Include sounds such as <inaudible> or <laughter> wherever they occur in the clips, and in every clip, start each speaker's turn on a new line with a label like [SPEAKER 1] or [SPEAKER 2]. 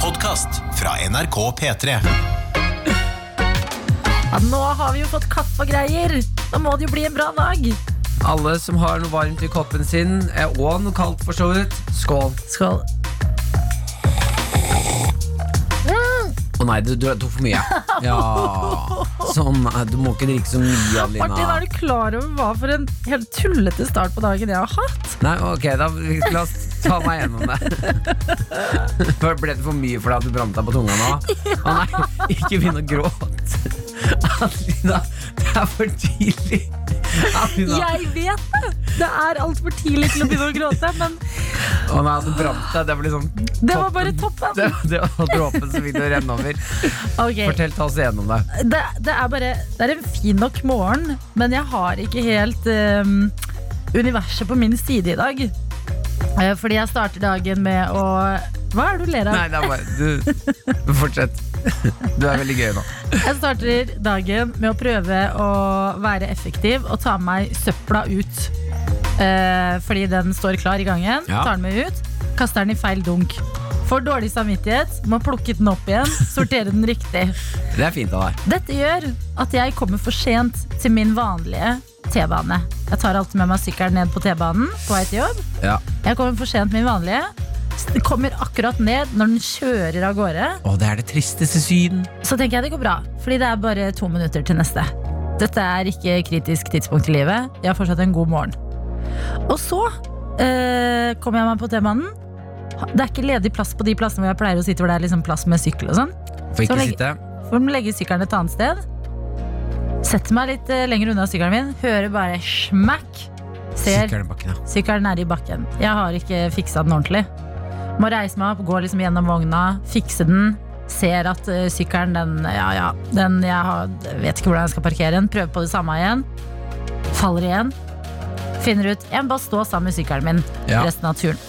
[SPEAKER 1] podkast fra NRK P3.
[SPEAKER 2] Ja, nå har vi jo fått kaffe og greier. Da må det jo bli en bra dag.
[SPEAKER 3] Alle som har noe varmt i koppen sin, eh, og noe kaldt for så vidt, skål.
[SPEAKER 2] Skål.
[SPEAKER 3] Å nei, du, du tok <laughs> for mye. Ja, sånn, eh, Du må ikke drikke så mye,
[SPEAKER 2] Martin,
[SPEAKER 3] Adelina.
[SPEAKER 2] er du klar over hva for en helt tullete start på dagen jeg har hatt?
[SPEAKER 3] Nei, ok, da la oss ta meg gjennom det. <laughs> Bare Ble det for mye for deg at du brant deg på tunga nå? Å nei, ikke begynn å gråte. Adelina, det er for tidlig. Adelina,
[SPEAKER 2] Jeg vet det! Det er altfor tidlig til å begynne å gråte, men
[SPEAKER 3] å nei, du brant deg. Det var liksom
[SPEAKER 2] det var bare toppen.
[SPEAKER 3] Det, det var dråpen som begynte å renne over.
[SPEAKER 2] Ok,
[SPEAKER 3] Fortell, ta oss igjennom det.
[SPEAKER 2] det, det er bare Det er en fin nok morgen, men jeg har ikke helt ehm, universet på min side i dag. Eh, Fordi jeg starter dagen med å Hva er det du ler av?
[SPEAKER 3] Nei, det er bare Du, fortsett. Du er veldig gøy nå.
[SPEAKER 2] Jeg starter dagen med å prøve å være effektiv og ta med meg søpla ut. Eh, fordi den står klar i gangen.
[SPEAKER 3] Ja.
[SPEAKER 2] Tar den med ut. Kaster den i feil dunk. Får dårlig samvittighet, må plukke den opp igjen, sortere den riktig.
[SPEAKER 3] Det er fint av deg.
[SPEAKER 2] Dette gjør at jeg kommer for sent til min vanlige T-bane. Jeg tar alltid med meg sykkelen ned på T-banen på vei til jobb.
[SPEAKER 3] Ja.
[SPEAKER 2] Jeg kommer for sent til min vanlige. Kommer akkurat ned når den kjører av gårde.
[SPEAKER 3] Å, det er det tristeste syn.
[SPEAKER 2] Så tenker jeg det går bra, fordi det er bare to minutter til neste. Dette er ikke kritisk tidspunkt i livet. Jeg har fortsatt en god morgen. Og så eh, kommer jeg meg på T-banen. Det er ikke ledig plass på de plassene hvor jeg pleier å sitte, hvor det er liksom plass med sykkel og sånn. Så
[SPEAKER 3] Får ikke
[SPEAKER 2] legg-
[SPEAKER 3] sitte.
[SPEAKER 2] Får de legge sykkelen et annet sted. Setter meg litt eh, lenger unna sykkelen min, hører bare smakk. Ser
[SPEAKER 3] Sykkelen i bakken, ja.
[SPEAKER 2] Sykkelen er i bakken. Jeg har ikke fiksa den ordentlig. Må reise meg opp, gå liksom gjennom vogna, fikse den. Ser at eh, sykkelen, den Ja, ja. Den jeg har, vet ikke hvordan jeg skal parkere den. Prøver på det samme igjen. Faller igjen. Finner ut Jeg må bare stå sammen med sykkelen min
[SPEAKER 3] Ja.
[SPEAKER 2] resten av turen.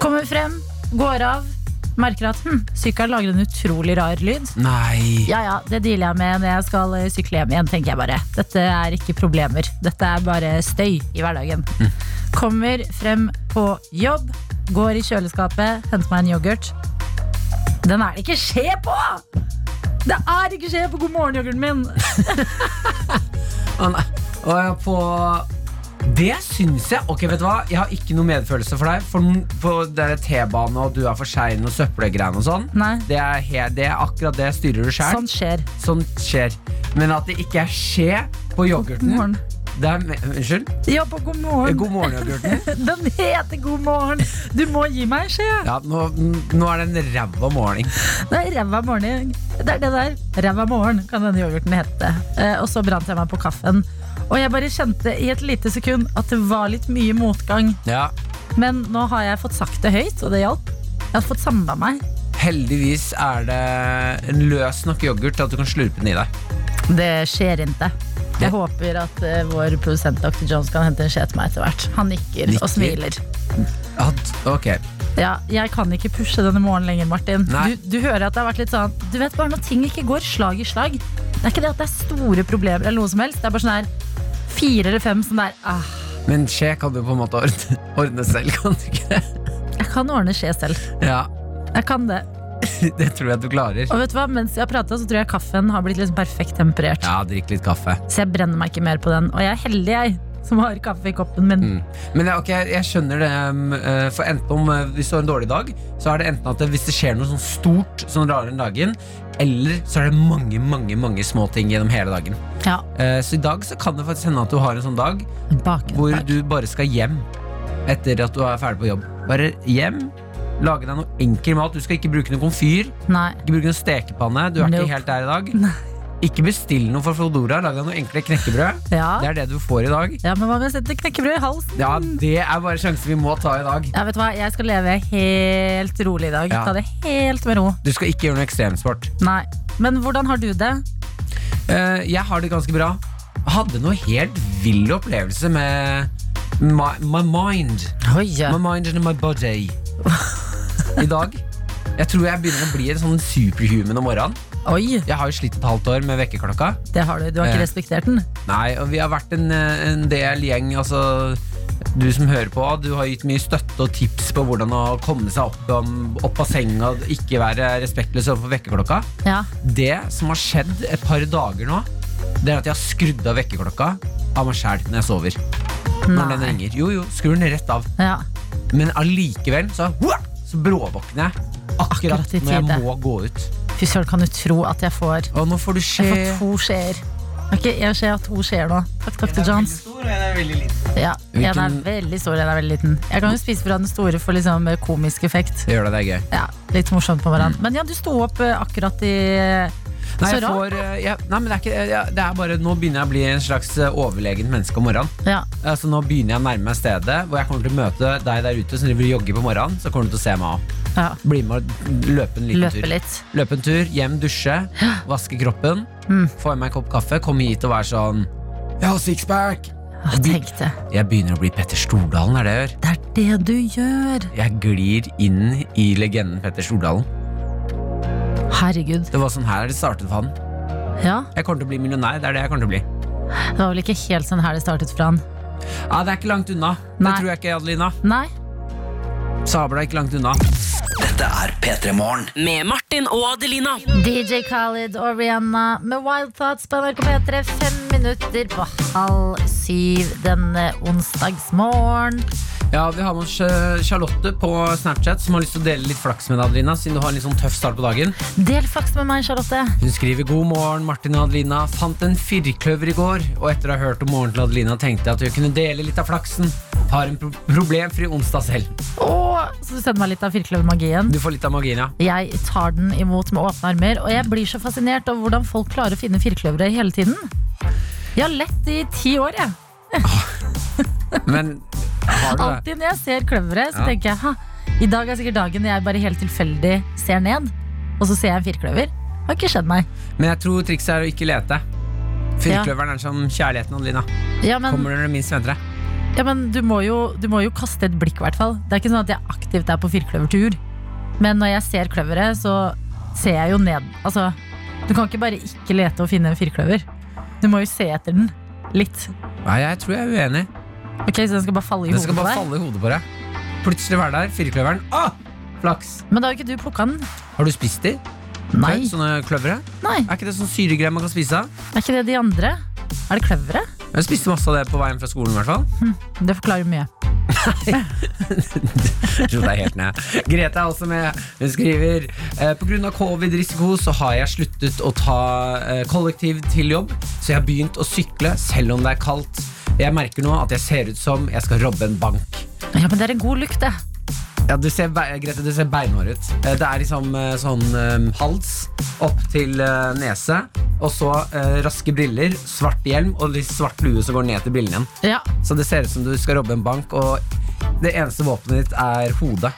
[SPEAKER 2] Kommer frem, går av. Merker at hm, sykkelen lager en utrolig rar lyd.
[SPEAKER 3] Nei.
[SPEAKER 2] Ja, ja, det dealer jeg med når jeg skal eh, sykle hjem igjen, tenker jeg bare. Dette er ikke problemer. Dette er bare støy i hverdagen. Kommer frem på jobb, går i kjøleskapet, henter meg en yoghurt. Den er det ikke skje på! Det er ikke skje på God morgen-yoghurten min!
[SPEAKER 3] Å, nei. Å, ja, på Det syns jeg. Ok, vet du hva? Jeg har ikke noe medfølelse for deg. For, for det er T-bane, og du er for sein, og søppelgreiene og sånn.
[SPEAKER 2] Nei,
[SPEAKER 3] Det er, he- det er akkurat det styrer du sjæl.
[SPEAKER 2] sånt Sånn skjer.
[SPEAKER 3] Sånt skjer. Men at det ikke er skje på
[SPEAKER 2] God
[SPEAKER 3] yoghurten
[SPEAKER 2] morgen.
[SPEAKER 3] det er, me- Unnskyld?
[SPEAKER 2] Ja, på God morgen.
[SPEAKER 3] God morgen-yoghurten.
[SPEAKER 2] Den heter God morgen! Du må gi meg en skje!
[SPEAKER 3] Ja, nå, nå er det en ræva morgen.
[SPEAKER 2] Det er ræva morgen. Det er det der. Ræva morgen kan denne yoghurten hete. Eh, og så brant jeg meg på kaffen. Og jeg bare kjente i et lite sekund at det var litt mye motgang.
[SPEAKER 3] Ja.
[SPEAKER 2] Men nå har jeg fått sagt det høyt, og det hjalp. Jeg har fått samla meg.
[SPEAKER 3] Heldigvis er det en løs nok yoghurt til at du kan slurpe den i deg.
[SPEAKER 2] Det skjer ikke. Jeg håper at eh, vår produsent Dr. Jones kan hente en skje til meg etter hvert. Han nikker,
[SPEAKER 3] Nikker?
[SPEAKER 2] og smiler.
[SPEAKER 3] At, ok,
[SPEAKER 2] Ja, jeg kan ikke pushe denne morgenen lenger, Martin.
[SPEAKER 3] Nei.
[SPEAKER 2] Du, du hører at det har vært litt sånn Du vet bare når ting ikke går slag i slag. Det er ikke det at det er store problemer eller noe som helst. Det er bare sånn her fire eller fem sånn der ah,
[SPEAKER 3] Men skje kan du på en måte ordne, <laughs> ordne selv, kan du ikke det?
[SPEAKER 2] Jeg kan ordne skje selv.
[SPEAKER 3] Ja,
[SPEAKER 2] Jeg kan det.
[SPEAKER 3] <laughs> det tror jeg du klarer.
[SPEAKER 2] Og vet du hva, mens jeg har prata, så tror jeg kaffen har blitt liksom perfekt temperert.
[SPEAKER 3] Ja, drikk litt kaffe.
[SPEAKER 2] Så jeg brenner meg ikke mer på den. Og jeg er heldig, jeg, som har kaffe i koppen min.
[SPEAKER 3] Mm. Men ja, ok, jeg skjønner det. um, eh, For enten om eh, hvis du har en dårlig dag, så er det enten at det, hvis det skjer noe sånn stort som rarer den dagen, eller så er det mange, mange, mange små ting gjennom hele dagen.
[SPEAKER 2] Ja,
[SPEAKER 3] Eh, Så i dag så kan det faktisk hende at du har en sånn dag
[SPEAKER 2] baken.
[SPEAKER 3] Hvor du bare skal hjem etter at du er ferdig på jobb. Bare hjem, lage deg noe enkel mat. Du skal ikke bruke noe komfyr,
[SPEAKER 2] Nei.
[SPEAKER 3] ikke bruke noe stekepanne. Du er
[SPEAKER 2] Nope.
[SPEAKER 3] ikke helt der i dag.
[SPEAKER 2] Nei.
[SPEAKER 3] Ikke bestill noe fra Flodora. Lag deg noe enkle knekkebrød. Det
[SPEAKER 2] Ja.
[SPEAKER 3] er det du får i dag.
[SPEAKER 2] ja, men hva om jeg setter knekkebrød i halsen?
[SPEAKER 3] Ja, Det er bare sjanser vi må ta i dag.
[SPEAKER 2] Ja, vet du hva, Jeg skal leve helt rolig i dag.
[SPEAKER 3] Ja.
[SPEAKER 2] Ta det helt med ro.
[SPEAKER 3] Du skal ikke gjøre noe ekstremsport.
[SPEAKER 2] Nei. Men hvordan har du det?
[SPEAKER 3] Eh, jeg har det ganske bra. Hadde noe helt vill opplevelse med my, my mind. My mind and my body. I dag. Jeg tror jeg begynner å bli en sånn superhuman om morgenen.
[SPEAKER 2] Oi,
[SPEAKER 3] Jeg har jo slitt et halvt år med vekkerklokka.
[SPEAKER 2] det har du. Du har ikke
[SPEAKER 3] Eh.
[SPEAKER 2] respektert den.
[SPEAKER 3] Nei, og vi har vært en, en del gjeng altså, Du som hører på, du har gitt mye støtte og tips på hvordan å komme seg opp, om, opp av senga og ikke være respektløs overfor vekkerklokka.
[SPEAKER 2] Ja.
[SPEAKER 3] Det som har skjedd et par dager nå, det er at jeg har skrudd av vekkerklokka av meg sjæl når jeg sover. Når den
[SPEAKER 2] Nei.
[SPEAKER 3] ringer. Jo, jo, skru den rett av.
[SPEAKER 2] ja.
[SPEAKER 3] Men allikevel så, så bråvåkner jeg akkurat,
[SPEAKER 2] Akkurat i
[SPEAKER 3] når jeg
[SPEAKER 2] tide.
[SPEAKER 3] må gå ut.
[SPEAKER 2] Fy søren, kan du tro at jeg får
[SPEAKER 3] Og nå får du
[SPEAKER 2] Jeg
[SPEAKER 3] skje
[SPEAKER 2] får to skjeer. Ok, jeg ser at to skjeer nå. Takk, takk til Johns. Ja, En er
[SPEAKER 3] Hvilken-
[SPEAKER 2] veldig stor, en er veldig liten. Jeg kan jo spise fra den store for liksom komisk effekt.
[SPEAKER 3] Det gjør det, det er gøy.
[SPEAKER 2] Ja, Litt morsomt på hverandre. Men ja, du sto opp eh, akkurat i
[SPEAKER 3] Nei,
[SPEAKER 2] Så
[SPEAKER 3] jeg
[SPEAKER 2] rart,
[SPEAKER 3] får, eh, ja, nei, men det er ikke ja, Det er bare Nå begynner jeg å bli en slags eh, overlegent menneske om morgenen.
[SPEAKER 2] Ja,
[SPEAKER 3] Altså, nå begynner jeg å nærme meg stedet hvor jeg kommer til å møte deg der ute som driver og jogger på morgenen. Så kommer du til å se meg òg.
[SPEAKER 2] ja.
[SPEAKER 3] Bli med og løpe en liten
[SPEAKER 2] Løpe
[SPEAKER 3] tur.
[SPEAKER 2] litt.
[SPEAKER 3] Løpe en tur, hjem, dusje,
[SPEAKER 2] <gasps>
[SPEAKER 3] vaske kroppen.
[SPEAKER 2] Mm.
[SPEAKER 3] Få i meg en kopp kaffe, komme hit og være sånn Jeg har sixpack!
[SPEAKER 2] Jeg tenkte
[SPEAKER 3] Jeg begynner å bli Petter Stordalen, er det jeg gjør.
[SPEAKER 2] Det er det du gjør!
[SPEAKER 3] Jeg glir inn i legenden Petter Stordalen.
[SPEAKER 2] Herregud.
[SPEAKER 3] Det var sånn her det startet for han.
[SPEAKER 2] Ja,
[SPEAKER 3] Jeg kommer til å bli millionær. Det er det jeg kommer til å bli.
[SPEAKER 2] Det var vel ikke helt sånn her det startet for han.
[SPEAKER 3] Ja, det er ikke langt unna. Det
[SPEAKER 2] Nei.
[SPEAKER 3] tror jeg ikke, Adelina.
[SPEAKER 2] Nei?
[SPEAKER 3] Sabla er ikke langt unna.
[SPEAKER 4] Med Martin og Adelina.
[SPEAKER 2] DJ Khaled og Rihanna med Wild Thoughts på NRK P3. Fem minutter på halv syv denne onsdagsmorgen.
[SPEAKER 3] Ja, Vi har med oss eh, Charlotte på Snapchat, som har lyst til å dele litt flaks med deg, Adelina. Siden du har en litt sånn tøff start på dagen
[SPEAKER 2] Del flaks med meg, Charlotte.
[SPEAKER 3] Hun skriver god morgen, Martin og Adelina. Fant en firkløver i går, og etter å ha hørt om morgenen til Adelina, tenkte jeg at hun kunne dele litt av flaksen. Har en pro problemfri onsdag selv.
[SPEAKER 2] Åh, så du sender meg litt av firkløvermagien.
[SPEAKER 3] Du får litt av magien, ja.
[SPEAKER 2] Jeg tar den imot med åpne armer, og jeg blir så fascinert over hvordan folk klarer å finne firkløvere hele tiden. Jeg har lett i ti år, jeg.
[SPEAKER 3] Men har du det?
[SPEAKER 2] Alltid når jeg ser kløveret, så
[SPEAKER 3] Ja.
[SPEAKER 2] tenker jeg ha, i dag er sikkert dagen jeg bare helt tilfeldig ser ned, og så ser jeg en firkløver. Har ikke skjedd meg.
[SPEAKER 3] Men jeg tror trikset er å ikke lete. Firkløveren er som kjærligheten, Adelina.
[SPEAKER 2] Ja, men,
[SPEAKER 3] Kommer når du minst venter det.
[SPEAKER 2] ja, men du, må jo, du må jo kaste et blikk, i hvert fall. Det er ikke sånn at jeg aktivt er på firkløvertur, men når jeg ser kløveret, så ser jeg jo ned. Altså, du kan ikke bare ikke lete og finne en firkløver. Du må jo se etter den. Litt.
[SPEAKER 3] Nei, jeg tror jeg er uenig.
[SPEAKER 2] Ok, Så den skal bare falle i
[SPEAKER 3] Den
[SPEAKER 2] hodet
[SPEAKER 3] skal
[SPEAKER 2] på
[SPEAKER 3] bare
[SPEAKER 2] deg?
[SPEAKER 3] falle i hodet på deg. Plutselig være der. Firkløveren. Ah! Flaks.
[SPEAKER 2] Men da har jo ikke du plukka den?
[SPEAKER 3] Har du spist de?
[SPEAKER 2] Nei.
[SPEAKER 3] Sånne kløvere?
[SPEAKER 2] Nei.
[SPEAKER 3] Er ikke det sånn syregreier man kan spise av?
[SPEAKER 2] Er ikke det de andre? Er det kløveret?
[SPEAKER 3] Jeg spiste masse av det på veien fra skolen. i hvert fall
[SPEAKER 2] Det forklarer mye.
[SPEAKER 3] <laughs> Jeg tror det er helt ned. Grete er også med. Hun skriver eh, pga. covid-risiko så har jeg sluttet å ta eh, kollektiv til jobb, så jeg har begynt å sykle selv om det er kaldt. Jeg merker nå at jeg ser ut som jeg skal robbe en bank.
[SPEAKER 2] Ja, men det er en god lukt, det.
[SPEAKER 3] Ja, du ser, be- Grete, du ser beinhår ut. Eh, Det er liksom eh, sånn eh, hals opp til eh, nese, og så eh, raske briller, svart hjelm og litt svart lue som går ned til brillene igjen.
[SPEAKER 2] Ja.
[SPEAKER 3] Så det ser ut som du skal robbe en bank, og det eneste våpenet ditt er hodet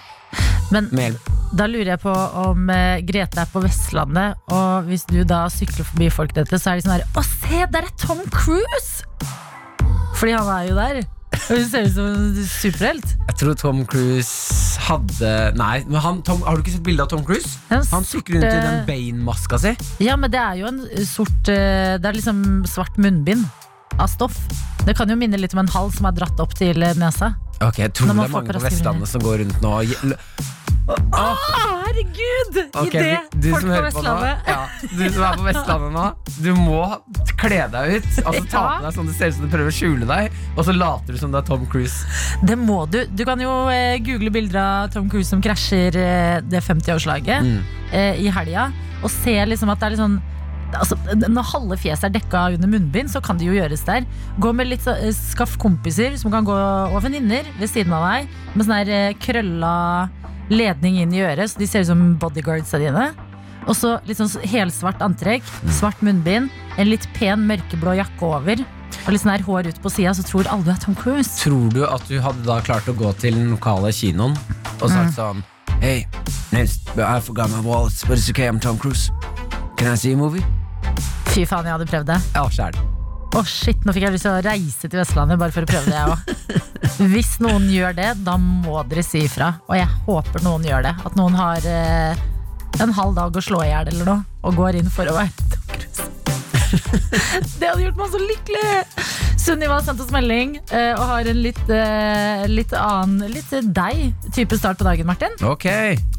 [SPEAKER 2] Men
[SPEAKER 3] med hjelm.
[SPEAKER 2] da lurer jeg på om eh, Grete er på Vestlandet, og hvis du da sykler forbi folk dette, så er de sånn her Å, se, der er Tom Cruise! Fordi han er jo der. Og Hun ser ut som en superhelt.
[SPEAKER 3] Jeg tror Tom Cruise hadde Nei, men han, Tom, har du ikke sett bilde av Tom Cruise?
[SPEAKER 2] Den
[SPEAKER 3] Han sykler rundt i den
[SPEAKER 2] sorte-
[SPEAKER 3] Bane-maska si.
[SPEAKER 2] Ja, men det er jo en sort eh, Det er liksom svart munnbind av stoff. Det kan jo minne litt om en hals som er dratt opp til eh, nesa.
[SPEAKER 3] Ok, Jeg tror
[SPEAKER 2] Når
[SPEAKER 3] det
[SPEAKER 2] man
[SPEAKER 3] er
[SPEAKER 2] får
[SPEAKER 3] mange på
[SPEAKER 2] raske briller.
[SPEAKER 3] Vestlandet som går rundt nå og gje-
[SPEAKER 2] Å, herregud!
[SPEAKER 3] Ok,
[SPEAKER 2] I det,
[SPEAKER 3] du- du
[SPEAKER 2] folk
[SPEAKER 3] som
[SPEAKER 2] på
[SPEAKER 3] hører nå,
[SPEAKER 2] Vestlandet.
[SPEAKER 3] ja, Du som er på Vestlandet nå, du må kle deg ut. Altså Ta
[SPEAKER 2] Ja.
[SPEAKER 3] på deg sånn det ser ut som du prøver å skjule deg, og så later du som det er Tom Cruise.
[SPEAKER 2] Det må du. Du kan jo eh, google bilder av Tom Cruise som krasjer eh, det 50-årslaget eh, i helga, og se liksom at det er litt sånn Altså, når halve fjeset er dekka under munnbind, så kan det jo gjøres der. Gå med litt så- eh, Skaff kompiser som kan gå og venninner ved siden av deg, med sånn her eh, krølla ledning inn i øret, så de ser ut som bodyguardsa dine. Og så litt sånn s- helsvart antrekk, svart munnbind, en litt pen mørkeblå jakke over, og litt sånn her hår ut på sida, så tror alle du er Tom Cruise.
[SPEAKER 3] Tror du at du hadde da klart å gå til den lokale kinoen og
[SPEAKER 2] Mm.
[SPEAKER 3] sagt sånn Hey, name's, I forgot my wallet, but it's okay, I'm Tom Cruise. Can I see a movie?
[SPEAKER 2] Fy faen, jeg hadde prøvd det.
[SPEAKER 3] Ja, skjær.
[SPEAKER 2] Å shit, Nå fikk jeg lyst til å reise til Vestlandet bare for å prøve det. jeg også. Hvis noen gjør det, da må dere si ifra. Og jeg håper noen gjør det. At noen har eh, en halv dag å slå i hjel eller noe, og går inn for å være Tom Cruise. Det hadde gjort meg så lykkelig! Sunniva har sendt oss melding eh, og har en litt, eh, litt annen, litt deg-type start på dagen, Martin.
[SPEAKER 3] Ok,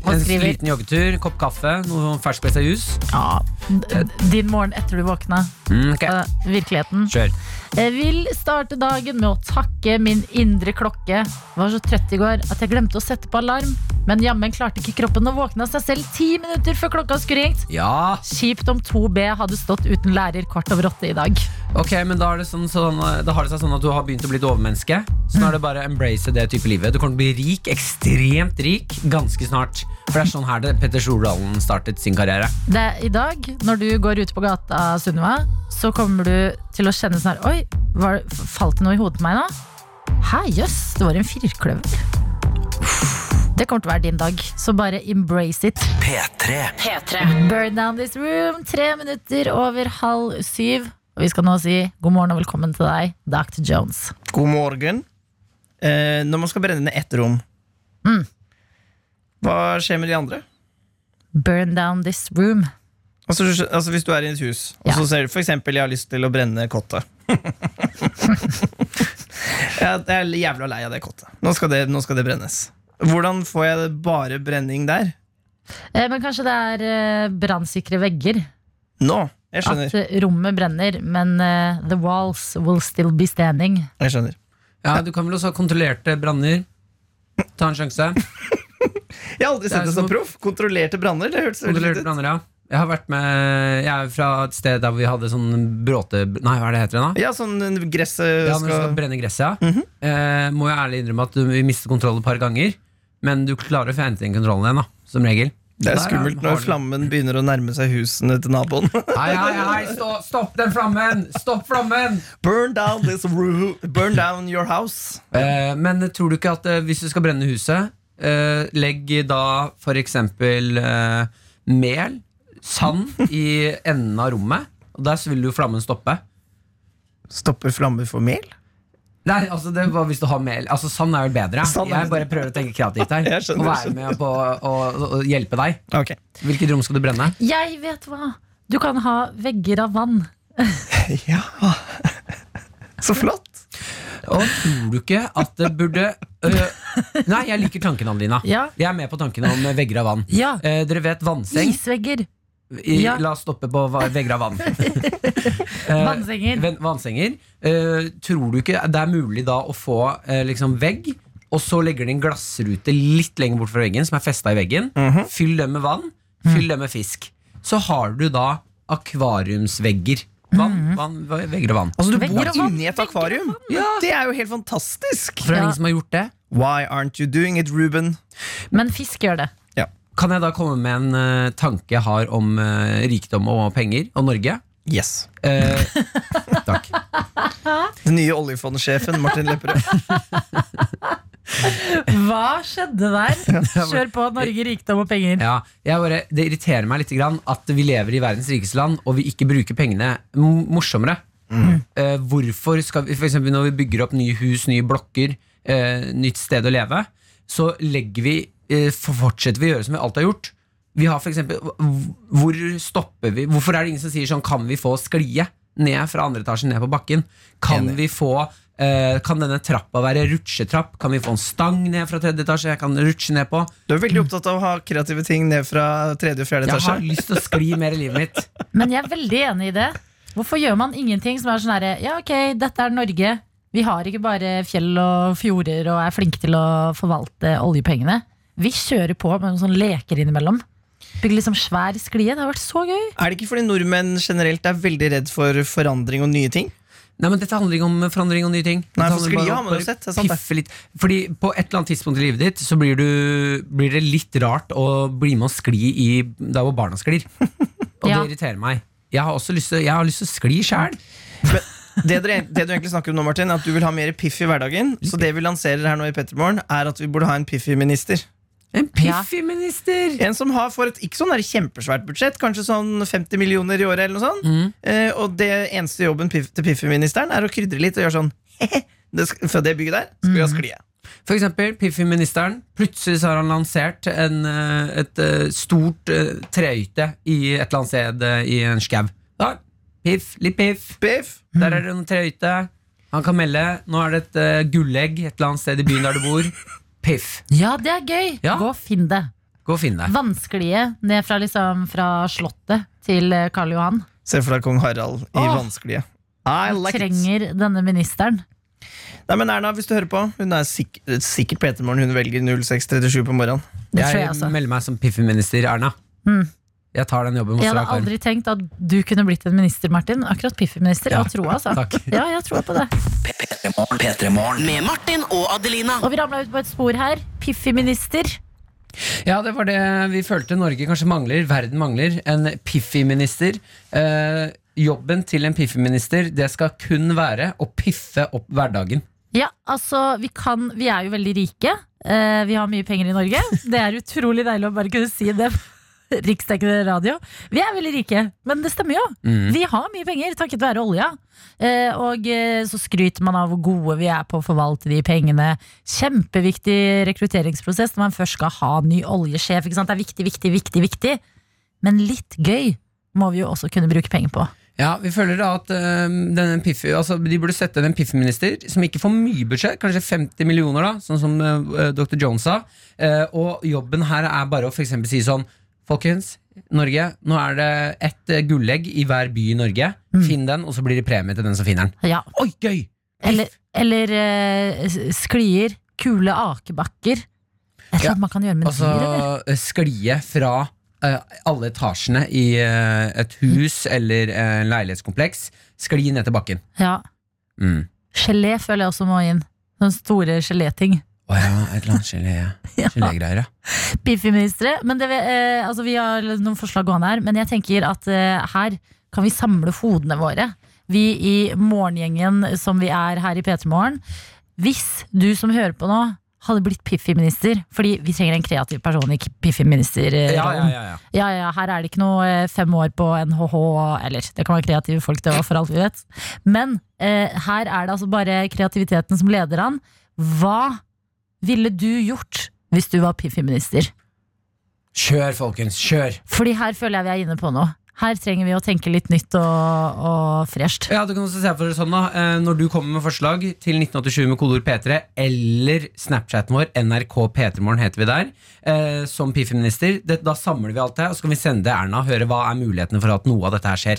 [SPEAKER 2] Han
[SPEAKER 3] En
[SPEAKER 2] skriver-
[SPEAKER 3] liten joggetur, kopp kaffe, noe sånn ferskpressa jus.
[SPEAKER 2] Ja, d- Din morgen etter du våkna.
[SPEAKER 3] Mm, ok,
[SPEAKER 2] Eh, virkeligheten.
[SPEAKER 3] Kjør.
[SPEAKER 2] Jeg Eh, vil starte dagen med å takke min indre klokke. Var så trøtt i går at jeg glemte å sette på alarm. Men jammen klarte ikke kroppen å våkne av seg selv ti minutter før klokka skulle ringt.
[SPEAKER 3] Ja,
[SPEAKER 2] Kjipt om 2B hadde stått uten lærer kvart over åtte i dag.
[SPEAKER 3] ok, men da, er det sånn, sånn, da har det seg sånn at du har begynt å bli et overmenneske. Så nå er det bare å embrace det type livet. Du kommer til å bli rik, ekstremt rik, ganske snart. For det er sånn her det Petter Stordalen startet sin karriere.
[SPEAKER 2] Det, I dag, når du går ute på gata, Sunniva, så kommer du til å kjenne sånn her Oi, var, falt det noe i hodet på meg nå? Hæ, jøss, det var en firkløver. Det kommer til å være din dag, så bare embrace it. Burn down this room, tre minutter over halv syv. Og vi skal nå si god morgen og velkommen til deg, Dr. Jones.
[SPEAKER 4] God morgen. Eh, når man skal brenne ned ett rom,
[SPEAKER 2] Mm.
[SPEAKER 4] hva skjer med de andre?
[SPEAKER 2] Burn down this room.
[SPEAKER 4] Altså, du skjø- altså Hvis du er i et hus, og
[SPEAKER 2] Ja.
[SPEAKER 4] så ser du f.eks. jeg har lyst til å
[SPEAKER 3] <laughs>
[SPEAKER 4] brenne kottet. jeg jeg er jævla lei av det kottet. Nå skal det, nå skal det brennes. Hvordan får jeg det bare brenning der?
[SPEAKER 2] Eh, men kanskje det er eh, brannsikre vegger.
[SPEAKER 4] Nå! Jeg
[SPEAKER 2] At
[SPEAKER 4] skjønner.
[SPEAKER 2] eh, rommet brenner, men eh, the walls will still be standing.
[SPEAKER 4] Jeg skjønner.
[SPEAKER 3] Ja, Du kan vel også ha kontrollerte branner. Ta en sjanse.
[SPEAKER 4] Jeg har aldri
[SPEAKER 3] er
[SPEAKER 4] sett det
[SPEAKER 3] som
[SPEAKER 4] som
[SPEAKER 3] å-
[SPEAKER 4] proff. Kontrollerte branner. Det hørtes veldig
[SPEAKER 3] Kontrollerte
[SPEAKER 4] fint ut.
[SPEAKER 3] branner, ja. Jeg har vært med Jeg er fra et sted der vi hadde sånn bråte... Nei, hva er det heter det da?
[SPEAKER 4] Ja, sånn gresset
[SPEAKER 3] Ja, når du skal
[SPEAKER 4] skal Mhm.
[SPEAKER 3] brenne gresset, ja. eh, må jeg ærlig innrømme at du mistet kontroll et par ganger. Men du klarer å få hentet inn kontrollen igjen, da, som regel.
[SPEAKER 4] Det er
[SPEAKER 3] Der
[SPEAKER 4] skummelt
[SPEAKER 3] den, har
[SPEAKER 4] når
[SPEAKER 3] den.
[SPEAKER 4] flammen begynner å nærme seg husene til naboen.
[SPEAKER 3] <laughs> Hei, hei, hei, stå, stopp den flammen! Stopp flammen!
[SPEAKER 4] Burn down this roo- Burn down your house.
[SPEAKER 3] Eh, men tror du ikke at eh, hvis du skal brenne huset, eh, legg da for eksempel eh, mel, sand, i enden av rommet. Og der så vil jo flammen stoppe.
[SPEAKER 4] Stopper flammer for mel?
[SPEAKER 3] Nei, altså det var hvis du har mel Altså Sand er vel bedre.
[SPEAKER 4] Sand er
[SPEAKER 3] Jeg bare prøver å tenke kreativt her.
[SPEAKER 4] <laughs> Jeg skjønner,
[SPEAKER 3] og være med på å å- å hjelpe deg.
[SPEAKER 4] Ok.
[SPEAKER 3] Hvilket rom skal du brenne?
[SPEAKER 2] Jeg vet hva! Du kan ha vegger av vann.
[SPEAKER 4] <laughs> Ja. Så flott.
[SPEAKER 3] Og tror du ikke at det burde øh, Nei, jeg liker tanken, Adelina.
[SPEAKER 2] Ja.
[SPEAKER 3] Jeg er med på tanken om vegger av vann.
[SPEAKER 2] Ja.
[SPEAKER 3] Eh, dere vet vannseng?
[SPEAKER 2] Isvegger.
[SPEAKER 3] I,
[SPEAKER 2] Ja.
[SPEAKER 3] La oss stoppe på va- vegger av vann.
[SPEAKER 2] <laughs>
[SPEAKER 3] Eh,
[SPEAKER 2] Vannsenger.
[SPEAKER 3] ven- Vannsenger. Eh, tror du ikke det er mulig da å få eh, liksom vegg, og så legger de en glassrute litt lenger bort fra veggen, som er festa i veggen. Fyll den med vann, fyll den med fisk. Så har du da akvariumsvegger. Vann, vann, vegger og vann.
[SPEAKER 4] Altså, du
[SPEAKER 2] Vegger
[SPEAKER 4] bor
[SPEAKER 2] Mhm. og vann,
[SPEAKER 4] inni et akvarium. Det er jo helt fantastisk.
[SPEAKER 3] For det
[SPEAKER 2] Ja.
[SPEAKER 3] er ingen som har gjort det.
[SPEAKER 4] Why aren't you doing it, Ruben?
[SPEAKER 2] Men fisk gjør det.
[SPEAKER 4] Ja.
[SPEAKER 3] Kan jeg da komme med en eh, tanke jeg har om eh, rikdom og penger og Norge?
[SPEAKER 4] Yes.
[SPEAKER 3] Eh, takk.
[SPEAKER 4] Den nye oljefondsjefen, Martin Lepperød.
[SPEAKER 2] Hva skjedde
[SPEAKER 3] <laughs>
[SPEAKER 2] der? Kjør på Norge, rikdom og penger.
[SPEAKER 3] Ja, jeg bare, det irriterer meg litt grann at vi lever i verdens rikeste land, og vi ikke bruker pengene m- morsommere. Eh, hvorfor skal vi, for eksempel Når vi bygger opp nye hus, nye blokker, eh, nytt sted å leve, så legger vi, eh, for- fortsetter vi å gjøre som vi alltid har gjort. Vi har for eksempel, hv- hvor stopper vi? Hvorfor er det ingen som sier sånn Kan vi få sklie ned fra andre etasjen ned på bakken? Kan
[SPEAKER 4] Enig.
[SPEAKER 3] vi få eh, Kan denne trappa være rutsjetrapp? Kan vi få en stang ned fra tredje etasje? Jeg kan rutsje ned på.
[SPEAKER 4] Du er veldig opptatt av å ha kreative ting ned fra tredje og fjerde
[SPEAKER 3] Jeg har
[SPEAKER 4] etasje.
[SPEAKER 3] lyst til å skli mer i livet mitt.
[SPEAKER 2] Men jeg er veldig enig i det. Hvorfor gjør man ingenting som er sånn herre Ja, ok, dette er Norge. Vi har ikke bare fjell og fjorder og er flinke til å forvalte oljepengene. Vi kjører på med noen sånne leker innimellom. Bygger liksom svær sklie. Det har vært så gøy.
[SPEAKER 4] Er det ikke fordi nordmenn generelt er veldig redd for forandring og nye ting?
[SPEAKER 3] Nei, men Dette handler ikke om forandring og nye ting. Dette
[SPEAKER 4] Nei, for
[SPEAKER 3] handler
[SPEAKER 4] sklia
[SPEAKER 3] bare om
[SPEAKER 4] har man jo
[SPEAKER 3] bare
[SPEAKER 4] sett, det er sant det.
[SPEAKER 3] piffe litt. Fordi På et eller annet tidspunkt i livet ditt Så blir, du, blir det litt rart å bli med og skli i der hvor barna
[SPEAKER 4] <laughs>
[SPEAKER 3] sklir. Og
[SPEAKER 2] Ja.
[SPEAKER 3] det irriterer meg. Jeg har også lyst til, jeg har lyst til å skli sjæl.
[SPEAKER 4] Men det, dere, det du egentlig snakker om nå, Martin, er at du vil ha mer piff i hverdagen. Så det vi lanserer her nå i Pettermorgen, er at vi burde ha en piffy-minister.
[SPEAKER 3] En piffiminister!
[SPEAKER 4] En som har for et ikke sånn der kjempesvært budsjett, kanskje sånn 50 millioner i året. eller noe sånt
[SPEAKER 2] Mm.
[SPEAKER 4] eh, Og det eneste jobben piff, til Piffi-ministeren er å krydre litt og gjøre sånn <laughs> det sk- Fra det bygget der skal
[SPEAKER 2] Mm.
[SPEAKER 4] vi ha sklie.
[SPEAKER 3] For eksempel Piffi-ministeren. Plutselig så har han lansert en, eh, et eh, stort eh, trehytte i et eller annet sted eh, i en skau. Ja, Piff, litt piff.
[SPEAKER 4] Piff!
[SPEAKER 3] Der er det noen trehytte. Han kan melde Nå er det et eh, gullegg et eller annet sted i byen der du bor. Piff.
[SPEAKER 2] Ja, det er gøy!
[SPEAKER 3] Ja.
[SPEAKER 2] Gå og finn det.
[SPEAKER 3] Gå og finn deg.
[SPEAKER 2] Vanskelige ned fra, liksom, fra Slottet til eh, Karl Johan.
[SPEAKER 4] Se for deg kong Harald i
[SPEAKER 2] Åh.
[SPEAKER 4] vanskelige. I like it.
[SPEAKER 2] Trenger denne ministeren.
[SPEAKER 4] Nei, men Erna, hvis du hører på, hun er sikk- sikkert P3morgen. Hun velger 0637 på morgenen.
[SPEAKER 2] Det tror
[SPEAKER 3] jeg
[SPEAKER 2] jeg altså. også.
[SPEAKER 3] melder meg som Piffi-minister, Erna.
[SPEAKER 2] Mm.
[SPEAKER 3] Jeg tar den jobben. hos
[SPEAKER 2] Jeg hadde
[SPEAKER 3] Rakarm.
[SPEAKER 2] aldri tenkt at du kunne blitt en minister, Martin. Akkurat Piffi-minister.
[SPEAKER 3] Ja.
[SPEAKER 2] Jeg tror altså.
[SPEAKER 3] Takk.
[SPEAKER 2] Ja, jeg tror på det.
[SPEAKER 5] Med Martin og Adelina.
[SPEAKER 2] Og vi ramla ut på et spor her. Piffi-minister.
[SPEAKER 3] Ja, det var det vi følte Norge kanskje mangler. Verden mangler en Piffi-minister. Eh, jobben til en Piffi-minister Det skal kun være å piffe opp hverdagen.
[SPEAKER 2] Ja, altså, vi kan Vi er jo veldig rike. Eh, vi har mye penger i Norge. Det er utrolig deilig å bare kunne si det. på <laughs> Riksdekkende radio. Vi er veldig rike, men det stemmer jo. Vi har mye penger takket være olja. Eh, og eh, så skryter man av hvor gode vi er på å forvalte de pengene. Kjempeviktig rekrutteringsprosess når man først skal ha ny oljesjef. Ikke sant? Det er viktig, viktig, viktig, viktig. Men litt gøy må vi jo også kunne bruke penger på.
[SPEAKER 3] Ja, vi føler da at eh, denne Piffi, altså, De burde sette inn en Piffi-minister som ikke får mye budsjett, kanskje 50 millioner, da sånn som eh, dr. Jones sa. Eh, og jobben her er bare å for eksempel si sånn Folkens, Norge, nå er det ett eh, gullegg i hver by i Norge. Finn den, og så blir det premie til den som finner den.
[SPEAKER 2] Ja,
[SPEAKER 3] Mm. Oi, gøy!
[SPEAKER 2] Eller, eller eh, s- sklier. Kule akebakker. Jeg tror
[SPEAKER 3] Ja,
[SPEAKER 2] man kan gjøre med
[SPEAKER 3] Altså
[SPEAKER 2] dyr, eller?
[SPEAKER 3] eh, sklie fra eh, alle etasjene i eh, et hus eller eh, en leilighetskompleks. Skli ned til bakken.
[SPEAKER 2] Ja.
[SPEAKER 3] Mm.
[SPEAKER 2] Gelé føler jeg også må inn. Sånne store geléting.
[SPEAKER 3] Å ja, et <laughs> eller annet gelé.
[SPEAKER 2] Ja.
[SPEAKER 3] Gelégreier, ja.
[SPEAKER 2] Biffeministre. Men det, vi- eh, altså, vi har noen forslag gående her, men jeg tenker at eh, her kan vi samle hodene våre. Vi i morgengjengen som vi er her i P3 Morgen. Hvis du som hører på nå, hadde blitt Piffi-minister, fordi vi trenger en kreativ person i eh, Piffi-ministerrollen.
[SPEAKER 3] Ja, ja, ja, ja.
[SPEAKER 2] Ja, ja, her er det ikke noe eh, fem år på NHH, eller det kan være kreative folk, det var for alt vi vet. Men eh, her er det altså bare kreativiteten som leder an. Hva ville du gjort hvis du var Piffi-minister?
[SPEAKER 3] Kjør, folkens, kjør!
[SPEAKER 2] Fordi her føler jeg vi er inne på noe. Her trenger vi å tenke litt nytt og, og fresht.
[SPEAKER 3] Ja, du kan også se for deg sånn da eh, Når du kommer med forslag til 1987 med kodord P3 Eller Snapchaten vår NRK P3morgen heter vi der eh, Som Piffi-minister det- Da samler vi alt det Og så kan vi sende det Erna og Høre hva er mulighetene for at noe av dette her skjer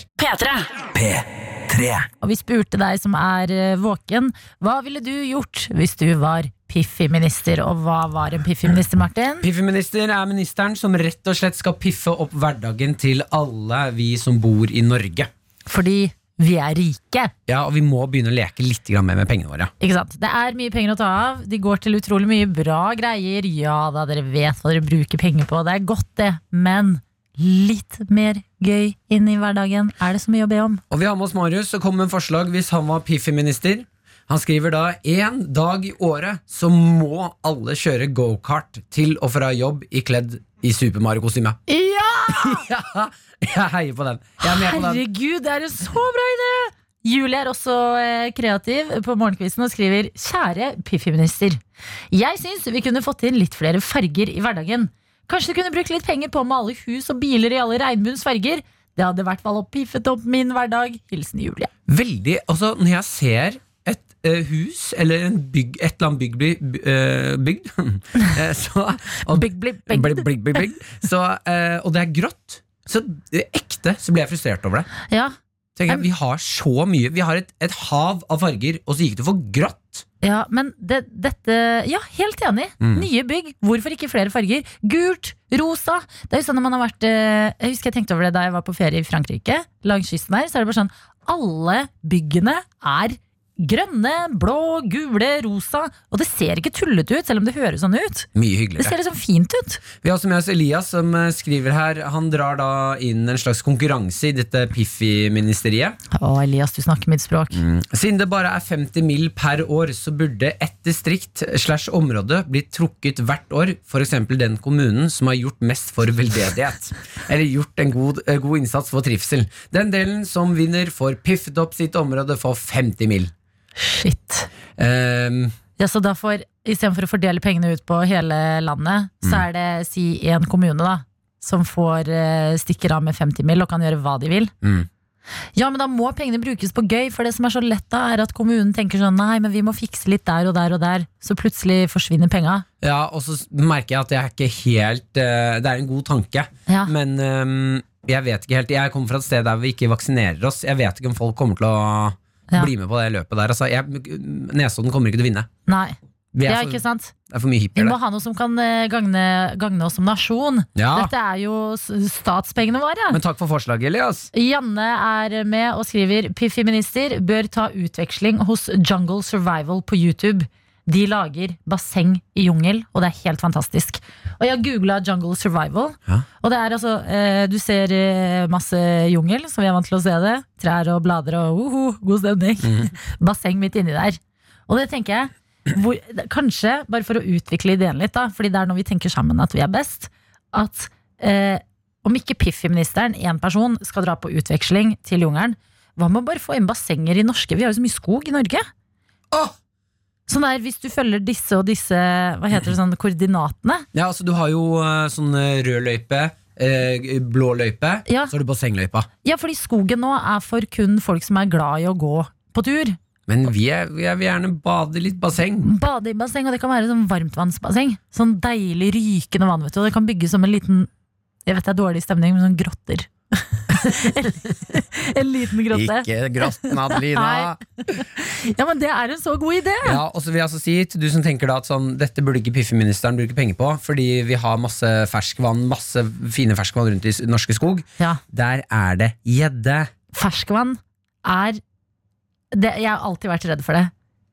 [SPEAKER 2] Og vi spurte deg som er eh, våken, hva ville du gjort hvis du var Piffi-minister? Og hva var en Piffi-minister, Martin?
[SPEAKER 3] Piffeminister er ministeren som rett og slett skal piffe opp hverdagen til alle vi som bor i Norge.
[SPEAKER 2] Fordi vi er rike.
[SPEAKER 3] Ja, og vi må begynne å leke litt grann mer med pengene våre.
[SPEAKER 2] Ikke sant? Det er mye penger å ta av. De går til utrolig mye bra greier. Ja da, dere vet hva dere bruker penger på. Det er godt, det. Men litt mer gøy inn i hverdagen er det så mye å be om.
[SPEAKER 3] Og vi har med oss Marius, som kom med en forslag hvis han var Piffi-minister. Han skriver da én dag i året så må alle kjøre gokart til og fra jobb i kledd i Super Mario-kostyme.
[SPEAKER 2] Ja!
[SPEAKER 3] Ja, <laughs> jeg heier på den. Jeg er med på den.
[SPEAKER 2] Herregud, det er en så bra idé! Julie er også eh, kreativ på morgenkvisten og skriver Kjære Piffi-minister. Jeg syns vi kunne fått inn litt flere farger i hverdagen. Kanskje du kunne brukt litt penger på å male hus og biler i alle regnbuens farger? Det hadde i hvert fall piffet opp min hverdag. Hilsen Julie.
[SPEAKER 3] Veldig, altså Når jeg ser et eh, hus eller en bygg, et eller annet bygg bli eh, bygd <laughs> eh, så, og,
[SPEAKER 2] Bygg bli bygd.
[SPEAKER 3] Bli- bli- bli- bygd. så, eh, og det er grått, så eh, ekte så blir jeg frustrert over det.
[SPEAKER 2] Ja,
[SPEAKER 3] Tenker jeg, Vi har så mye Vi har et, et hav av farger, og så gikk det for grått.
[SPEAKER 2] Ja, men det, dette Ja, helt enig. Nye bygg. Hvorfor ikke flere farger? Gult, rosa. Det er jo sånn når man har vært eh, Jeg husker jeg tenkte over det da jeg var på ferie i Frankrike. Langs kysten der. Så er det bare sånn Alle byggene er grønne, blå, gule, rosa. Og det ser ikke tullete ut, selv om det høres sånn ut.
[SPEAKER 3] Mye
[SPEAKER 2] Det
[SPEAKER 3] hyggeligere.
[SPEAKER 2] ser liksom fint ut.
[SPEAKER 3] Vi har også med oss Elias, som eh, skriver her. Han drar da inn en slags konkurranse i dette Piffi-ministeriet.
[SPEAKER 2] Å, Elias, du snakker mitt språk.
[SPEAKER 3] Siden det bare er 50 mil per år, så burde ett distrikt slash område bli trukket hvert år, f.eks. den kommunen som har gjort mest for veldedighet, eller gjort en god, eh, god innsats for trivsel. Den delen som vinner, får piffet opp sitt område for 50 mil.
[SPEAKER 2] Shit.
[SPEAKER 3] Ehm,
[SPEAKER 2] Ja, så da får Istedenfor å fordele pengene ut på hele landet, så
[SPEAKER 3] Mm.
[SPEAKER 2] er det si én kommune, da. Som får eh, stikker av med 50 mil og kan gjøre hva de vil.
[SPEAKER 3] Mm.
[SPEAKER 2] Ja, men da må pengene brukes på gøy, for det som er så lett da, er at kommunen tenker sånn nei, men vi må fikse litt der og der og der, så plutselig forsvinner penga.
[SPEAKER 3] Ja, og så s- merker jeg at jeg er ikke helt eh, Det er en god tanke,
[SPEAKER 2] Ja.
[SPEAKER 3] men ehm, jeg vet ikke helt Jeg kommer fra et sted der vi ikke vaksinerer oss. Jeg vet ikke om folk kommer til å
[SPEAKER 2] Ja.
[SPEAKER 3] bli med på det løpet der. Altså, jeg, Nesodden kommer ikke til å vinne.
[SPEAKER 2] Nei,
[SPEAKER 3] Vi
[SPEAKER 2] det
[SPEAKER 3] er,
[SPEAKER 2] er
[SPEAKER 3] for,
[SPEAKER 2] ikke sant.
[SPEAKER 3] det er for mye
[SPEAKER 2] Vi
[SPEAKER 3] hippier
[SPEAKER 2] må
[SPEAKER 3] der.
[SPEAKER 2] ha noe som kan eh, gagne, gagne oss som nasjon.
[SPEAKER 3] Ja.
[SPEAKER 2] Dette er jo s- statspengene våre.
[SPEAKER 3] Men takk for forslaget, Elias.
[SPEAKER 2] Janne er med og skriver Piffeminister bør ta utveksling hos Jungle Survival på YouTube. De lager basseng i jungel, og det er helt fantastisk. Og jeg har googla Jungle Survival.
[SPEAKER 3] Ja.
[SPEAKER 2] Og det er altså eh, Du ser eh, masse jungel, som vi er vant til å se det. Trær og blader og uhu, god stemning. <laughs> Basseng midt inni der. Og det tenker jeg hvor, Kanskje, bare for å utvikle ideen litt, da, fordi det er når vi tenker sammen at vi er best, at eh, om ikke Piffi-ministeren, én person, skal dra på utveksling til jungelen, hva med å bare få inn bassenger i norske? Vi har jo så mye skog i Norge. Sånn der, Hvis du følger disse og disse hva heter det, sånn, koordinatene
[SPEAKER 3] Ja, altså, du har jo eh, sånn eh, rød løype, eh, g- blå løype,
[SPEAKER 2] Ja.
[SPEAKER 3] så har du bassengløypa.
[SPEAKER 2] Ja, fordi skogen nå er for kun folk som er glad i å gå på tur.
[SPEAKER 3] Men vi er, jeg vil gjerne bade i litt basseng.
[SPEAKER 2] Bade i basseng, og det kan være sånn varmtvannsbasseng. Sånn deilig rykende vann, vet du. Og det kan bygges som en liten Jeg vet det er dårlig stemning, men sånn grotter. <laughs> en liten grotte.
[SPEAKER 3] Ikke grotten,
[SPEAKER 2] Nei.
[SPEAKER 3] Adelina.
[SPEAKER 2] Ja, men det er en så god idé!
[SPEAKER 3] Ja, og så vil jeg altså si til du som tenker da at sånn, dette burde ikke piffeministeren bruke penger på, fordi vi har masse ferskvann, masse fine ferskvann rundt i s- norske skog.
[SPEAKER 2] Ja.
[SPEAKER 3] Der er det gjedde.
[SPEAKER 2] ferskvann er det, Jeg har alltid vært redd for det.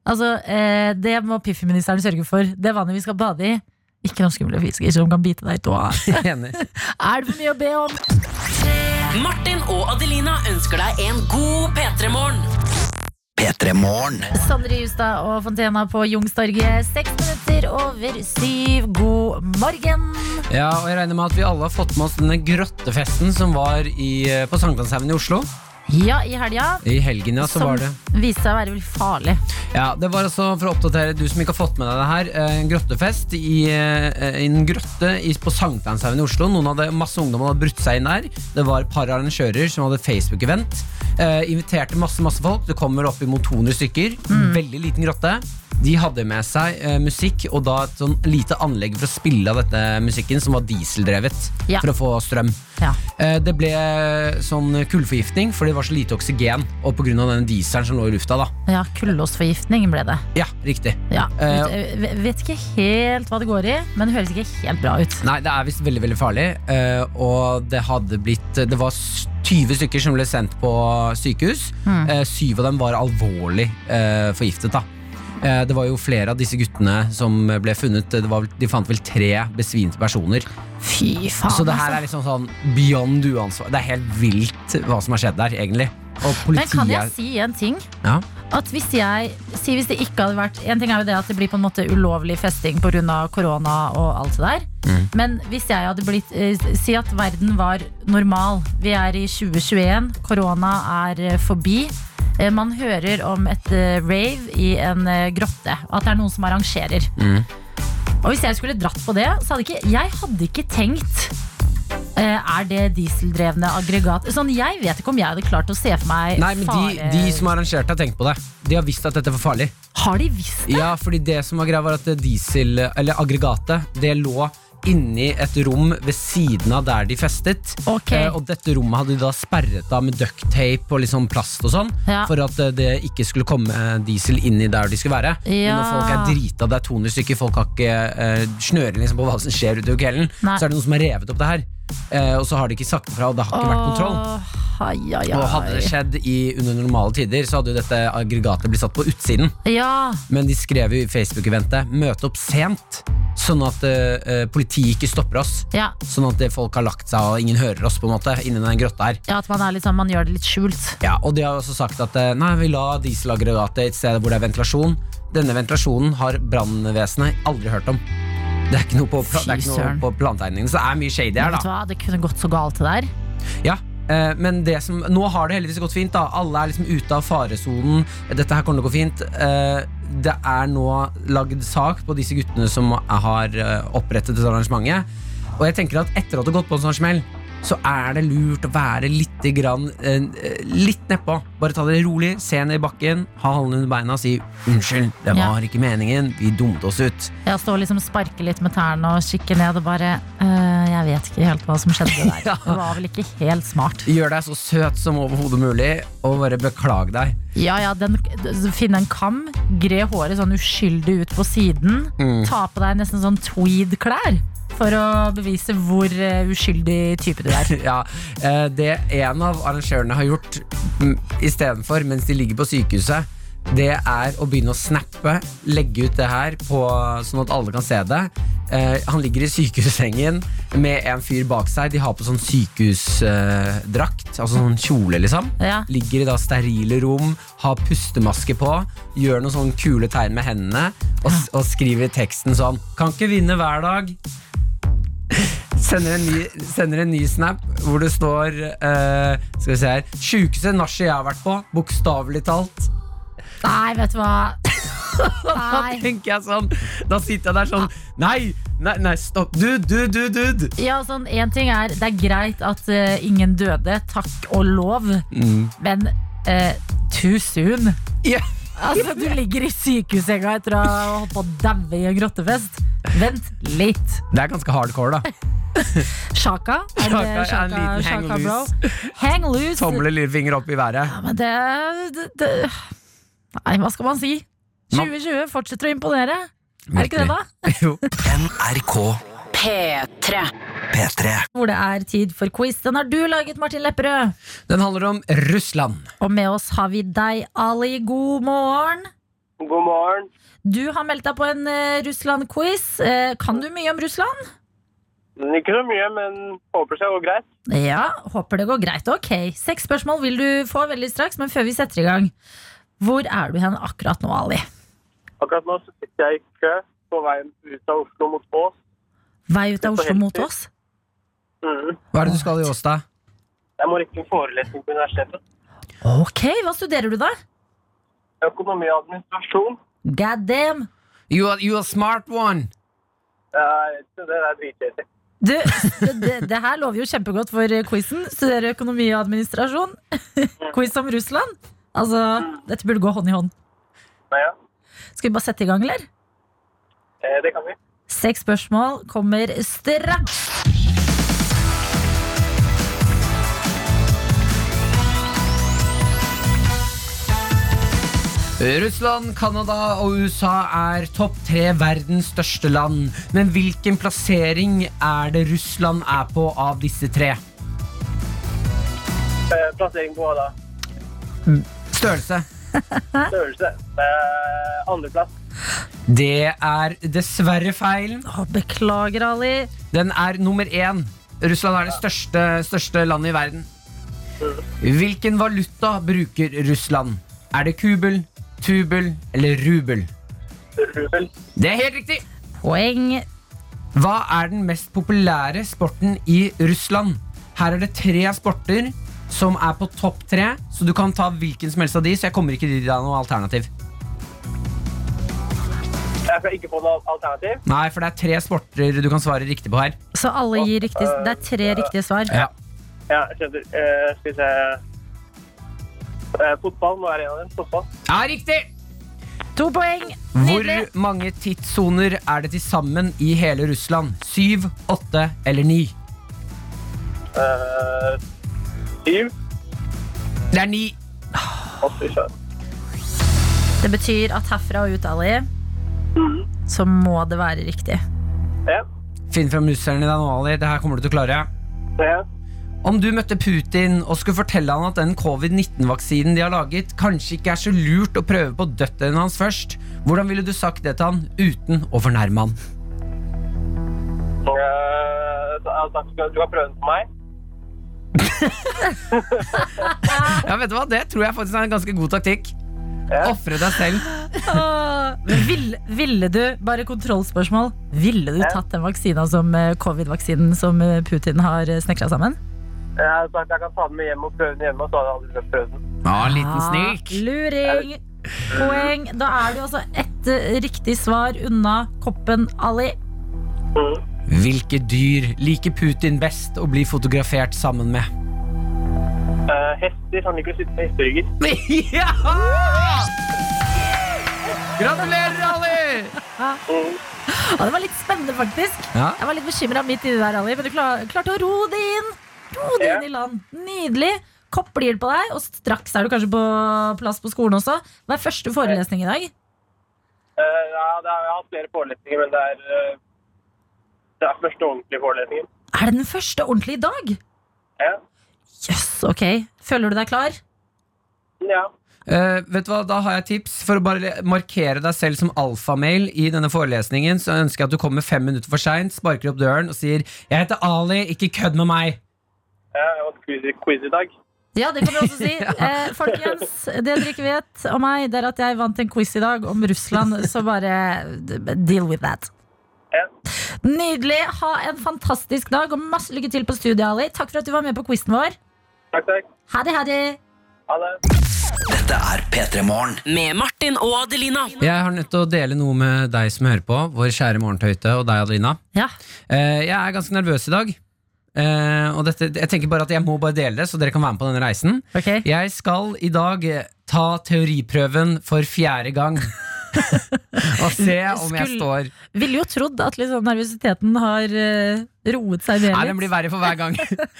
[SPEAKER 2] Altså, eh, Det må Piffi-ministeren sørge for. Det vannet vi skal bade i. Ikke noen skumle fisker som kan bite deg i tåa.
[SPEAKER 3] Enig.
[SPEAKER 2] Er det for mye å be om?
[SPEAKER 5] Martin og Adelina ønsker deg en god P3-morgen. P3-morgen.
[SPEAKER 2] Sondre Justad og Fontena på Jungstorget, seks minutter over syv. God morgen!
[SPEAKER 3] Ja, og jeg regner med at vi alle har fått med oss denne grottefesten som var i, eh, på Sankthanshaugen i Oslo.
[SPEAKER 2] Ja, i helga.
[SPEAKER 3] I helgen, ja, så
[SPEAKER 2] Som
[SPEAKER 3] var det.
[SPEAKER 2] viste seg å være veldig farlig.
[SPEAKER 3] Ja, det var altså for å oppdatere du som ikke har fått med deg det her, eh, en grottefest i eh, en grotte i- på Sankthanshaugen i Oslo. Noen hadde, masse ungdommer hadde brutt seg inn der. Det var et par arrangører som hadde Facebook-event. Eh, inviterte masse, masse folk. Det kommer opp imot 200 stykker.
[SPEAKER 2] Mm.
[SPEAKER 3] Veldig liten grotte. De hadde med seg eh, musikk og da et sånn lite anlegg for å spille av dette musikken, som var dieseldrevet,
[SPEAKER 2] Ja.
[SPEAKER 3] for å få strøm.
[SPEAKER 2] Ja.
[SPEAKER 3] Eh, Det ble sånn kullforgiftning, for det var så lite oksygen, og pga. den dieselen som lå i lufta, da.
[SPEAKER 2] ja, Kullåsforgiftning ble det.
[SPEAKER 3] Ja, riktig.
[SPEAKER 2] Ja.
[SPEAKER 3] Eh,
[SPEAKER 2] Vet, vet ikke helt hva det går i, men det høres ikke helt bra ut.
[SPEAKER 3] Nei, det er visst veldig veldig farlig. eh, og det hadde blitt Det var s- 20 stykker som ble sendt på sykehus.
[SPEAKER 2] Mm.
[SPEAKER 3] Eh, syv av dem var alvorlig eh, forgiftet. da Eh, det var jo flere av disse guttene som ble funnet. Det var, vel- de fant vel tre besvimte personer.
[SPEAKER 2] Fy faen,
[SPEAKER 3] Så det her er liksom sånn beyond uansvar. Det er helt vilt hva som har skjedd der, egentlig. Og
[SPEAKER 2] Men
[SPEAKER 3] politiet
[SPEAKER 2] kan jeg si en ting?
[SPEAKER 3] ja.
[SPEAKER 2] At hvis jeg si hvis det ikke hadde vært En ting er jo det at det blir på en måte ulovlig festing pga. korona og alt det der.
[SPEAKER 3] Mm.
[SPEAKER 2] Men hvis jeg hadde blitt eh, Si at verden var normal. Vi er i 2021. Korona er eh, forbi. Eh, Man hører om et eh, rave i en eh, grotte. og At det er noen som arrangerer.
[SPEAKER 3] Mm.
[SPEAKER 2] Og hvis jeg skulle dratt på det, så hadde ikke Jeg hadde ikke tenkt eh, er det dieseldrevne aggregat Sånn, Jeg vet ikke om jeg hadde klart å se for meg
[SPEAKER 3] Nei, men de,
[SPEAKER 2] fare-
[SPEAKER 3] de som har arrangert det, har tenkt på det. De har visst at dette var farlig.
[SPEAKER 2] Har de visst
[SPEAKER 3] Ja, fordi det som var greia var at diesel, eller aggregatet, det lå inni et rom ved siden av der de festet.
[SPEAKER 2] Ok.
[SPEAKER 3] Eh, og dette rommet hadde de da sperret av med duct tape og litt sånn plast og sånn,
[SPEAKER 2] Ja.
[SPEAKER 3] for at eh, det ikke skulle komme eh, diesel inni der de skulle være. Men
[SPEAKER 2] Ja.
[SPEAKER 3] når folk er drita, det er 200 stykker, folk har ikke eh, snøring liksom, på hva som skjer utover kvelden,
[SPEAKER 2] Nei.
[SPEAKER 3] så er det noen som har revet opp det her. Eh, og så har de ikke sagt fra, og det har ikke vært kontroll.
[SPEAKER 2] Åh, ai, ai, ai.
[SPEAKER 3] Og hadde det skjedd i, under normale tider, så hadde jo dette aggregatet blitt satt på utsiden.
[SPEAKER 2] Ja,
[SPEAKER 3] Men de skrev jo i Facebook-eventet Møte opp sent Sånn at eh, eh, politiet ikke stopper oss
[SPEAKER 2] ja.
[SPEAKER 3] Sånn at eh, folk har lagt seg og ingen hører oss på en måte Innen den grotta her
[SPEAKER 2] ja, at man er litt sånn, man gjør det litt skjult.
[SPEAKER 3] ja, Og de har også sagt at eh, Nei, vi la dieselaggregatet i et sted hvor det er ventilasjon Denne ventilasjonen har brannvesenet aldri hørt om det er ikke noe på, pla det er
[SPEAKER 2] Fy
[SPEAKER 3] ikke noe
[SPEAKER 2] søren.
[SPEAKER 3] på plantegningene, så det er mye shady her
[SPEAKER 2] Vet du
[SPEAKER 3] da.
[SPEAKER 2] hva, det kunne gått så galt det der.
[SPEAKER 3] Ja, eh, men det som, nå har det heldigvis gått fint da. Alle er liksom ute av faresonen. Dette her kommer til å gå fint. Eh, det er nå lagd sak på disse guttene som har eh, opprettet dette arrangementet. Og jeg tenker at etter at du har gått på en sånn smell, så er det lurt å være litt, grann, eh, litt nedpå. Bare ta det rolig, se ned i bakken, ha halen under beina og si 'unnskyld, det
[SPEAKER 2] Ja.
[SPEAKER 3] var ikke meningen, vi dumte oss ut'.
[SPEAKER 2] Jeg står og liksom sparker litt med tærne og kikker ned og bare «Øh, Jeg vet ikke helt hva som skjedde der.
[SPEAKER 3] <laughs> Ja.
[SPEAKER 2] Det var vel ikke helt smart.
[SPEAKER 3] Gjør deg så søt som overhodet mulig, og bare beklag deg.
[SPEAKER 2] Ja, ja, den, Finn en kam, gre håret sånn uskyldig ut på siden.
[SPEAKER 3] Mm.
[SPEAKER 2] Ta på deg nesten sånn tweed-klær for å bevise hvor eh, uskyldig type du
[SPEAKER 3] <laughs>
[SPEAKER 2] er.
[SPEAKER 3] Ja, eh, Det en av arrangørene har gjort mm, istedenfor, mens de ligger på sykehuset, det er å begynne å snappe, legge ut det her på, sånn at alle kan se det. Eh, han ligger i sykehussengen med en fyr bak seg. De har på sånn sykehusdrakt, altså sånn kjole, liksom.
[SPEAKER 2] Ja.
[SPEAKER 3] Ligger i da sterile rom, har pustemaske på, gjør noen sånne kule tegn med hendene og, s- og skriver i teksten sånn Kan ikke vinne hver dag. Sender en, ny, sender en ny snap hvor det står eh, Skal vi se her Sjukeste nachet jeg har vært på, bokstavelig talt.
[SPEAKER 2] Nei, vet du hva.
[SPEAKER 3] <laughs> Da
[SPEAKER 2] Nei.
[SPEAKER 3] <laughs> tenker jeg sånn Da sitter jeg der sånn Nei, nei, nei, stopp. Dude, dude, dude, dude.
[SPEAKER 2] Ja, sånn, en ting er, Det er greit at eh, ingen døde, takk og lov, men eh, too soon.
[SPEAKER 3] Mm. Ja.
[SPEAKER 2] Altså, Du ligger i sykehussenga etter å ha holdt på å daue i en grottefest. Vent litt.
[SPEAKER 3] Det er ganske
[SPEAKER 2] <laughs>
[SPEAKER 3] hardcore, da.
[SPEAKER 2] Shaka? Er
[SPEAKER 3] Shaka
[SPEAKER 2] det
[SPEAKER 3] er en
[SPEAKER 2] Shaka,
[SPEAKER 3] liten hang
[SPEAKER 2] Shaka bro?
[SPEAKER 3] loose.
[SPEAKER 2] Hang loose.
[SPEAKER 3] Tommel og lillefinger opp i været. <laughs>
[SPEAKER 2] Ja, men det, det, det Nei, hva skal man si? 2020 fortsetter å imponere. Er det ikke det, da?
[SPEAKER 3] Jo.
[SPEAKER 5] P3.
[SPEAKER 2] Hvor det er tid for quiz. Den har du laget, Martin Lepperød.
[SPEAKER 3] Den handler om Russland.
[SPEAKER 2] Og med oss har vi deg, Ali. God morgen.
[SPEAKER 6] God morgen.
[SPEAKER 2] Du har meldt deg på en eh, Russland-quiz. Eh, kan du mye om Russland?
[SPEAKER 6] Ikke så mye, men håper det går greit.
[SPEAKER 2] Ja, håper det går greit. Ok, Seks spørsmål vil du få veldig straks, men før vi setter i gang. Hvor er du hen akkurat nå, Ali?
[SPEAKER 6] Akkurat nå så sitter jeg i kø på veien ut av Oslo mot Ås.
[SPEAKER 2] Vei ut av Oslo mot oss?
[SPEAKER 6] Mhm.
[SPEAKER 3] Hva er det du skal i Åstad?
[SPEAKER 6] Jeg må rekke en forelesning på universitetet.
[SPEAKER 2] Ok, Hva studerer du, da?
[SPEAKER 6] Økonomi og administrasjon.
[SPEAKER 2] God damn!
[SPEAKER 3] You are, you are smart one.
[SPEAKER 6] Det er, det er dritkjedelig.
[SPEAKER 2] Du, det, det, det her lover jo kjempegodt for eh, quizen. Studere økonomi og administrasjon. <laughs> Quiz om Russland. Altså, Dette burde gå hånd i hånd.
[SPEAKER 6] Men ja,
[SPEAKER 2] Skal vi bare sette i gang, eller?
[SPEAKER 6] eh, det kan vi.
[SPEAKER 2] Seks spørsmål kommer straks.
[SPEAKER 3] Russland, Canada og USA er topp tre verdens største land. Men hvilken plassering er det Russland er på av disse tre?
[SPEAKER 6] Eh, Plassering på hva da?
[SPEAKER 3] Størrelse.
[SPEAKER 6] Størrelse. Eh, Andreplass.
[SPEAKER 3] Det er dessverre feil.
[SPEAKER 2] Å, beklager, Ali.
[SPEAKER 3] Den er nummer én. Russland er det største, største landet i verden. Hvilken valuta bruker Russland? Er det kubel, tubel eller rubel?
[SPEAKER 6] Rubel.
[SPEAKER 3] Det er helt riktig!
[SPEAKER 2] Poeng.
[SPEAKER 3] Hva er den mest populære sporten i Russland? Her er det tre sporter som er på topp tre, så du kan ta hvilken som helst av de, så jeg kommer ikke til å gi deg noe alternativ.
[SPEAKER 6] Jeg skal ikke få noe alternativ.
[SPEAKER 3] Nei, for det er tre sporter du kan svare riktig på her.
[SPEAKER 2] Så alle gir riktig Det er tre riktige svar.
[SPEAKER 3] Ja.
[SPEAKER 6] Ja, jeg skjønner. Eh, skal vi se eh, Fotball må være en av dem. Fotball.
[SPEAKER 3] Ja, riktig!
[SPEAKER 2] To poeng.
[SPEAKER 3] Hvor
[SPEAKER 2] Nydelig.
[SPEAKER 3] mange tidssoner er det til sammen i hele Russland? Syv, åtte eller ni?
[SPEAKER 6] Eh, Syv.
[SPEAKER 3] Det er ni.
[SPEAKER 6] Å, fy søren.
[SPEAKER 2] Det betyr at herfra og ut, Ali, så må det være riktig.
[SPEAKER 6] Ja.
[SPEAKER 3] Finn fram russeren i deg nå, Ali. Det her kommer du til å klare.
[SPEAKER 6] Ja.
[SPEAKER 3] Om du møtte Putin og skulle fortelle han at den covid-19-vaksinen de har laget, kanskje ikke er så lurt å prøve på døtteren hans først, hvordan ville du sagt det til han uten å fornærme han?
[SPEAKER 6] Eh, så jeg har sagt, du kan prøve den på meg.
[SPEAKER 3] Ja, vet du hva? Det tror jeg faktisk er en ganske god taktikk.
[SPEAKER 6] Ja.
[SPEAKER 3] Ofre deg selv.
[SPEAKER 2] Åh, men Ville, ville du, bare kontrollspørsmål Ville du tatt den vaksina som eh, covid-vaksinen som eh, Putin har snekra sammen?
[SPEAKER 6] Eh, Jeg har sagt jeg kan ta den med hjem og prøve den hjemme, og så har jeg aldri prøvd den.
[SPEAKER 3] Ja, en liten
[SPEAKER 2] Ah, luring! Poeng. Da er du altså ett eh, riktig svar unna koppen, Ali.
[SPEAKER 3] Hvilke dyr liker Putin best å bli fotografert sammen med?
[SPEAKER 6] Eh, hester. Han liker å sitte på hesterygger.
[SPEAKER 3] <laughs> ja! Gratulerer, Ali!
[SPEAKER 2] Ja, det var litt spennende, faktisk.
[SPEAKER 3] Ja.
[SPEAKER 2] Jeg var litt bekymra midt inni der, Ali, men du klar, klarte å ro det inn. Ro det inn i land. Nydelig. Kopp blir det på deg, og straks er du kanskje på plass på skolen også. Hva er første forelesning i dag?
[SPEAKER 6] Eh, ja, det er, jeg har hatt flere forelesninger, men det er, eh, det er første ordentlige forelesningen.
[SPEAKER 2] Er det den første ordentlige i dag?
[SPEAKER 6] Ja.
[SPEAKER 2] Jøss, yes, ok. Føler du deg klar?
[SPEAKER 6] Mm, ja.
[SPEAKER 3] Eh, vet du hva, Da har jeg et tips. For å bare markere deg selv som alfamail i denne forelesningen, så ønsker jeg at du kommer fem minutter for seint, sparker opp døren og sier 'Jeg heter Ali, ikke kødd med meg'.
[SPEAKER 6] ja jeg har hatt quiz, quiz i dag.
[SPEAKER 2] Ja, det kan vi også si. eh, folkens, det dere ikke vet om meg, det er at jeg vant en quiz i dag om Russland, så bare deal with that.
[SPEAKER 6] Ja.
[SPEAKER 2] Nydelig. Ha en fantastisk dag, og masse lykke til på studiet, Ali. Takk for at du var med på quizen vår.
[SPEAKER 6] Takk, takk.
[SPEAKER 2] Ha det, ha det.
[SPEAKER 6] Ha det.
[SPEAKER 5] Med Martin og Adelina.
[SPEAKER 3] Jeg har nødt til å dele noe med deg som hører på, vår kjære morgentøyte og deg, Adelina.
[SPEAKER 2] Ja,
[SPEAKER 3] Eh, jeg er ganske nervøs i dag. Eh, og dette, jeg tenker bare at jeg må bare dele det, så dere kan være med på denne reisen.
[SPEAKER 2] ok.
[SPEAKER 3] Jeg skal i dag eh, ta teoriprøven for fjerde gang.
[SPEAKER 2] <laughs>
[SPEAKER 3] <laughs> og se om jeg
[SPEAKER 2] Skulle-
[SPEAKER 3] står
[SPEAKER 2] Ville jo trodd at liksom nervøsiteten har eh, roet seg ned
[SPEAKER 3] Nei, den blir verre for hver gang.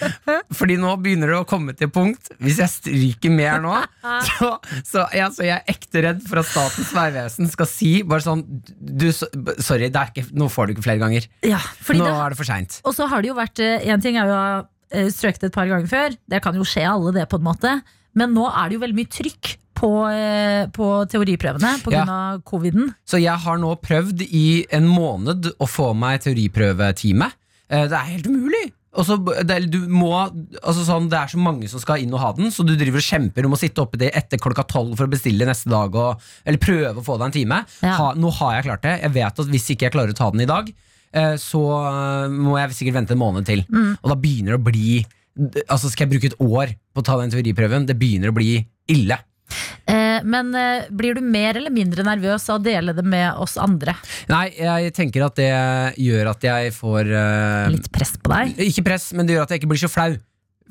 [SPEAKER 3] <laughs> Fordi nå begynner det å komme til punkt. Hvis jeg stryker med
[SPEAKER 2] <laughs>
[SPEAKER 3] her nå, så, så, ja, så jeg er ekte redd for at Statens vegvesen skal si bare sånn du, så- b- Sorry, det er ikke, nå får du ikke flere ganger.
[SPEAKER 2] Ja, fordi
[SPEAKER 3] nå
[SPEAKER 2] det,
[SPEAKER 3] er det for seint.
[SPEAKER 2] og så har det jo vært eh, En ting er jo å ha eh, strøket et par ganger før. Det kan jo skje alle, det, på en måte. Men nå er det jo veldig mye trykk på, eh, på teoriprøvene pga.
[SPEAKER 3] Ja.
[SPEAKER 2] av coviden.
[SPEAKER 3] Så jeg har nå prøvd i en måned å få meg teoriprøvetime. Eh, Det er helt umulig! Og så, b- det, er- du må, altså sånn, det er så mange som skal inn og ha den, så du driver og kjemper om å sitte oppe til etter klokka tolv for å bestille neste dag. Og, eller prøve å få deg en time.
[SPEAKER 2] Ja.
[SPEAKER 3] Ha, nå har jeg klart det. Jeg vet at hvis ikke jeg klarer å ta den i dag, eh, så eh, må jeg sikkert vente en måned til. Og da begynner det å bli Altså Skal jeg bruke et år på å ta den teoriprøven? Det begynner å bli ille.
[SPEAKER 2] Eh, men eh, blir du mer eller mindre nervøs av å dele det med oss andre?
[SPEAKER 3] Nei, jeg tenker at det gjør at jeg får eh,
[SPEAKER 2] Litt press på deg?
[SPEAKER 3] Ikke press, men det gjør at jeg ikke blir så flau.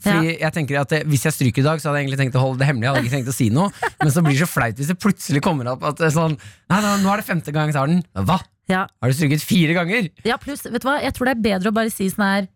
[SPEAKER 3] Fordi jeg tenker at eh, Hvis jeg stryker i dag, så hadde jeg egentlig tenkt å holde det hemmelig. Jeg hadde ikke tenkt å si noe Men så blir det så flaut hvis det plutselig kommer opp at det er sånn Nei, nei, nå er det femte gang jeg tar den. Hva?
[SPEAKER 2] Ja,
[SPEAKER 3] Har du stryket fire ganger?
[SPEAKER 2] ja pluss, vet du hva, jeg tror det er bedre å bare si sånn her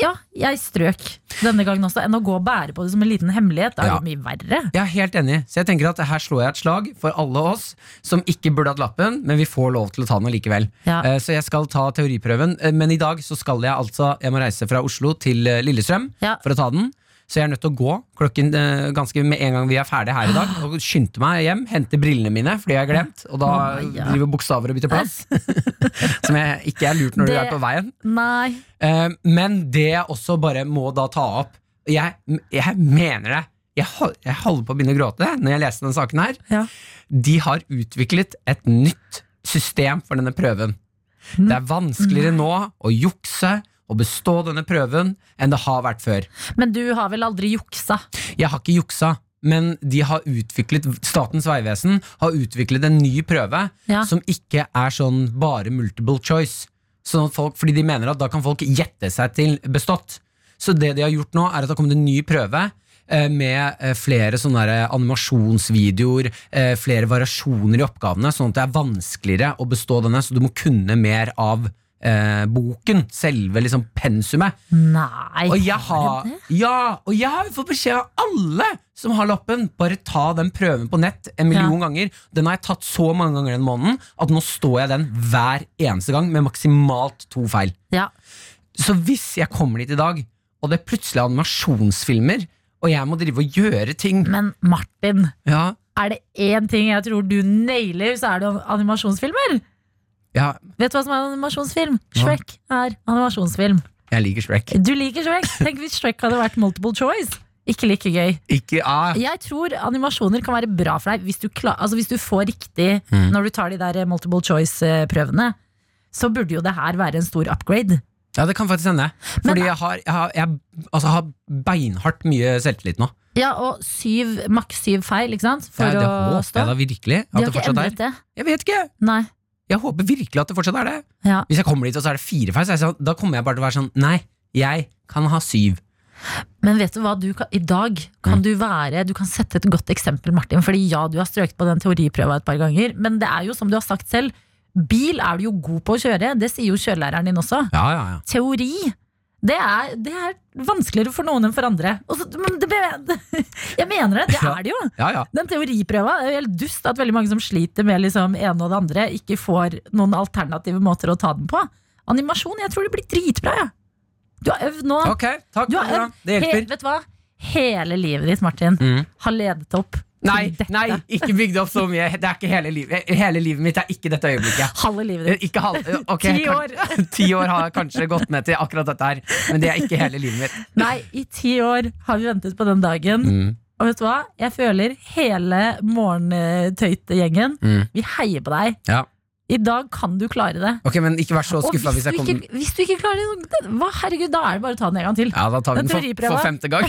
[SPEAKER 2] Ja, jeg strøk denne gangen også, enn å gå og bære på det som en liten hemmelighet. Da er
[SPEAKER 3] Ja.
[SPEAKER 2] det mye verre.
[SPEAKER 3] Jeg er helt enig. Så jeg tenker at her slår jeg et slag for alle oss som ikke burde hatt lappen, men vi får lov til å ta den allikevel.
[SPEAKER 2] Ja.
[SPEAKER 3] Eh, Så jeg skal ta teoriprøven, eh, men i dag så skal jeg altså Jeg må reise fra Oslo til eh, Lillestrøm
[SPEAKER 2] Ja.
[SPEAKER 3] for å ta den. Så jeg er nødt til å gå klokken eh, ganske med en gang vi er ferdige her i dag. Og skynde meg hjem, hente brillene mine, for de har jeg glemt. Og da
[SPEAKER 2] Å, nei, ja.
[SPEAKER 3] driver bokstaver og bytter plass. <laughs> Som jeg ikke er lurt når du
[SPEAKER 2] Det-
[SPEAKER 3] er på veien.
[SPEAKER 2] Nei.
[SPEAKER 3] Eh, Men det jeg også bare må da ta opp Jeg, jeg mener det jeg, hol- jeg holder på å begynne å gråte Når jeg leser denne saken her
[SPEAKER 2] Ja.
[SPEAKER 3] De har utviklet et nytt system For denne prøven Det er vanskeligere nå å jukse Og bestå denne prøven Enn det har vært før
[SPEAKER 2] Men du har vel aldri juksa?
[SPEAKER 3] jeg har ikke juksa, men de har utviklet Statens vegvesen har utviklet en ny prøve
[SPEAKER 2] Ja.
[SPEAKER 3] som ikke er sånn bare multiple choice. Sånn at folk, fordi de mener at da kan folk gjette seg til bestått. Så det de har gjort nå, er at det har kommet en ny prøve. eh, Med eh, flere sånne der animasjonsvideoer, eh, flere variasjoner i oppgavene, sånn at det er vanskeligere å bestå denne, så du må kunne mer av eh, boken. Selve liksom pensumet.
[SPEAKER 2] Nei.
[SPEAKER 3] Og jeg har, ja, og jeg har jo fått beskjed av alle som har lappen, bare ta den prøven på nett en million ganger. Den har jeg tatt så mange ganger den måneden at nå står jeg den hver eneste gang med maksimalt to feil.
[SPEAKER 2] Ja.
[SPEAKER 3] Så hvis jeg kommer dit i dag, og det er plutselig er animasjonsfilmer, og jeg må drive og gjøre ting
[SPEAKER 2] Men Martin,
[SPEAKER 3] Ja,
[SPEAKER 2] er det én ting jeg tror du nailer, så er det animasjonsfilmer!
[SPEAKER 3] ja
[SPEAKER 2] Vet du hva som er en animasjonsfilm? Shrek er animasjonsfilm.
[SPEAKER 3] jeg liker Shrek.
[SPEAKER 2] Du liker Shrek. Tenk hvis Shrek hadde vært multiple choice. Ikke like gøy.
[SPEAKER 3] Ikke ah.
[SPEAKER 2] Jeg tror animasjoner kan være bra for deg hvis du, kla- altså hvis du får riktig
[SPEAKER 3] Mm.
[SPEAKER 2] når du tar de der multiple choice-prøvene. Så burde jo det her være en stor upgrade.
[SPEAKER 3] Ja, det kan faktisk hende.
[SPEAKER 2] Men-
[SPEAKER 3] Fordi jeg har, jeg har, jeg, altså, har beinhardt mye selvtillit nå.
[SPEAKER 2] Ja, og syv, maks syv feil, ikke sant? For
[SPEAKER 3] ja, det
[SPEAKER 2] å
[SPEAKER 3] håper
[SPEAKER 2] stå.
[SPEAKER 3] jeg da virkelig. At
[SPEAKER 2] De har
[SPEAKER 3] det
[SPEAKER 2] ikke
[SPEAKER 3] fortsatt er.
[SPEAKER 2] endret det.
[SPEAKER 3] Jeg vet ikke!
[SPEAKER 2] Nei.
[SPEAKER 3] Jeg håper virkelig at det fortsatt er det.
[SPEAKER 2] Ja.
[SPEAKER 3] Hvis jeg kommer dit, og så er det fire feil, så er jeg sånn, da kommer jeg bare til å være sånn Nei, jeg kan ha syv.
[SPEAKER 2] Men vet du hva, du kan, i dag
[SPEAKER 3] Mm.
[SPEAKER 2] kan du være Du kan sette et godt eksempel, Martin. Fordi ja, du har strøket på den teoriprøva et par ganger, men det er jo som du har sagt selv, bil er du jo god på å kjøre. Det sier jo kjørelæreren din også.
[SPEAKER 3] Ja, ja, ja.
[SPEAKER 2] Teori, det er, det er vanskeligere for noen enn for andre. Og så- men det, <laughs> jeg mener det, det er det jo.
[SPEAKER 3] ja, ja.
[SPEAKER 2] Den teoriprøva det er jo helt dust at veldig mange som sliter med liksom ene og det andre, ikke får noen alternative måter å ta den på. Animasjon, jeg tror det blir dritbra, jeg. Du har øvd nå.
[SPEAKER 3] Ok, takk.
[SPEAKER 2] Du har
[SPEAKER 3] Nora.
[SPEAKER 2] øvd
[SPEAKER 3] Det
[SPEAKER 2] he-
[SPEAKER 3] hjelper.
[SPEAKER 2] vet du hva? Hele livet ditt, Martin,
[SPEAKER 3] Mm.
[SPEAKER 2] har ledet opp til
[SPEAKER 3] Nei,
[SPEAKER 2] dette.
[SPEAKER 3] nei, ikke bygd opp så mye. Det er ikke hele livet. Hele livet mitt er ikke dette øyeblikket. Eh,
[SPEAKER 2] Halve livet ditt.
[SPEAKER 3] Ikke halv, ok,
[SPEAKER 2] Ti
[SPEAKER 3] kan-
[SPEAKER 2] år.
[SPEAKER 3] <laughs> Ti år har jeg kanskje gått med til akkurat dette her, men det er ikke hele livet mitt.
[SPEAKER 2] Nei, i ti år har vi ventet på den dagen.
[SPEAKER 3] Mm.
[SPEAKER 2] Og vet du hva? Jeg føler hele morgentøytegjengen
[SPEAKER 3] Mm.
[SPEAKER 2] Vi heier på deg.
[SPEAKER 3] Ja.
[SPEAKER 2] I dag kan du klare det.
[SPEAKER 3] Ok, men ikke vær så
[SPEAKER 2] Og
[SPEAKER 3] skuffa hvis
[SPEAKER 2] hvis,
[SPEAKER 3] jeg
[SPEAKER 2] du
[SPEAKER 3] kommer
[SPEAKER 2] ikke, hvis du ikke klarer det, så- hva, herregud, da er det bare å ta den en gang til.
[SPEAKER 3] Ja, da tar vi
[SPEAKER 2] Den
[SPEAKER 3] den for,
[SPEAKER 2] teoriprøva.
[SPEAKER 3] for femte gang.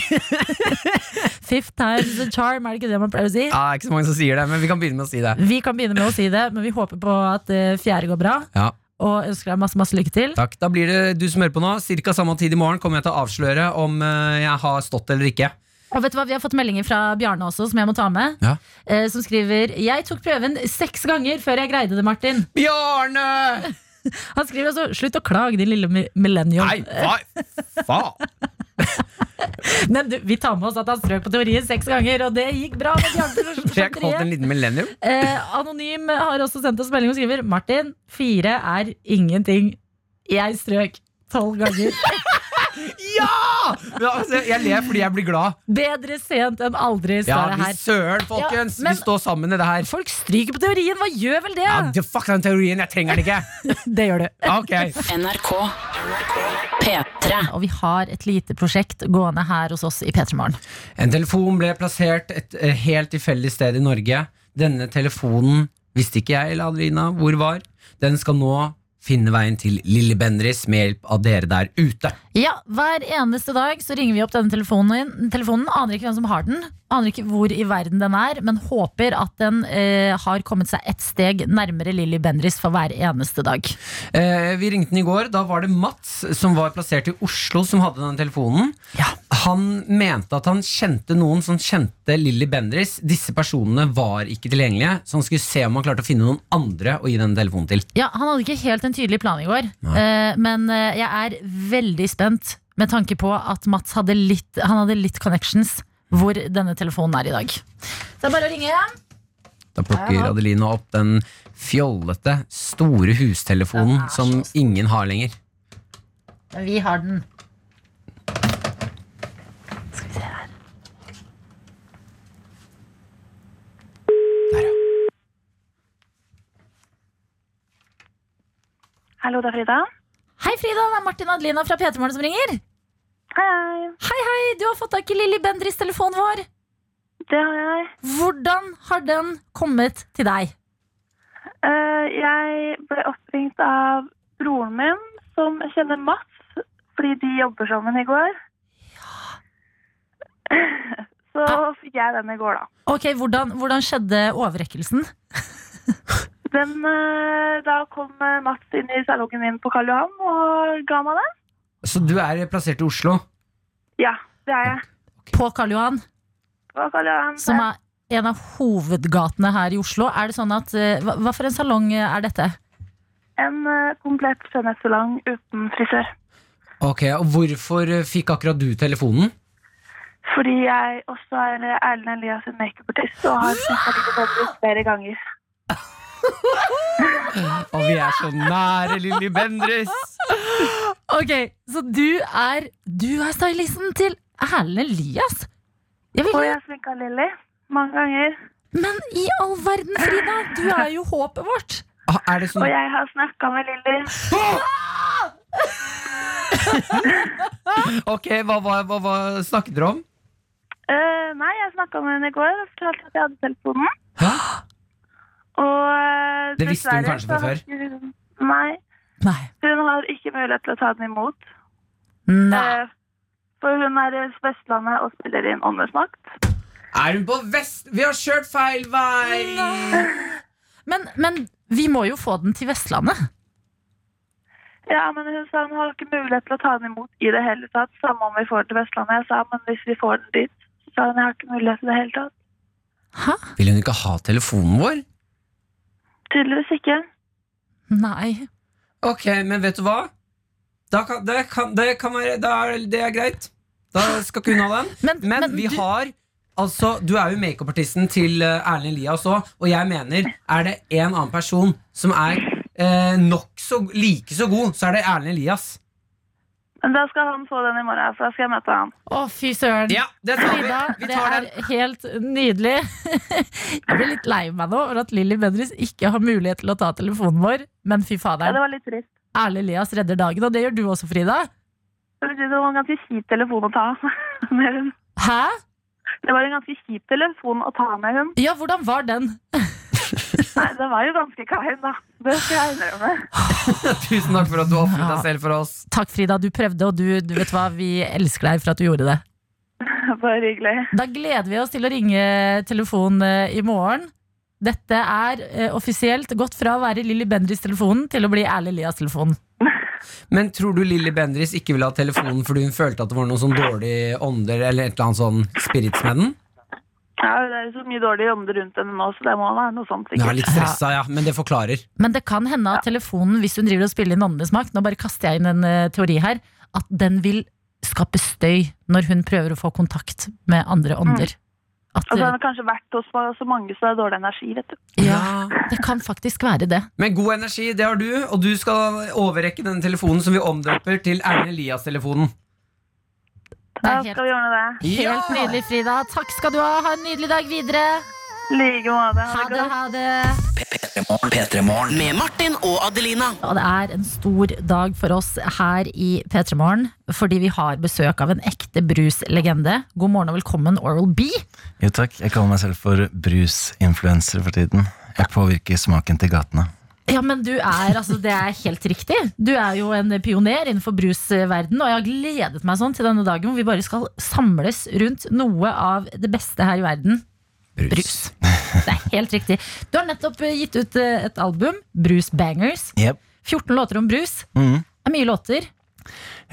[SPEAKER 2] Fifth time's the charm, er det ikke det man pleier å si?
[SPEAKER 3] Ja, det er ikke så mange som sier det, men vi kan begynne med å si det.
[SPEAKER 2] Vi kan begynne med å si det, men vi håper på at eh, fjerde går bra.
[SPEAKER 3] Ja,
[SPEAKER 2] Og ønsker deg masse, masse lykke til.
[SPEAKER 3] takk. Da blir det du som hører på nå. Cirka samme tid i morgen kommer jeg til å avsløre om eh, jeg har stått eller ikke.
[SPEAKER 2] Og vet du hva, Vi har fått meldinger fra Bjarne også, som jeg må ta med.
[SPEAKER 3] Ja.
[SPEAKER 2] Eh, som skriver Jeg tok prøven seks ganger før jeg greide det, Martin.
[SPEAKER 3] Bjarne!
[SPEAKER 2] Han skriver også Slutt å klage, din lille mi- millennium.
[SPEAKER 3] Nei, hva faen?
[SPEAKER 2] Men du, vi tar med oss at han strøk på teorien seks ganger, og det gikk bra. med
[SPEAKER 3] <laughs>
[SPEAKER 2] Bjarne fra
[SPEAKER 3] Jeg kalte en
[SPEAKER 2] Sjanteriet.
[SPEAKER 3] liten millennium.
[SPEAKER 2] Eh, Anonym har også sendt oss melding og skriver Martin, fire er ingenting. Jeg strøk tolv ganger.
[SPEAKER 3] Ja! Men altså, jeg ler fordi jeg blir glad.
[SPEAKER 2] Bedre sent enn aldri,
[SPEAKER 3] Ja,
[SPEAKER 2] står det
[SPEAKER 3] vi
[SPEAKER 2] her.
[SPEAKER 3] søren, folkens!
[SPEAKER 2] Ja, men-
[SPEAKER 3] Vi står sammen i det her.
[SPEAKER 2] Folk stryker på teorien, hva gjør vel det?
[SPEAKER 3] Ja, det- fuck den teorien, jeg trenger den ikke!
[SPEAKER 2] <laughs> Det gjør du.
[SPEAKER 3] Ok,
[SPEAKER 5] NRK P3
[SPEAKER 2] Og vi har et lite prosjekt gående her hos oss i P3 Morgen.
[SPEAKER 3] En telefon ble plassert et eh, helt tilfeldig sted i Norge. Denne telefonen visste ikke jeg eller Adelina hvor var. Den skal nå finne veien til Lille Bendris med hjelp av dere der ute.
[SPEAKER 2] Ja, Hver eneste dag så ringer vi opp denne telefonen. telefonen Aner ikke hvem som har den, aner ikke hvor i verden den er, men håper at den eh, har kommet seg ett steg nærmere Lilly Bendriss for hver eneste dag.
[SPEAKER 3] Eh, vi ringte den i går. Da var det Mats som var plassert i Oslo, som hadde den telefonen. Han mente at han kjente noen som kjente Lilly Bendris. Disse personene var ikke tilgjengelige, så han skulle se om han klarte å finne noen andre å gi denne telefonen til.
[SPEAKER 2] Ja, Han hadde ikke helt en tydelig plan i går, eh, men eh, jeg er veldig spent med tanke på at Mats hadde litt, han hadde litt connections hvor denne telefonen er i dag. Så det er bare å ringe.
[SPEAKER 3] Da plukker
[SPEAKER 2] Ja.
[SPEAKER 3] Adelina opp den fjollete, store hustelefonen
[SPEAKER 2] Den er så
[SPEAKER 3] som
[SPEAKER 2] stor.
[SPEAKER 3] ingen har lenger.
[SPEAKER 2] Men vi har den. Skal vi se her.
[SPEAKER 3] Der, ja.
[SPEAKER 7] Hallo, det er Frida.
[SPEAKER 2] Hei, Frida. Det er Martin og Adelina fra P3morgen som ringer.
[SPEAKER 7] Hei.
[SPEAKER 2] Hei, hei. Du har fått tak i Lilly Bendris telefonen vår.
[SPEAKER 7] Det har jeg.
[SPEAKER 2] Hvordan har den kommet til deg?
[SPEAKER 7] Eh, jeg ble oppringt av broren min, som kjenner Mats, fordi de jobber sammen i går. <laughs> Så
[SPEAKER 2] Ah.
[SPEAKER 7] fikk jeg den i går, da.
[SPEAKER 2] Ok, Hvordan, hvordan skjedde overrekkelsen?
[SPEAKER 7] Den, eh, da kom eh, Mats inn i salongen min på Karl Johan og ga meg den.
[SPEAKER 3] Så du er plassert i Oslo?
[SPEAKER 7] Ja, det er jeg.
[SPEAKER 2] På Karl Johan,
[SPEAKER 7] På Karl Johan.
[SPEAKER 2] som er en av hovedgatene her i Oslo. Er det sånn at, eh, hva, hva for en salong eh, er dette?
[SPEAKER 7] En eh, komplett skjønnhetssalong uten frisør.
[SPEAKER 3] Ok, Og hvorfor eh, fikk akkurat du telefonen?
[SPEAKER 7] Fordi jeg også er Erlend Elias' makeupartist og har snakket med Bendriss flere ganger.
[SPEAKER 3] Og vi er så nære Lilly Bendriss!
[SPEAKER 2] Ok, Så du er, du er stylisten til Erlend Elias? Jeg
[SPEAKER 7] Og
[SPEAKER 2] vil,
[SPEAKER 7] jeg sminka Lilly mange ganger.
[SPEAKER 2] men i all verden, Frida! Du er jo håpet vårt.
[SPEAKER 3] Ah, Er det
[SPEAKER 7] Og
[SPEAKER 3] sånn
[SPEAKER 7] jeg har snakka med Lilly.
[SPEAKER 3] Ok, hva, hva, hva, hva snakket dere om?
[SPEAKER 7] Eh, nei, jeg snakka med henne i går og fortalte at jeg hadde telefonen. Og eh,
[SPEAKER 3] Det visste hun
[SPEAKER 7] dessverre
[SPEAKER 3] kanskje fra
[SPEAKER 7] så har
[SPEAKER 3] før?
[SPEAKER 7] ikke hun- Nei.
[SPEAKER 2] Nei.
[SPEAKER 7] Hun har ikke mulighet til å ta den imot.
[SPEAKER 2] Nei.
[SPEAKER 7] Eh, for hun er i Vestlandet og spiller inn Åndenes makt.
[SPEAKER 3] Er hun på vest? Vi har kjørt feil vei!
[SPEAKER 2] Men, men Vi må jo få den til Vestlandet.
[SPEAKER 7] Ja, men hun sa hun har ikke mulighet til å ta den imot i det hele tatt. Samme om vi får den til Vestlandet. Jeg sa, men hvis vi får den dit, så sa hun jeg har ikke mulighet i det hele tatt.
[SPEAKER 2] Hæ?
[SPEAKER 3] Vil hun ikke ha telefonen vår?
[SPEAKER 7] Tydeligvis ikke.
[SPEAKER 2] Nei.
[SPEAKER 3] Ok, men vet du hva? Da kan, det, kan, det, kan være, da er, det er greit. Da skal ikke hun ha den.
[SPEAKER 2] Men,
[SPEAKER 3] Men, vi
[SPEAKER 2] du-
[SPEAKER 3] har Altså, Du er jo makeupartisten til eh, Erlend Elias òg, og jeg mener er det en annen person som er eh, nok så, like så god, så er det Erlend Elias.
[SPEAKER 7] Men da skal han få den i morgen, for da skal jeg møte han.
[SPEAKER 2] Å, fy søren.
[SPEAKER 3] Ja, det tar vi.
[SPEAKER 2] Frida,
[SPEAKER 3] Vi
[SPEAKER 2] det
[SPEAKER 3] tar
[SPEAKER 2] er
[SPEAKER 3] den.
[SPEAKER 2] helt nydelig. Jeg blir litt lei meg nå over at Lilly Bendriss ikke har mulighet til å ta telefonen vår. Men fy
[SPEAKER 7] Ja,
[SPEAKER 2] faderen,
[SPEAKER 7] det var litt trist.
[SPEAKER 2] Erle Elias redder dagen, og det gjør du også, Frida.
[SPEAKER 7] Det betyr det var en ganske kjip telefon å ta <laughs> med hun.
[SPEAKER 2] Hæ?
[SPEAKER 7] Det var en ganske kjip telefon å ta med hun.
[SPEAKER 2] Ja, hvordan var den?
[SPEAKER 7] Nei, det var jo ganske klein, da. Det skal jeg innrømme.
[SPEAKER 3] Tusen takk for at du ofret deg selv for oss.
[SPEAKER 2] Takk, Frida. Du prøvde, og du, du vet hva, vi elsker deg for at du gjorde det.
[SPEAKER 7] Bare hyggelig.
[SPEAKER 2] Da gleder vi oss til å ringe telefon eh, i morgen. Dette er eh, offisielt gått fra å være Lilly Bendriss-telefonen til å bli Erle Elias-telefonen.
[SPEAKER 3] Men tror du Lilly Bendriss ikke ville ha telefonen fordi hun følte at det var noen sånn dårlige ånder eller et eller annet sånn spirits med den?
[SPEAKER 7] Ja, det er jo så mye dårlige ånder rundt henne nå, så det må være noe sånt,
[SPEAKER 3] Ja,
[SPEAKER 7] sikkert.
[SPEAKER 3] litt stressa, ja, men det forklarer.
[SPEAKER 2] Men det kan hende at telefonen, hvis hun driver og spiller inn Åndenes makt, nå bare kaster jeg inn en eh, teori her, at den vil skape støy når hun prøver å få kontakt med andre ånder. At,
[SPEAKER 7] Og så
[SPEAKER 2] eh,
[SPEAKER 7] har hun kanskje vært hos så mange, så det er dårlig energi, vet du.
[SPEAKER 2] ja, det kan faktisk være det.
[SPEAKER 3] Men god energi, det har du, og du skal overrekke denne telefonen som vi omdøper til Erlend Elias-telefonen.
[SPEAKER 2] Det
[SPEAKER 7] Da
[SPEAKER 2] er helt,
[SPEAKER 7] skal vi gjøre det.
[SPEAKER 2] helt nydelig, Frida. Takk skal du ha. Ha en nydelig dag videre.
[SPEAKER 7] I like måte.
[SPEAKER 2] Ha det, ha det.
[SPEAKER 5] Med Martin og Adelina.
[SPEAKER 2] Og det er en stor dag for oss her i P3 Morgen, fordi vi har besøk av en ekte bruslegende. God morgen og velkommen, Oral B.
[SPEAKER 8] Jo takk, jeg kaller meg selv for brusinfluencer for tiden. Jeg påvirker smaken til gatene.
[SPEAKER 2] Ja, men du er, altså det er helt riktig. Du er jo en pioner innenfor brusverden, og jeg har gledet meg sånn til denne dagen hvor vi bare skal samles rundt noe av det beste her i verden. Brus. Det er helt riktig. Du har nettopp eh, gitt ut eh, et album, Brus Bangers.
[SPEAKER 8] Jep.
[SPEAKER 2] 14 låter om brus.
[SPEAKER 8] Mhm.
[SPEAKER 2] Det er mye låter.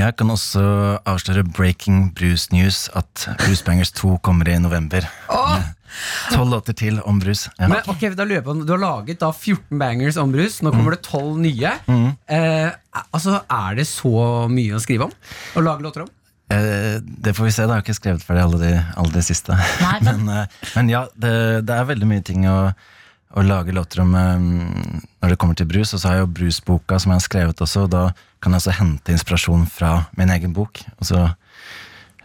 [SPEAKER 8] Jeg kan også avsløre breaking brus news at Bruce Bangers 2 kommer i november. Tolv låter til om brus. Ja.
[SPEAKER 3] Men ok, da lurer jeg på, Du har laget da 14 bangers om brus, nå kommer det 12 nye. Eh, altså, Er det så mye å skrive om? Å lage låter om?
[SPEAKER 8] Eh, det får vi se, da. Jeg har ikke skrevet ferdig alle de, alle de siste. <laughs>
[SPEAKER 2] Nei, men-
[SPEAKER 8] men, eh, men ja, det, det er veldig mye ting å, å lage låter om eh, når det kommer til brus. Og så har jeg jo brusboka som jeg har skrevet også, og da kan jeg også hente inspirasjon fra min egen bok. Og så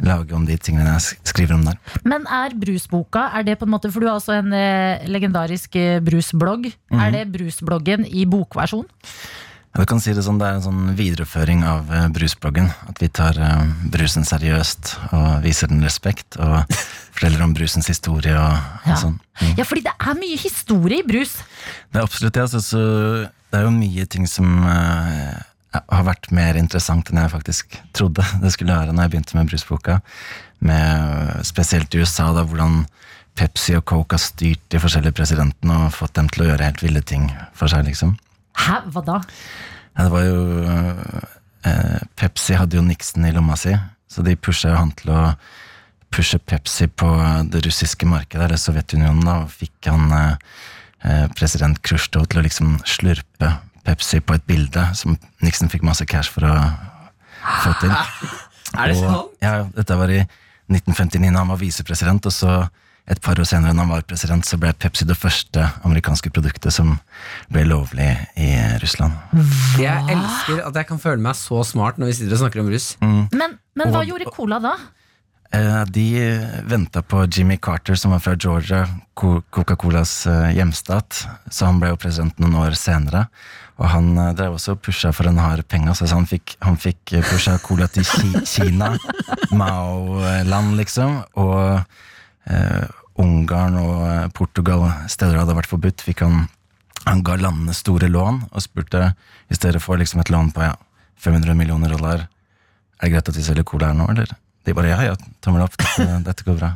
[SPEAKER 8] lage om de tingene jeg sk- skriver om der.
[SPEAKER 2] Men er brusboka, er det på en måte For du har også en eh, legendarisk eh, brusblogg.
[SPEAKER 8] Mhm.
[SPEAKER 2] Er det brusbloggen i bokversjon?
[SPEAKER 8] Ja, du kan si Det sånn, det er en sånn videreføring av eh, brusbloggen. At vi tar eh, brusen seriøst og viser den respekt. Og forteller om brusens historie og, og
[SPEAKER 2] Ja.
[SPEAKER 8] sånn. Mm.
[SPEAKER 2] Ja, fordi det er mye historie i brus.
[SPEAKER 8] Det er absolutt det. Altså, så det er jo mye ting som eh, har vært mer interessant enn jeg faktisk trodde det skulle være når jeg begynte med brusboka. Med, spesielt i USA, da, hvordan Pepsi og Coke har styrt de forskjellige presidentene og fått dem til å gjøre helt ville ting for seg. liksom.
[SPEAKER 2] Hæ, hva da?
[SPEAKER 8] Ja, det var jo eh, Pepsi hadde jo Nixon i lomma si, så de pusha jo han til å pushe Pepsi på det russiske markedet, eller Sovjetunionen, da, og fikk han eh, eh, president Khrusjtsjov til å liksom slurpe Pepsi på et bilde som Nixon fikk masse cash for å få til.
[SPEAKER 3] <laughs> Er det sånn?
[SPEAKER 8] Og, ja, dette var i 1959, da han var visepresident, og så et par år senere når han var president, så ble Pepsi det første amerikanske produktet som ble lovlig i Russland.
[SPEAKER 3] Jeg elsker at jeg kan føle meg så smart når vi sitter og snakker om brus.
[SPEAKER 2] Men, men hva
[SPEAKER 8] Mhm. Og-
[SPEAKER 2] gjorde cola da?
[SPEAKER 8] Eh, De venta på Jimmy Carter, som var fra Georgia, Co- Coca-Colas eh, hjemstat. Så han ble jo president noen år senere. Og han eh, drev også og pusha for en hard penge. altså, Så han fikk, han fikk eh, pusha cola til Ki Kina, Mao-land, liksom. Og eh, Ungarn og eh, Portugal, steder det hadde vært forbudt, fikk han han ga landene store lån og spurte i stedet for liksom et lån på ja, 500 millioner dollar
[SPEAKER 2] <laughs>
[SPEAKER 8] Er det greit at vi selger cola her nå, eller? De bare ja, ja, tommel opp, dette, dette går bra.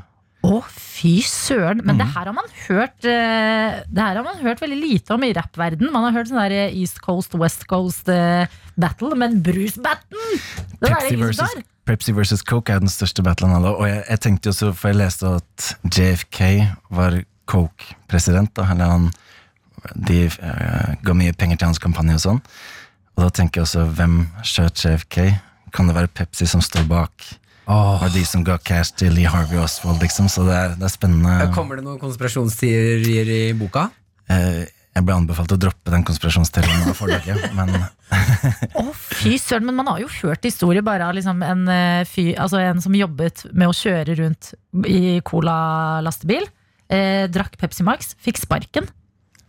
[SPEAKER 2] Å, Fy søren. Men det
[SPEAKER 8] Mhm.
[SPEAKER 2] her har man hørt eh, Det her har man hørt veldig lite om i rappverden Man har hørt sånn der eh, East Coast, West Coast eh, battle, men Bruce Batten! Det er det
[SPEAKER 8] Pepsi
[SPEAKER 2] ingen som
[SPEAKER 8] versus,
[SPEAKER 2] tar.
[SPEAKER 8] Pepsi versus Coke er den største battlen av alle. Og jeg, jeg tenkte jo så, for jeg leste at JFK var Coke-president. da, eller han, De eh, ga mye penger til hans kampanje og sånn. Og da tenker jeg også, hvem skjøt JFK? Kan det være Pepsi som står bak?
[SPEAKER 3] Åh.
[SPEAKER 8] Var det de som ga cash til Lee Harvey Oswald, liksom? Så det er, det er spennende.
[SPEAKER 3] Kommer det noen konspirasjonsteorier i boka?
[SPEAKER 8] Eh, jeg ble anbefalt å droppe den konspirasjonsteorien av forlaget, men
[SPEAKER 2] Å, fy søren. Men man har jo hørt historier bare av liksom en, eh, fyr- altså en som jobbet med å kjøre rundt i cola-lastebil. Eh, drakk Pepsi Max, fikk sparken.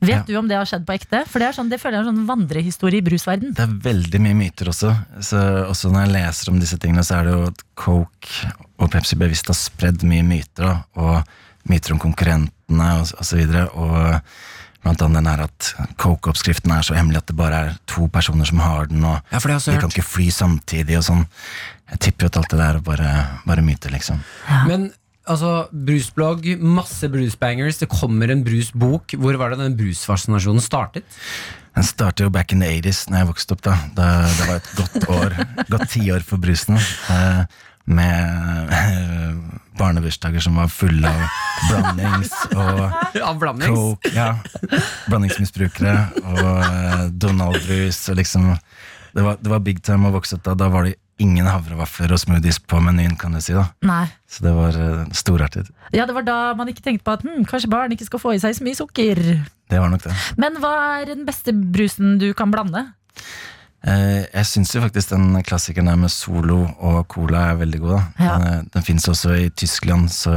[SPEAKER 2] Vet
[SPEAKER 8] Ja.
[SPEAKER 2] du om det har skjedd på ekte? For det, er sånn, det føler jeg er en sånn vandrehistorie i brusverden
[SPEAKER 8] Det er veldig mye myter også. Så også når jeg leser om disse tingene, så er det jo at Coke og Pepsi bevisst har spredd mye myter, da, og myter om konkurrentene og, og så videre. Og blant annet den her at Coke-oppskriften er så hemmelig at det bare er to personer som har den, og
[SPEAKER 3] Ja, for det har jeg også
[SPEAKER 8] de kan
[SPEAKER 3] hørt.
[SPEAKER 8] ikke fly samtidig og sånn. Jeg tipper jo at alt det der er bare, bare myter, liksom.
[SPEAKER 3] Men altså, brusblogg, masse brusbangers. Det kommer en brusbok. Hvor var det den brusfascinasjonen startet?
[SPEAKER 8] Den starter jo back in the 80s, når jeg vokste opp. da Da Det var et godt år Godt tiår for brusen. eh, Med eh, barnebursdager som var fulle av blandings og
[SPEAKER 3] Av blandings?
[SPEAKER 8] coke. Ja, blandingsmisbrukere og eh, Donald-brus. og liksom det var, det var big time å vokse opp da. Da var det ingen havrevafler og smoothies på menyen. kan du si da
[SPEAKER 2] Nei.
[SPEAKER 8] Så det var eh, storartet.
[SPEAKER 2] Ja, det var da man ikke tenkte på at hm, kanskje barn ikke skal få i seg så mye sukker.
[SPEAKER 8] Det var nok det.
[SPEAKER 2] Men hva er den beste brusen du kan blande?
[SPEAKER 8] Eh, Jeg syns jo faktisk den klassikeren der med Solo og Cola er veldig god. da
[SPEAKER 2] Ja.
[SPEAKER 8] Den, eh, den fins også i Tyskland, så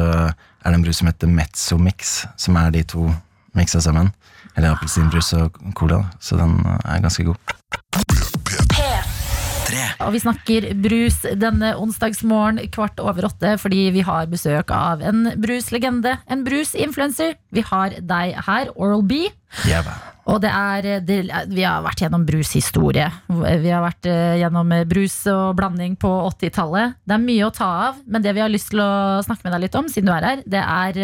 [SPEAKER 8] er det en brus som heter Mezzomix, som er de to miksa sammen. Eller appelsinbrus og cola, da. så den eh, er ganske god.
[SPEAKER 2] Og vi snakker brus denne onsdagsmorgen kvart over åtte, fordi vi har besøk av en bruslegende, en brusinfluencer. Vi har deg her, Oral B.
[SPEAKER 8] Jævla.
[SPEAKER 2] Og det er, det, vi har vært gjennom brushistorie. Vi har vært eh, gjennom brus og blanding på 80-tallet. Det er mye å ta av, men det vi har lyst til å snakke med deg litt om, siden du er her, det er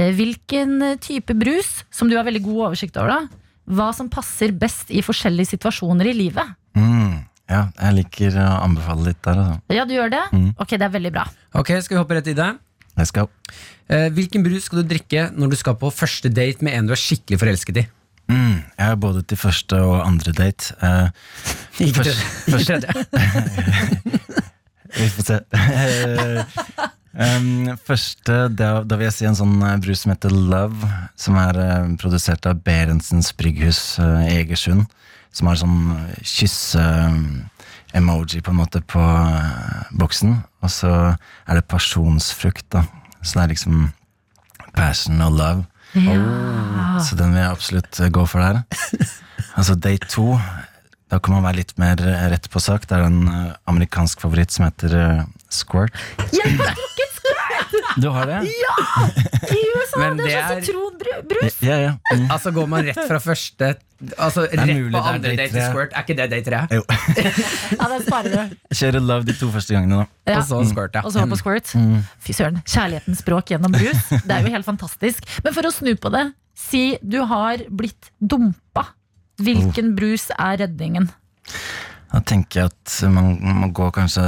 [SPEAKER 2] eh, hvilken type brus, som du har veldig god oversikt over, da, hva som passer best i forskjellige situasjoner i livet.
[SPEAKER 8] Mm, ja, jeg liker å anbefale litt der, altså.
[SPEAKER 2] Ja, du gjør det? Ok, det er veldig bra.
[SPEAKER 3] Ok, skal vi hoppe rett i det?
[SPEAKER 8] Jeg skal
[SPEAKER 3] Eh, hvilken brus skal du drikke når du skal på første date med en du er skikkelig forelsket i?
[SPEAKER 8] mm, Jeg er både til første og andre date. Eh,
[SPEAKER 3] Ikke
[SPEAKER 8] først-
[SPEAKER 3] <laughs> tredje. Ikke tredje.
[SPEAKER 8] Vi får se. Eh, um, første, da, da vil jeg si en sånn eh, brus som heter Love, som er eh, produsert av Berentsens Brygghus eh, i Egersund. Som har sånn kysse-emoji på en måte på eh, boksen. Og så er det pasjonsfrukt, da. Så det er liksom passion og love. Så den vil jeg absolutt eh, gå for der. Altså Day 2 Da kan man være litt mer eh, rett på sak. Det er en eh, amerikansk favoritt som heter eh, Squirt.
[SPEAKER 2] Jeg har drukket
[SPEAKER 8] Du har det?
[SPEAKER 2] squirt i USA!
[SPEAKER 3] Men
[SPEAKER 2] det
[SPEAKER 3] det
[SPEAKER 2] er sånn
[SPEAKER 3] er-
[SPEAKER 2] sitronbrus!
[SPEAKER 8] Ja, ja. Mm.
[SPEAKER 3] Altså Går man rett fra første Altså
[SPEAKER 8] er
[SPEAKER 3] rett
[SPEAKER 8] mulig det
[SPEAKER 3] på
[SPEAKER 8] er
[SPEAKER 3] andre
[SPEAKER 8] date
[SPEAKER 3] date til
[SPEAKER 8] tre.
[SPEAKER 3] squirt? Er ikke det date tre?
[SPEAKER 8] Jo.
[SPEAKER 2] Ja, den sparer du.
[SPEAKER 8] Jeg kjører love de to første gangene, da.
[SPEAKER 2] Ja.
[SPEAKER 3] Og så squirt, ja. Mm.
[SPEAKER 2] Og så på squirt. Fy søren. Kjærlighetens språk gjennom brus. Det er jo helt fantastisk. Men for å snu på det, si du har blitt dumpa. Hvilken brus er redningen?
[SPEAKER 8] Da tenker jeg at man må gå kanskje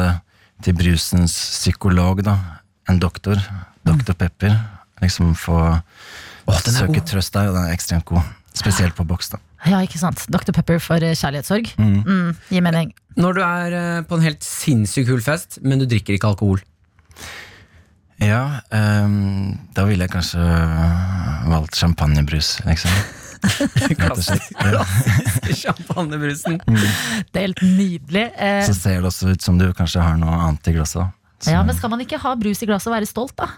[SPEAKER 8] til brusens psykolog, da. En doktor. Doktor Pepper. Liksom få
[SPEAKER 3] den er
[SPEAKER 8] søke
[SPEAKER 3] god.
[SPEAKER 8] trøst der, og den er ekstremt god. Spesielt på boks, da.
[SPEAKER 2] Ja, ikke sant. Dr. Pepper for eh, kjærlighetssorg. Mm, gir mening.
[SPEAKER 3] Når du er eh, på en helt sinnssykt kul fest, men du drikker ikke alkohol.
[SPEAKER 8] Ja, ehm, da ville jeg kanskje eh, valgt champagnebrus, liksom. Rett og
[SPEAKER 3] <laughs>
[SPEAKER 8] slett. Mm. Ja.
[SPEAKER 3] Champagnebrusen.
[SPEAKER 2] Det er helt nydelig. Eh,
[SPEAKER 8] Så ser det også ut som du kanskje har noe annet i glasset. da. Så,
[SPEAKER 2] ja, men skal man ikke ha brus i glasset og være stolt, da?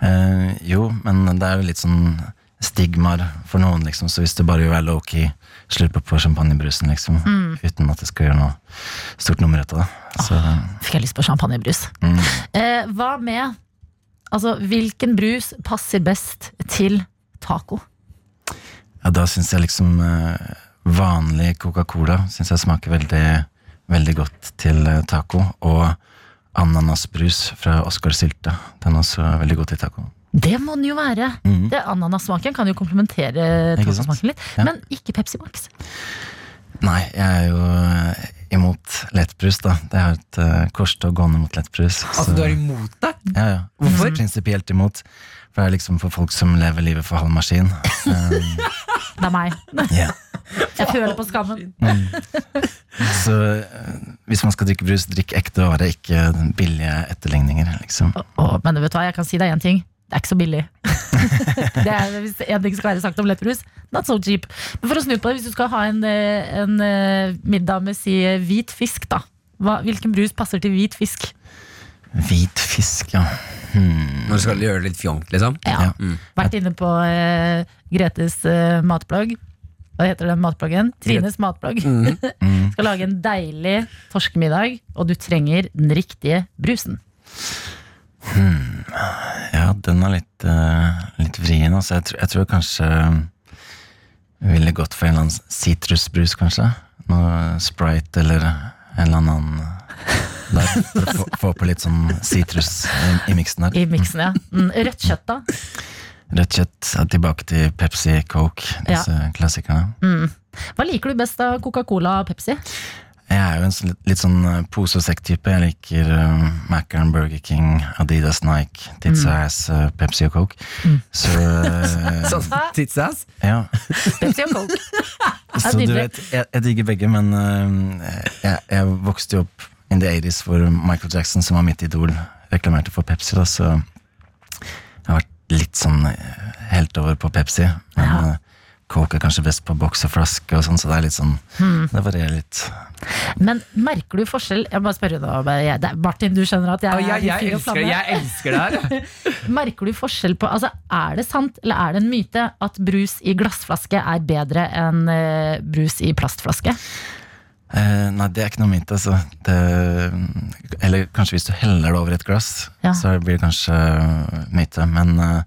[SPEAKER 8] eh, jo, men det er jo litt sånn stigmaer for noen, liksom. Så hvis du bare vil være low-key, slurpe på champagnebrusen, liksom. Uten at det skal gjøre noe stort nummer ut av det. Så
[SPEAKER 2] Fikk jeg lyst på champagnebrus.
[SPEAKER 3] Mm.
[SPEAKER 2] Eh, hva med Altså, hvilken brus passer best til taco?
[SPEAKER 8] ja, da syns jeg liksom eh, vanlig Coca-Cola synes jeg smaker veldig, veldig godt til eh, taco. Og ananasbrus fra Oscar Sylte. Den er også veldig god til taco.
[SPEAKER 2] Det må den jo være.
[SPEAKER 8] Mhm.
[SPEAKER 2] Det Ananassmaken kan jo komplementere
[SPEAKER 8] Ikke sant?
[SPEAKER 2] tomatsmaken litt.
[SPEAKER 8] Ja.
[SPEAKER 2] Men ikke Pepsi Max.
[SPEAKER 8] Nei, jeg er jo eh, imot lettbrus, da. Det er et eh, korstog gående mot lettbrus.
[SPEAKER 3] Altså,
[SPEAKER 8] så-
[SPEAKER 3] du er imot det?
[SPEAKER 8] Ja, ja.
[SPEAKER 3] Hvorfor?
[SPEAKER 8] Prinsipielt imot. For det er liksom for folk som lever livet for halv
[SPEAKER 3] <laughs>
[SPEAKER 8] maskin. Um,
[SPEAKER 2] Det er meg.
[SPEAKER 8] ja.
[SPEAKER 2] Jeg føler på skammen.
[SPEAKER 8] Så eh, hvis man skal drikke brus, drikk ekte vare, ikke billige etterligninger. Liksom.
[SPEAKER 2] Åh, men vet du hva, jeg kan si deg én ting. Det er ikke så
[SPEAKER 8] <laughs>
[SPEAKER 2] billig. det er, hvis en ting skal være sagt om lettbrus, not so cheap. Men for å snu på det, hvis du skal ha en, eh, en eh, middag med si eh, hvit fisk, da. Hva, hvilken brus passer til hvit fisk?
[SPEAKER 8] Hvit fisk, ja. Hmm,
[SPEAKER 3] Når du skal gjøre det litt fjongt, liksom?
[SPEAKER 2] Ja.
[SPEAKER 8] Ja.
[SPEAKER 2] Vært inne på eh, Gretes eh, matblogg. Hva heter den matbloggen? Trines matblogg.
[SPEAKER 3] Mm.
[SPEAKER 2] <laughs> skal lage en deilig torskemiddag, og du trenger den riktige brusen.
[SPEAKER 8] Ja, den er litt, eh, litt vrien. Altså. Jeg, tror, jeg tror kanskje jeg ville gått for en eller annen sitrusbrus, kanskje. Noe Sprite eller en eller annen eh, der, for å få, få på litt sånn sitrus i- i miksen der.
[SPEAKER 2] I miksen, ja. Mm, rødt kjøtt, da.
[SPEAKER 8] Rødt kjøtt er tilbake til Pepsi, Coke, disse klassikerne.
[SPEAKER 2] Hva liker du best av Coca-Cola og Pepsi?
[SPEAKER 8] Jeg er jo en sånn litt, litt sånn eh, pose og sekk-type. Jeg liker uh, Mac'er'n, Burger King, Adidas, Nike, Tits og Ass, eh, Pepsi og Coke. Så, eh,
[SPEAKER 3] Sånn titsass?
[SPEAKER 8] ja.
[SPEAKER 2] Pepsi og Coke.
[SPEAKER 8] Så
[SPEAKER 2] Ja,
[SPEAKER 8] du
[SPEAKER 2] nydelig.
[SPEAKER 8] vet, jeg, jeg digger begge, men eh, jeg, jeg vokste jo opp in the 80s hvor Michael Jackson, som var mitt idol, reklamerte for Pepsi. Da, så jeg har vært litt sånn eh, helt over på Pepsi. Men eh, Coke er kanskje best på boks og flaske og sånn, så det er litt sånn Det varierer litt.
[SPEAKER 2] Men merker du forskjell Jeg bare spør nå, bare jeg- det er- Martin, du skjønner at jeg,
[SPEAKER 3] Ja,
[SPEAKER 2] er
[SPEAKER 3] jeg,
[SPEAKER 2] din
[SPEAKER 3] jeg,
[SPEAKER 2] fyr og
[SPEAKER 3] elsker,
[SPEAKER 2] flamme.
[SPEAKER 3] jeg elsker det her. jeg.
[SPEAKER 2] Merker du forskjell på altså, Er det sant, eller er det en myte At brus i glassflaske er bedre enn eh, brus i plastflaske?
[SPEAKER 8] Eh, nei, det er ikke noe mitt, altså. Det, eller kanskje hvis du heller det over et glass,
[SPEAKER 2] Ja.
[SPEAKER 8] så blir det kanskje myte. Men eh,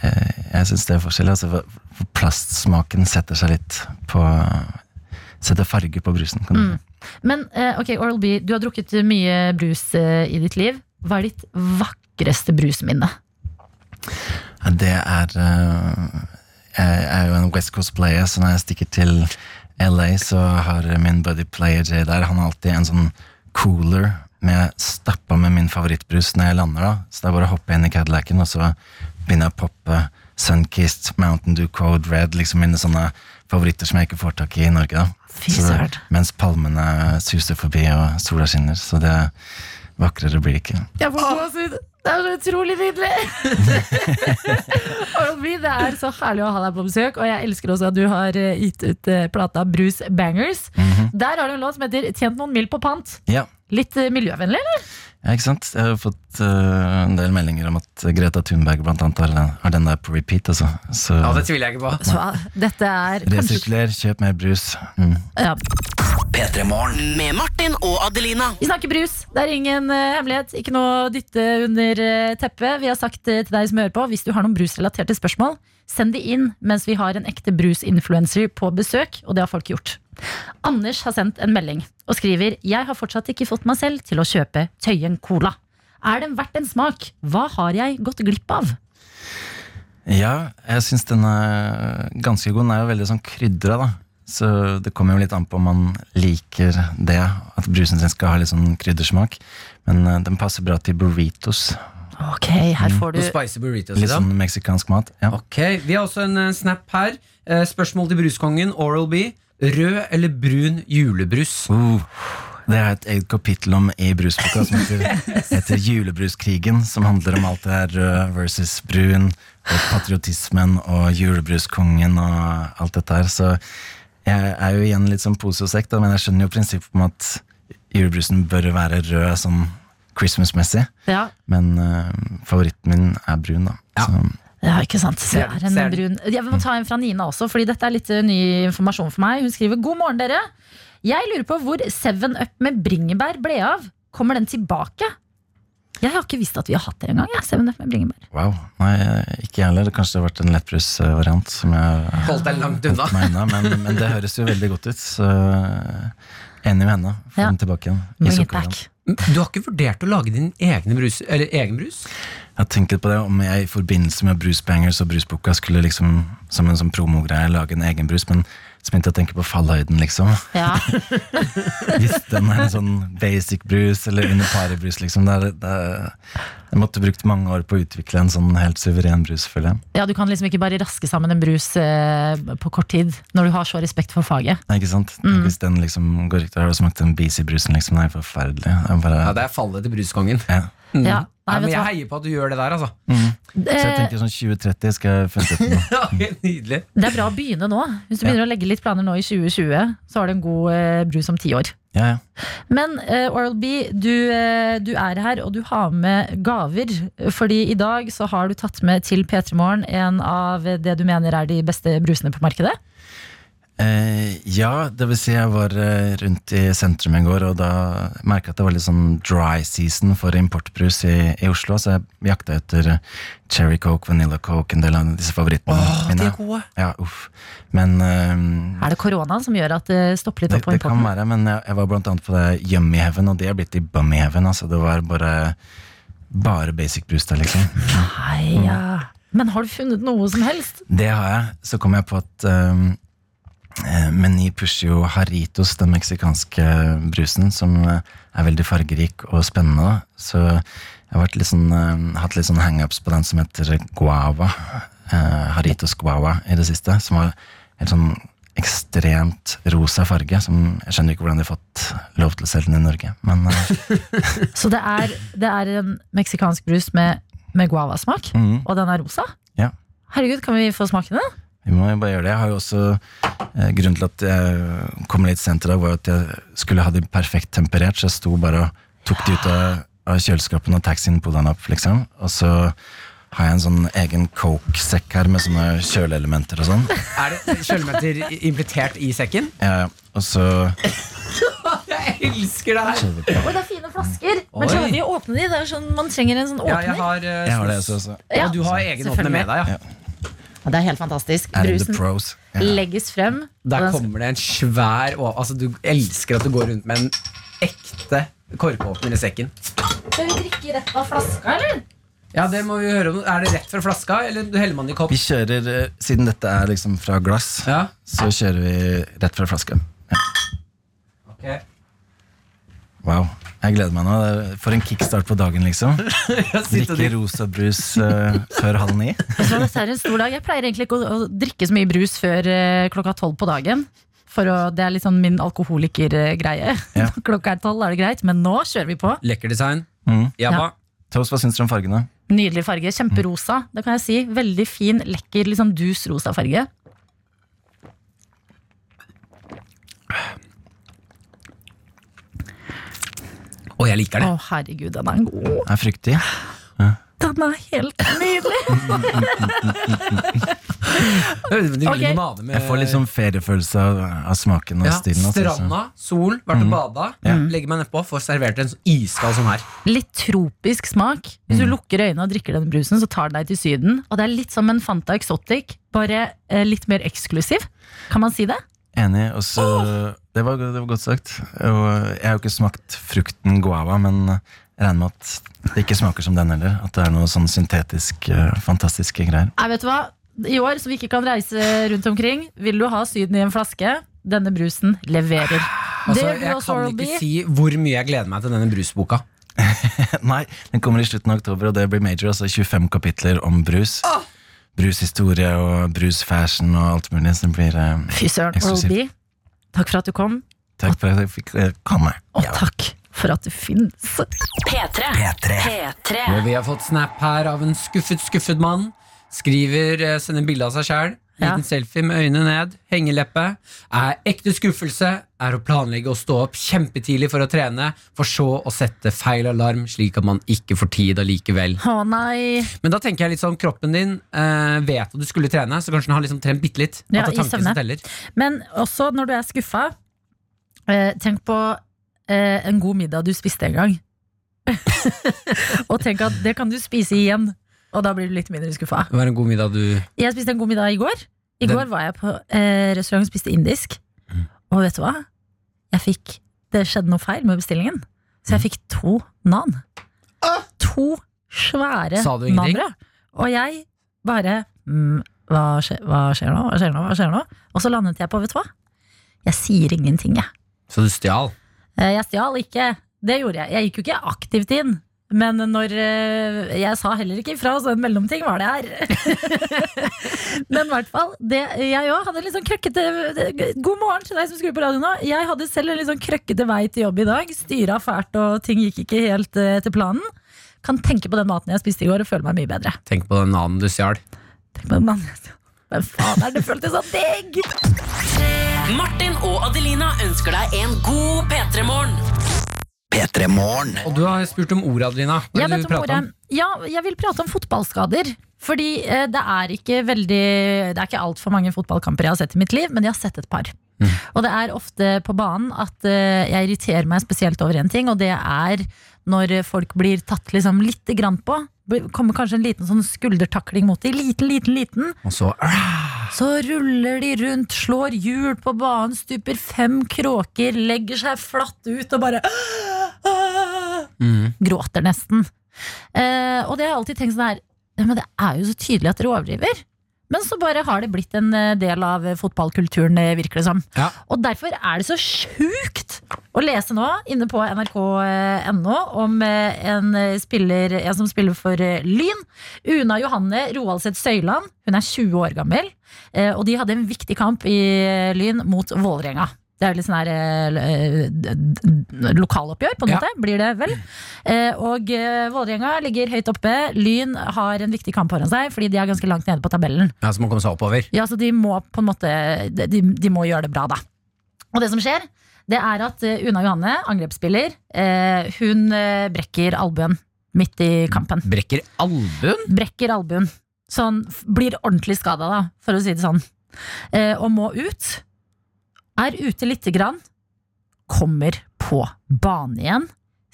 [SPEAKER 8] eh, jeg syns det er forskjell. Altså, for- for plastsmaken setter seg litt på Setter farge på brusen. Kan du.
[SPEAKER 2] Men eh, ok, Oral-B, du har drukket mye brus eh, i ditt liv Hva er ditt vakreste brusminne?
[SPEAKER 8] Ja, Det er eh, Jeg er jo en West Coast player, så når jeg stikker til LA, så har min buddy player Jay der, han har alltid en sånn cooler med stappa med min favorittbrus når jeg lander, da. Så det er bare å hoppe inn i Cadillacen, og så begynner jeg å poppe Sunkist, Mountain Dew, Code Red, liksom mine sånne favoritter som jeg ikke får tak i i Norge, da.
[SPEAKER 2] Fy
[SPEAKER 8] Så-
[SPEAKER 2] søren.
[SPEAKER 8] mens palmene suser forbi og sola skinner, så det vakrere blir det ikke.
[SPEAKER 2] Jeg får gåsehud. Det er så utrolig nydelig! <laughs> Oral-B, det er så herlig å ha deg på besøk, og jeg elsker også at du har eh, gitt ut eh, plata Brus Bangers. Der har du en låt som heter 'Tjent noen mil på pant'.
[SPEAKER 8] Ja.
[SPEAKER 2] Litt eh, miljøvennlig, eller?
[SPEAKER 8] Ja, ikke sant? Jeg har fått eh, en del meldinger om at Greta Thunberg blant annet har den, har den der på repeat. Altså. Så
[SPEAKER 3] Ja, det tviler jeg ikke på.
[SPEAKER 2] Så ah, dette er kanskje
[SPEAKER 8] resirkuler, kjøp mer brus. Mm.
[SPEAKER 2] ja.
[SPEAKER 5] P3-morgen. Med Martin og Adelina.
[SPEAKER 2] Vi snakker brus. Det er ingen eh, hemmelighet. Ikke noe å dytte under eh, teppet. Vi har sagt eh, til deg som hører på, hvis du har noen brusrelaterte spørsmål, send de inn mens vi har en ekte brusinfluencer på besøk, og det har folk gjort. Anders har sendt en melding og skriver Jeg har fortsatt ikke fått meg selv til å kjøpe Tøyen Cola. Er den verdt en smak? Hva har jeg gått glipp av?
[SPEAKER 8] Ja, jeg syns den er ganske god. Den er jo veldig sånn krydra, da. Så det kommer jo litt an på om man liker det. At brusen sin skal ha litt sånn kryddersmak. Men eh, den passer bra til burritos.
[SPEAKER 2] Ok, her får du
[SPEAKER 3] Noen spicy burritos,
[SPEAKER 8] Litt
[SPEAKER 3] liksom.
[SPEAKER 8] sånn meksikansk mat. Ja.
[SPEAKER 3] Ok, Vi har også en eh, snap her. Eh, Spørsmål til bruskongen Oral-B. Rød eller brun julebrus?
[SPEAKER 8] Uh, det er et eget kapittel om i brusboka som heter, heter Julebruskrigen, som handler om alt det her rød versus brun, og patriotismen og julebruskongen og alt dette her. Så jeg er jo igjen litt sånn pose og sekk, da, men jeg skjønner jo prinsippet om at julebrusen bør være rød sånn Christmas-messig.
[SPEAKER 2] Ja,
[SPEAKER 8] Men eh, favoritten min er brun, da.
[SPEAKER 3] Ja.
[SPEAKER 8] Så,
[SPEAKER 2] Ja, ikke sant. Se
[SPEAKER 3] Ser-
[SPEAKER 2] her, en
[SPEAKER 3] ser
[SPEAKER 2] brun. Jeg må ta en fra Nina også, fordi dette er litt eh, ny informasjon for meg. Hun skriver God morgen, dere. Jeg lurer på hvor Seven Up med bringebær ble av. Kommer den tilbake? Jeg har ikke visst at vi har hatt det engang. jeg, Seven Up med bringebær.
[SPEAKER 8] wow. Nei, ikke jeg heller. Kanskje det har vært en lettbrusvariant som jeg
[SPEAKER 3] Holdt deg langt unna. <laughs>
[SPEAKER 8] meg unna, men, men det høres jo veldig godt ut. Så eh, enig med henne. Få
[SPEAKER 2] Ja.
[SPEAKER 8] den tilbake igjen. i
[SPEAKER 2] Bring it
[SPEAKER 8] sukkerland.
[SPEAKER 2] back.
[SPEAKER 3] Du har ikke vurdert å lage din egne brus, eller egen brus?
[SPEAKER 8] Jeg har tenkt litt på det, om jeg i forbindelse med Bruce Bangers og Brusboka skulle liksom, som en sånn promogreie lage en egen brus, men så begynte jeg å tenke på fallhøyden, liksom.
[SPEAKER 2] Ja.
[SPEAKER 8] Hvis den er en sånn basic brus eller under paret-brus, liksom. Det er, det er, jeg måtte brukt mange år på å utvikle en sånn helt suveren brus, føler jeg.
[SPEAKER 2] ja, du kan liksom ikke bare raske sammen en brus eh, på kort tid, når du har så respekt for faget.
[SPEAKER 8] Nei, ikke sant? Hvis den liksom går riktig, har du smakt den BC-brusen, liksom. Nei, forferdelig. Jeg bare,
[SPEAKER 3] Ja, det er fallet til bruskongen.
[SPEAKER 8] ja.
[SPEAKER 2] Ja, nei,
[SPEAKER 3] Nei,
[SPEAKER 2] vet
[SPEAKER 3] men
[SPEAKER 2] du
[SPEAKER 3] jeg
[SPEAKER 2] hva?
[SPEAKER 3] heier på at du gjør det der, altså.
[SPEAKER 8] Så jeg tenker sånn 2030 skal jeg finne ut noe.
[SPEAKER 3] <laughs> Ja, Nydelig.
[SPEAKER 2] Det er bra å begynne nå. Hvis du
[SPEAKER 8] Ja.
[SPEAKER 2] begynner å legge litt planer nå i 2020, så har du en god eh, brus om ti år.
[SPEAKER 8] <laughs> Ja, ja.
[SPEAKER 2] Men eh, Oral B, du, eh, du er her, og du har med gaver. Fordi i dag så har du tatt med til P3 Morgen en av det du mener er de beste brusene på markedet.
[SPEAKER 8] Eh, ja, det vil si jeg var eh, rundt i sentrum i går, og da merka jeg at det var litt sånn dry season for importbrus i, i Oslo, så jeg jakta etter eh, cherry coke, vanilla coke, en del av disse favorittene mine.
[SPEAKER 3] gode.
[SPEAKER 8] Ja, uff. Men eh,
[SPEAKER 2] Er det koronaen som gjør at det stopper litt
[SPEAKER 8] det,
[SPEAKER 2] opp på
[SPEAKER 8] det kan
[SPEAKER 2] importen?
[SPEAKER 8] være, men jeg, jeg var blant annet på det Yummy Heaven, og det er blitt i Bummy Heaven. Altså, det var bare, bare basic brus der, liksom.
[SPEAKER 2] Nei, ja. Men har du funnet noe som helst?
[SPEAKER 8] Det har jeg. Så kom jeg på at um, eh, Meny pusher jo Haritos, den meksikanske brusen, som eh, er veldig fargerik og spennende. Så jeg har vært litt sånn, eh, hatt litt sånn hangups på den som heter guava. eh, Haritos guava i det siste, som har en sånn ekstremt rosa farge. Som jeg skjønner ikke hvordan de har fått lov til å selge den i Norge. Men eh,
[SPEAKER 2] Så det er, det er en meksikansk brus med, med guavasmak,
[SPEAKER 8] Mhm.
[SPEAKER 2] og den er rosa?
[SPEAKER 8] Ja.
[SPEAKER 2] Herregud, kan vi få smake den?
[SPEAKER 8] Vi må jo bare gjøre det. Jeg har jo også eh, Grunnen til at jeg kom litt sent i dag, var jo at jeg skulle ha de perfekt temperert, så jeg sto bare og tok de ut av, av kjøleskapet og taxien på den opp, liksom. Og så har jeg en sånn egen coke-sekk her med sånne kjøleelementer og sånn.
[SPEAKER 3] Er det kjølemeter invitert i sekken?
[SPEAKER 8] Eh, og så
[SPEAKER 3] Jeg elsker det her!
[SPEAKER 2] Oi, det er fine flasker!
[SPEAKER 3] Oi.
[SPEAKER 2] Men klarer vi å åpne de? Det er sånn, man trenger en sånn
[SPEAKER 3] Ja,
[SPEAKER 2] åpner.
[SPEAKER 3] jeg har, eh,
[SPEAKER 8] Jeg har det også. altså. så
[SPEAKER 2] Ja,
[SPEAKER 3] Og du har egenhåndene
[SPEAKER 2] selvfølgelig.
[SPEAKER 3] med deg, ja.
[SPEAKER 2] Ja, Det er helt fantastisk.
[SPEAKER 8] Er det the
[SPEAKER 2] Brusen
[SPEAKER 8] pros? Ja.
[SPEAKER 2] legges frem.
[SPEAKER 3] Der
[SPEAKER 2] og den-
[SPEAKER 3] kommer det en svær å- Altså, du elsker at du går rundt med en ekte korkåpner i sekken.
[SPEAKER 2] Skal vi drikke rett av flaska, eller?
[SPEAKER 3] Ja, det må vi høre om. Er det rett fra flaska, eller heller man i kopp?
[SPEAKER 8] Vi kjører, eh, siden dette er liksom fra glass,
[SPEAKER 3] Ja.
[SPEAKER 8] så kjører vi rett fra flaska. Wow. Jeg gleder meg nå. Det er- For en kickstart på dagen, liksom. Drikke rosa brus eh, før halv ni.
[SPEAKER 2] Så dette er en stor dag. Jeg pleier egentlig ikke å, å drikke så mye brus før eh, klokka tolv på dagen. For å, det er litt sånn min alkoholikergreie.
[SPEAKER 8] Ja.
[SPEAKER 2] Når <laughs> klokka er tolv, er det greit, men nå kjører vi på.
[SPEAKER 3] Lekker design.
[SPEAKER 8] Mm.
[SPEAKER 3] Jabba.
[SPEAKER 8] Toast, hva syns dere om fargene?
[SPEAKER 2] Nydelig farge.
[SPEAKER 8] Mm.
[SPEAKER 2] Kjemperosa. Det kan jeg si. Veldig fin, lekker, litt sånn dus rosa farge.
[SPEAKER 3] Å, jeg
[SPEAKER 2] Å,
[SPEAKER 3] liker det.
[SPEAKER 2] herregud, den er god.
[SPEAKER 8] Er fruktig?
[SPEAKER 2] Den er helt nydelig!
[SPEAKER 3] Du
[SPEAKER 2] Ok.
[SPEAKER 3] limonade med
[SPEAKER 8] Jeg får litt sånn feriefølelse av, av smaken og
[SPEAKER 3] ja,
[SPEAKER 8] stilen. altså, så- Mm.
[SPEAKER 3] Stranda, sol, vært og bada.
[SPEAKER 2] Mm.
[SPEAKER 3] Legger meg nedpå, får servert en sånn iskald sånn her.
[SPEAKER 2] Litt tropisk smak. Hvis
[SPEAKER 8] Mm.
[SPEAKER 2] du lukker øynene og drikker den brusen, så tar den deg til Syden. Og det er litt som en Fanta Exotic, bare eh, litt mer eksklusiv. Kan man si det?
[SPEAKER 8] Enig. Og så det, var, det var godt sagt. Og jeg har jo ikke smakt frukten guava, men jeg regner med at det ikke smaker som den heller. At det er noe sånn syntetisk, eh, fantastiske greier.
[SPEAKER 2] Nei, vet du hva? I år, som vi ikke kan reise rundt omkring, vil du ha Syden i en flaske? Denne brusen leverer.
[SPEAKER 3] Altså,
[SPEAKER 2] det gjør
[SPEAKER 3] jeg
[SPEAKER 2] også
[SPEAKER 3] kan
[SPEAKER 2] Oral-B.
[SPEAKER 3] ikke si hvor mye jeg gleder meg til denne brusboka.
[SPEAKER 8] <laughs> Nei, den kommer i slutten av oktober, og det blir major. Altså 25 kapitler om brus. Brushistorie og brusfashion og alt mulig. Så det blir eh,
[SPEAKER 2] Fy søren,
[SPEAKER 8] eksklusivt.
[SPEAKER 2] Oral-B. Takk for at du kom,
[SPEAKER 8] Takk for at jeg fikk eh, komme.
[SPEAKER 2] og takk for at du finnes.
[SPEAKER 3] Og vi har fått snap her av en skuffet, skuffet mann. Skriver, eh, sender bilde av seg sjæl.
[SPEAKER 2] Ja.
[SPEAKER 3] Liten selfie med øynene ned. Hengeleppe. Er ekte skuffelse er å planlegge å stå opp kjempetidlig for å trene, for så å sette feil alarm, slik at man ikke får tid allikevel.
[SPEAKER 2] Å nei.
[SPEAKER 3] Men da tenker jeg litt sånn, kroppen din eh, vet at du skulle trene, så kanskje den har liksom trent bitte litt. At
[SPEAKER 2] Ja,
[SPEAKER 3] det er
[SPEAKER 2] i
[SPEAKER 3] tanken
[SPEAKER 2] søvne.
[SPEAKER 3] som teller.
[SPEAKER 2] Men også når du er skuffa, eh, tenk på eh, en god middag du spiste en
[SPEAKER 3] <laughs>
[SPEAKER 2] gang. <laughs> og tenk at det kan du spise igjen, og da blir du litt mindre skuffa.
[SPEAKER 3] Det var en god middag du
[SPEAKER 2] Jeg spiste en god middag i går. I
[SPEAKER 3] Den-
[SPEAKER 2] går var jeg på eh, restaurant og spiste indisk.
[SPEAKER 3] Mm.
[SPEAKER 2] Og vet du hva? Jeg fikk
[SPEAKER 3] Mm.
[SPEAKER 2] Det skjedde noe feil med bestillingen. Så jeg fikk to nan. To svære
[SPEAKER 3] Sa du ingenting?
[SPEAKER 2] mandler. Og jeg bare mm, hva, skje, hva skjer nå? Hva skjer nå? Hva skjer nå? Og så landet jeg på, vet du hva? Jeg sier ingenting, jeg.
[SPEAKER 3] Så du stjal?
[SPEAKER 2] Eh, Jeg stjal ikke. Det gjorde jeg. Jeg gikk jo ikke aktivt inn. Men når eh, Jeg sa heller ikke ifra, så en mellomting var det her. <laughs> Men i hvert fall. Det, jeg òg hadde litt sånn krøkkete God morgen til deg som skrur på radioen nå. Jeg hadde selv en litt sånn krøkkete vei til jobb i dag. Styra fælt, og ting gikk ikke helt eh, etter planen. Kan tenke på den maten jeg spiste i går, og føle meg mye bedre.
[SPEAKER 3] Tenk på den annen du stjal.
[SPEAKER 2] Tenk på den mannen jeg spiste. Hvem faen er det føltes så digg?
[SPEAKER 5] Martin og Adelina ønsker deg en god P3-morgen. P3-morgen.
[SPEAKER 3] Og du har spurt om ordet, Adelina. Hva
[SPEAKER 2] Jeg
[SPEAKER 3] vil
[SPEAKER 2] vet
[SPEAKER 3] du
[SPEAKER 2] om
[SPEAKER 3] prate
[SPEAKER 2] ordet. Ja, jeg vil prate om fotballskader. Fordi eh, det er ikke veldig Det er ikke altfor mange fotballkamper jeg har sett i mitt liv, men jeg har sett et par.
[SPEAKER 3] Mm.
[SPEAKER 2] Og det er ofte på banen at eh, jeg irriterer meg spesielt over en ting, og det er når folk blir tatt liksom lite grann på. Blir- Kommer kanskje en liten sånn skuldertakling mot dem. Liten, liten, liten.
[SPEAKER 3] Og så <clears throat>
[SPEAKER 2] Så ruller de rundt, slår hjul på banen, stuper fem kråker, legger seg flatt ut og bare Gråter nesten. Eh, og det har jeg alltid tenkt sånn her ja, Men det er jo så tydelig at dere overdriver. Men så bare har det blitt en eh, del av eh, fotballkulturen, eh, virker det som.
[SPEAKER 3] Ja.
[SPEAKER 2] Og derfor er det så sjukt å lese nå, inne på nrk.no, om eh, en, eh, spiller, en som spiller for eh, Lyn. Una Johanne Roaldseth Søyland. Hun er 20 år gammel. eh, Og de hadde en viktig kamp i eh, Lyn mot Vålerenga. Det er jo litt sånn her eh, l- eh, d- d- lokaloppgjør, på en
[SPEAKER 3] Ja.
[SPEAKER 2] måte. Blir det vel. Eh, Og eh, Vålerenga ligger høyt oppe. Lyn har en viktig kamp foran seg, fordi de er ganske langt nede på tabellen.
[SPEAKER 3] Ja, Så må komme seg oppover.
[SPEAKER 2] Ja, så de må på en måte de, de må gjøre det bra, da. Og det som skjer, det er at eh, Una Johanne, angrepsspiller, eh, hun eh, brekker albuen midt i kampen.
[SPEAKER 3] Brekker albuen?
[SPEAKER 2] Brekker albuen. Sånn, f- blir ordentlig skada, da, for å si det sånn. Eh, og må ut. Er ute lite grann. Kommer på bane igjen.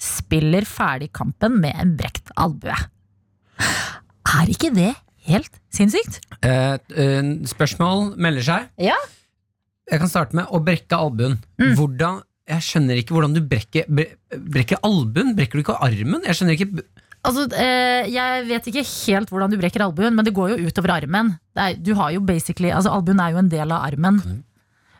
[SPEAKER 2] Spiller ferdig kampen med en brekt albue. Er ikke det helt sinnssykt?
[SPEAKER 3] Eh, eh, spørsmål melder seg.
[SPEAKER 2] Ja. Mm.
[SPEAKER 3] Jeg kan starte med å brekke albuen. Hvordan Jeg skjønner ikke hvordan du brekker bre, Brekker albuen? Brekker du ikke armen? Jeg skjønner ikke
[SPEAKER 2] Altså, eh, Jeg vet ikke helt hvordan du brekker albuen, men det går jo utover armen. Det er, du har jo basically, altså Albuen er jo en del av armen.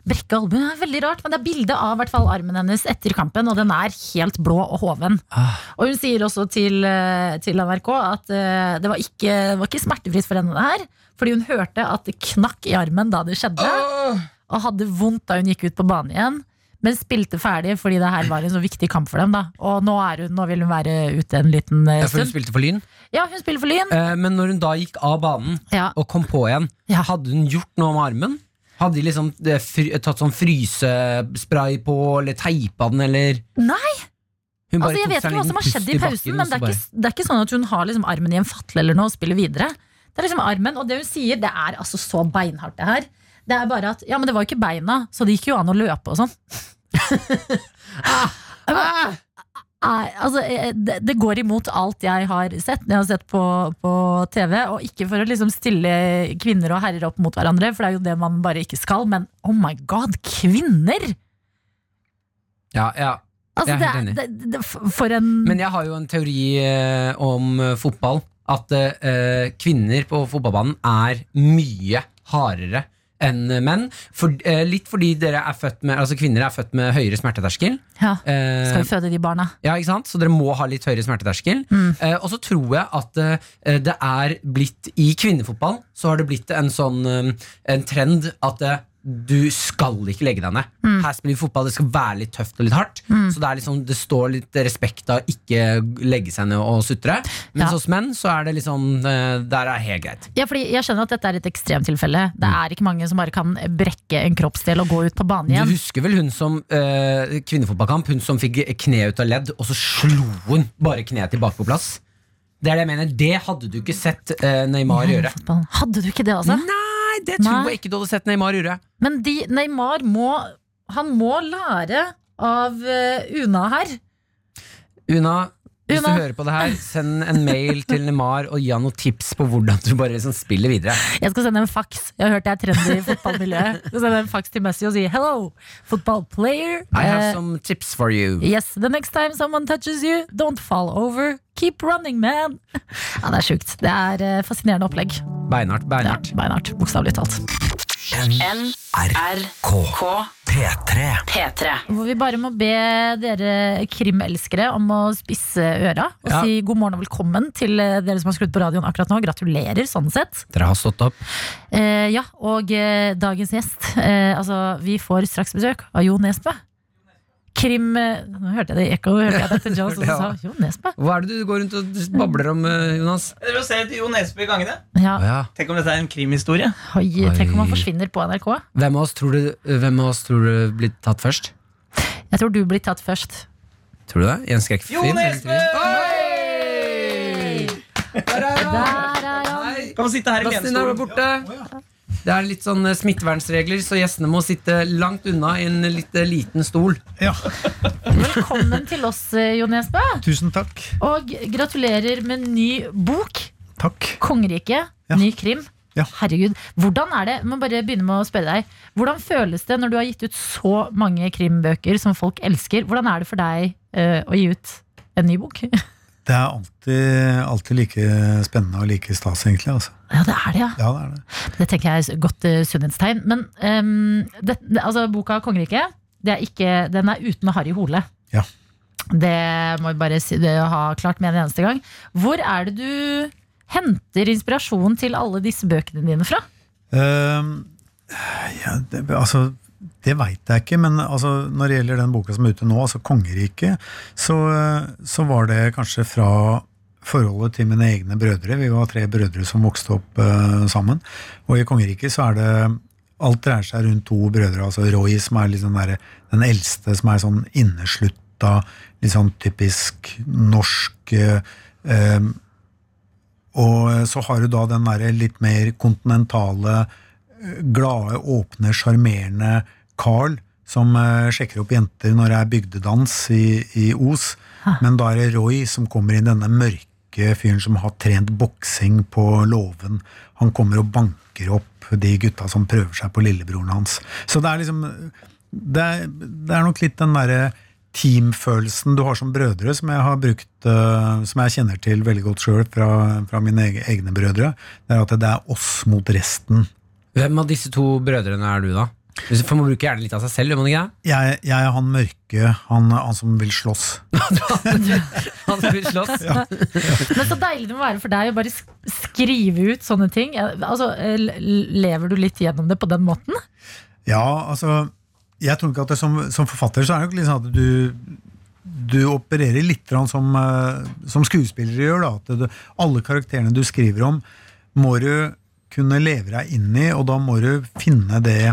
[SPEAKER 2] Brekke albuen er veldig rart, men det er bilde av i hvert fall, armen hennes etter kampen, og den er helt blå og hoven.
[SPEAKER 3] Ah.
[SPEAKER 2] Og hun sier også til, eh, til NRK at eh, det var ikke, det var ikke smertefritt for henne, det her. Fordi hun hørte at det knakk i armen da det skjedde,
[SPEAKER 3] Ah.
[SPEAKER 2] og hadde vondt da hun gikk ut på banen igjen. Men spilte ferdig fordi det her var en så viktig kamp for dem. da Og nå, er hun, nå vil hun være ute en liten eh,
[SPEAKER 3] Ja, For
[SPEAKER 2] stund.
[SPEAKER 3] hun spilte for Lyn.
[SPEAKER 2] Ja, hun spiller for Lyn.
[SPEAKER 3] Eh, men når hun da gikk av banen
[SPEAKER 2] Ja.
[SPEAKER 3] og kom på igjen,
[SPEAKER 2] Ja.
[SPEAKER 3] hadde hun gjort noe med armen? Hadde de liksom eh, fry, tatt sånn frysespray på, eller teipa den, eller
[SPEAKER 2] Nei,
[SPEAKER 3] Hun
[SPEAKER 2] altså jeg
[SPEAKER 3] tok
[SPEAKER 2] vet
[SPEAKER 3] seg
[SPEAKER 2] ikke
[SPEAKER 3] en
[SPEAKER 2] hva
[SPEAKER 3] liten
[SPEAKER 2] som har
[SPEAKER 3] pust
[SPEAKER 2] skjedd i pausen,
[SPEAKER 3] bakken,
[SPEAKER 2] men det
[SPEAKER 3] og så
[SPEAKER 2] er, ikke, det er ikke sånn at hun har liksom armen i en fatle eller noe og spiller videre. Det er liksom armen, og det hun sier, det er altså så beinhardt, det her. Det er bare at Ja, men det var jo ikke beina, så det gikk jo an å løpe og
[SPEAKER 3] <laughs>
[SPEAKER 2] sånn.
[SPEAKER 3] Ah,
[SPEAKER 2] Jeg bare- Nei, altså, eh, det, det går imot alt jeg har sett når jeg har sett på, på TV. Og ikke for å liksom stille kvinner og herrer opp mot hverandre, for det er jo det man bare ikke skal. Men oh my god, kvinner!
[SPEAKER 3] Ja, ja.
[SPEAKER 2] Altså,
[SPEAKER 3] Jeg er helt
[SPEAKER 2] det, er- det, det, for en
[SPEAKER 3] Men jeg har jo en teori eh, om eh, fotball. At eh, kvinner på fotballbanen er mye hardere enn menn. For, eh, litt fordi dere er født med, altså kvinner er født med høyere smerteterskel.
[SPEAKER 2] ja,
[SPEAKER 3] Eh,
[SPEAKER 2] Skal vi føde de barna?
[SPEAKER 3] Ja, ikke sant? Så dere må ha litt høyere smerteterskel. Eh, og så tror jeg at eh, det er blitt I kvinnefotball så har det blitt en sånn eh, En trend at eh, du skal ikke legge deg ned. Her spiller vi fotball, det skal være litt tøft og litt hardt. Så det, er liksom, det står litt respekt av ikke legge seg ned og sutre. Mens
[SPEAKER 2] Ja.
[SPEAKER 3] hos menn så er det liksom eh, Der er det helt greit.
[SPEAKER 2] Ja, fordi Jeg skjønner at dette er et ekstremtilfelle. Det
[SPEAKER 3] Mm.
[SPEAKER 2] er ikke mange som bare kan brekke en kroppsdel og gå ut på banen
[SPEAKER 3] Du
[SPEAKER 2] igjen.
[SPEAKER 3] husker vel hun som eh, kvinnefotballkamp, hun som fikk kneet ut av ledd, og så slo hun bare kneet tilbake på plass? Det er det jeg mener. Det hadde du ikke sett eh, Neymar gjøre.
[SPEAKER 2] Fotballen. Hadde du ikke det,
[SPEAKER 3] Mm.
[SPEAKER 2] altså?
[SPEAKER 3] Nei, det
[SPEAKER 2] Nei.
[SPEAKER 3] tror jeg ikke du hadde sett Neymar gjøre.
[SPEAKER 2] Men de, Neymar må Han må lære av eh, Una her.
[SPEAKER 3] Una, Hvis du
[SPEAKER 2] Una.
[SPEAKER 3] hører på det her, send en mail til Nemar og gi han noen tips på hvordan du bare liksom spiller videre.
[SPEAKER 2] Jeg skal sende en fax. Jeg har hørt det er trendy i fotballmiljøet. Jeg skal sende en fax til Messi og si 'hello, football player'.
[SPEAKER 3] I have
[SPEAKER 2] Eh,
[SPEAKER 3] some tips for you.
[SPEAKER 2] Yes, the next time someone touches you, don't fall over. Keep running, man. Ja, det er sjukt. Det er eh, fascinerende opplegg.
[SPEAKER 3] Beinhardt,
[SPEAKER 2] Ja,
[SPEAKER 3] beinhardt.
[SPEAKER 2] Beinhardt, bokstavelig talt.
[SPEAKER 5] NRK
[SPEAKER 1] P3.
[SPEAKER 5] P3.
[SPEAKER 2] Hvor vi bare må be dere krimelskere om å spisse øra og
[SPEAKER 3] Ja.
[SPEAKER 2] si god morgen og velkommen til eh, dere som har skrudd på radioen akkurat nå. Gratulerer, sånn sett.
[SPEAKER 3] Dere har stått opp.
[SPEAKER 2] Eh, ja, og eh, dagens gjest eh, Altså, vi får straks besøk av Jo Nesbø. Krim eh, Nå hørte jeg det i ekko. Hørte jeg Dr.
[SPEAKER 3] <laughs>
[SPEAKER 2] Jones også sa Jo Nesbø?
[SPEAKER 3] Hva er det du går rundt og babler om, eh, Jonas?
[SPEAKER 4] Dere må se til Jo Nesbø i gangene.
[SPEAKER 2] Ja,
[SPEAKER 3] Å ja.
[SPEAKER 4] Tenk om dette er en krimhistorie.
[SPEAKER 2] oi, Tenk om han
[SPEAKER 3] Oi.
[SPEAKER 2] forsvinner på NRK.
[SPEAKER 3] Hvem av oss tror du, hvem av oss tror du blir tatt først?
[SPEAKER 2] Jeg tror du blir tatt først.
[SPEAKER 3] Tror du det? I en skrekkfilm?
[SPEAKER 4] Jo Nesbø!
[SPEAKER 2] Der er han!
[SPEAKER 3] Hei!
[SPEAKER 4] Kan man sitte her i
[SPEAKER 3] Bastian er
[SPEAKER 4] lenstolen?
[SPEAKER 3] borte. Det er litt sånn eh, smittevernregler, så gjestene må sitte langt unna i en litt eh, liten stol.
[SPEAKER 2] Velkommen til oss, eh, Jo Nesbø.
[SPEAKER 9] Tusen takk.
[SPEAKER 2] Og gratulerer med ny bok.
[SPEAKER 9] Takk.
[SPEAKER 2] Kongerike,
[SPEAKER 9] Ja.
[SPEAKER 2] ny krim.
[SPEAKER 9] Ja.
[SPEAKER 2] Herregud, hvordan er det jeg må bare begynne med å spørre deg Hvordan føles det når du har gitt ut så mange krimbøker som folk elsker? Hvordan er det for deg eh, å gi ut en ny bok? <laughs> Ja,
[SPEAKER 9] Det er alltid, alltid like spennende og like stas, egentlig. Altså.
[SPEAKER 2] det er det, ja.
[SPEAKER 9] Ja, det er det.
[SPEAKER 2] Det tenker jeg er et godt eh, sunnhetstegn. Men ehm, det, det, altså, boka 'Kongerike' det er ikke, den er uten Harry Hole.
[SPEAKER 9] Ja.
[SPEAKER 2] Det må vi bare si, det ha klart med en eneste gang. Hvor er det du henter inspirasjon til alle disse bøkene dine fra?
[SPEAKER 9] Ehm, ja, det altså, det veit jeg ikke, men altså, når det gjelder den boka som er ute nå, altså 'Kongeriket', så, så var det kanskje fra forholdet til mine egne brødre. Vi var tre brødre som vokste opp eh, sammen. Og i kongeriket så er det Alt dreier seg rundt to brødre. altså Roy, som er litt sånn derre- den eldste, som er sånn inneslutta, litt sånn typisk norsk eh, eh, Og så har du da den derre litt mer kontinentale, eh, glade, åpne, sjarmerende Carl, som eh, sjekker opp jenter når det er bygdedans i, i Os. Men da er det Roy som kommer inn, denne mørke fyren som har trent boksing på låven. Han kommer og banker opp de gutta som prøver seg på lillebroren hans. Så det er liksom Det er, det er nok litt den derre teamfølelsen du har som brødre, som jeg har brukt, eh, som jeg kjenner til veldig godt sjøl fra, fra mine eg- egne brødre, det er at det er oss mot resten.
[SPEAKER 3] Hvem av disse to brødrene er du, da? Hvis- For man bruker gjerne litt av seg selv, gjør man ikke det?
[SPEAKER 9] Jeg, jeg er han mørke, han, han som vil slåss.
[SPEAKER 3] <laughs> Han som vil slåss.
[SPEAKER 2] Men så deilig det må være for deg å bare sk- skrive ut sånne ting. Eh, Altså, eh, l- lever du litt gjennom det på den måten?
[SPEAKER 9] Ja, altså Jeg tror ikke at det som, som forfatter så er det nok litt sånn at du du opererer litt grann som, eh, som skuespillere gjør. Da, at du, alle karakterene du skriver om, må du kunne leve deg inn i, og da må du finne det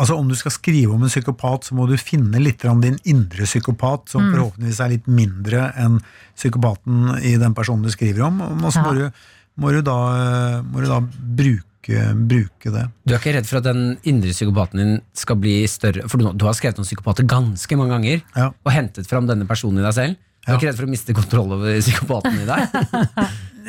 [SPEAKER 9] Altså Om du skal skrive om en psykopat, så må du finne litt grann din indre psykopat, som forhåpentligvis er litt mindre enn psykopaten i den personen du skriver om. Og så må,
[SPEAKER 2] Ja.
[SPEAKER 9] du, må du da, eh, må du da bruke, bruke det.
[SPEAKER 3] Du er ikke redd for at den indre psykopaten din skal bli større? For du, du har skrevet om psykopater ganske mange ganger,
[SPEAKER 9] Ja.
[SPEAKER 3] og hentet fram denne personen i deg selv. Du
[SPEAKER 9] Ja.
[SPEAKER 3] er ikke redd for å miste kontroll over psykopaten i deg?
[SPEAKER 9] <laughs>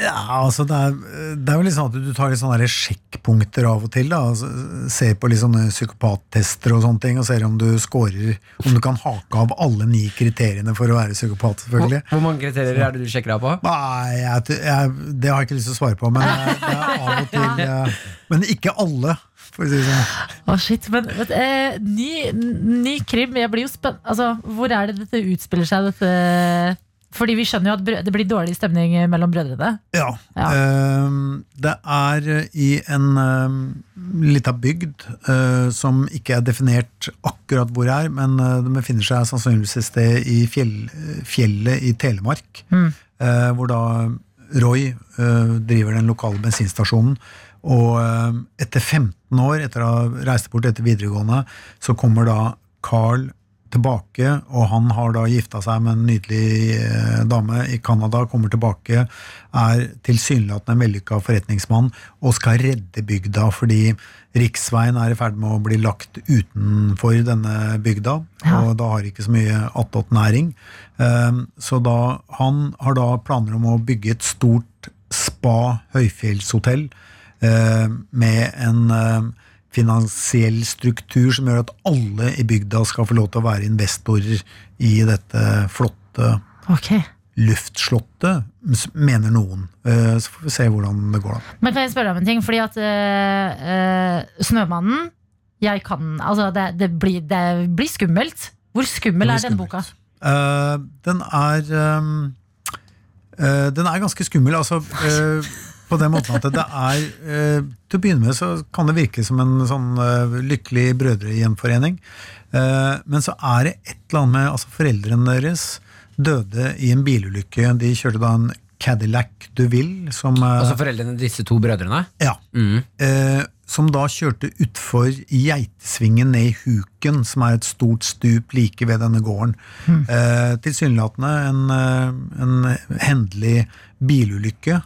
[SPEAKER 9] Ja, altså det er, det er jo litt sånn at du tar litt sånne der sjekkpunkter av og til. da, altså, Ser på litt sånne psykopattester og sånne ting, og ser om du scorer Om du kan hake av alle ni kriteriene for å være psykopat,
[SPEAKER 3] Hvor,
[SPEAKER 9] selvfølgelig.
[SPEAKER 3] hvor mange kriterier er det du sjekker av på?
[SPEAKER 9] Nei, jeg, t- jeg, det har jeg ikke lyst til å svare på, men jeg, det er av og til eh, Men ikke alle, for å si det sånn.
[SPEAKER 2] Å shit, men vet, eh, ny, n- ny krim, jeg blir jo spenn... Altså, hvor er det dette utspiller seg? Dette? Fordi vi skjønner jo at brø- det blir dårlig stemning eh, mellom brødrene.
[SPEAKER 9] Ja.
[SPEAKER 2] Ja.
[SPEAKER 9] ehm, det er i en um, lita bygd eh, som ikke er definert akkurat hvor det er, men eh, det befinner seg sannsynligvis et sted i fjell, fjellet i Telemark. eh, hvor da Roy eh, driver den lokale bensinstasjonen. Og eh, etter 15 år, etter å ha reist bort etter videregående, så kommer da Carl tilbake, og han har da gifta seg med en nydelig eh, dame i Canada, kommer tilbake, er tilsynelatende en vellykka forretningsmann og skal redde bygda fordi riksveien er i ferd med å bli lagt utenfor denne bygda, og da har ikke så mye attåt næring. Eh, Så da, han har da planer om å bygge et stort spa høyfjellshotell eh, med en eh, finansiell struktur som gjør at alle i bygda skal få lov til å være investorer i dette flotte
[SPEAKER 2] Ok.
[SPEAKER 9] luftslottet, s- mener noen. Eh, Så får vi se hvordan det går, da.
[SPEAKER 2] Men kan jeg spørre deg om en ting? Fordi at eh, eh, Snømannen jeg kan, altså det, det, blir, det blir skummelt. Hvor
[SPEAKER 9] Det
[SPEAKER 2] skummel
[SPEAKER 9] blir
[SPEAKER 2] er denne boka?
[SPEAKER 9] Eh, den er ehm, eh, Den er ganske skummel, altså. eh, på den måten at det er eh, Til å begynne med så kan det virke som en sånn eh, lykkelig brødregjenforening. Eh, men så er det et eller annet med altså Foreldrene deres døde i en bilulykke. De kjørte da en Cadillac Duville som eh,
[SPEAKER 3] Altså foreldrene disse to brødrene?
[SPEAKER 9] ja.
[SPEAKER 3] Mm.
[SPEAKER 9] Eh, som da kjørte utfor Geitesvingen ned i Huken, som er et stort stup like ved denne gården. Eh, Tilsynelatende en, eh, en hendelig bilulykke.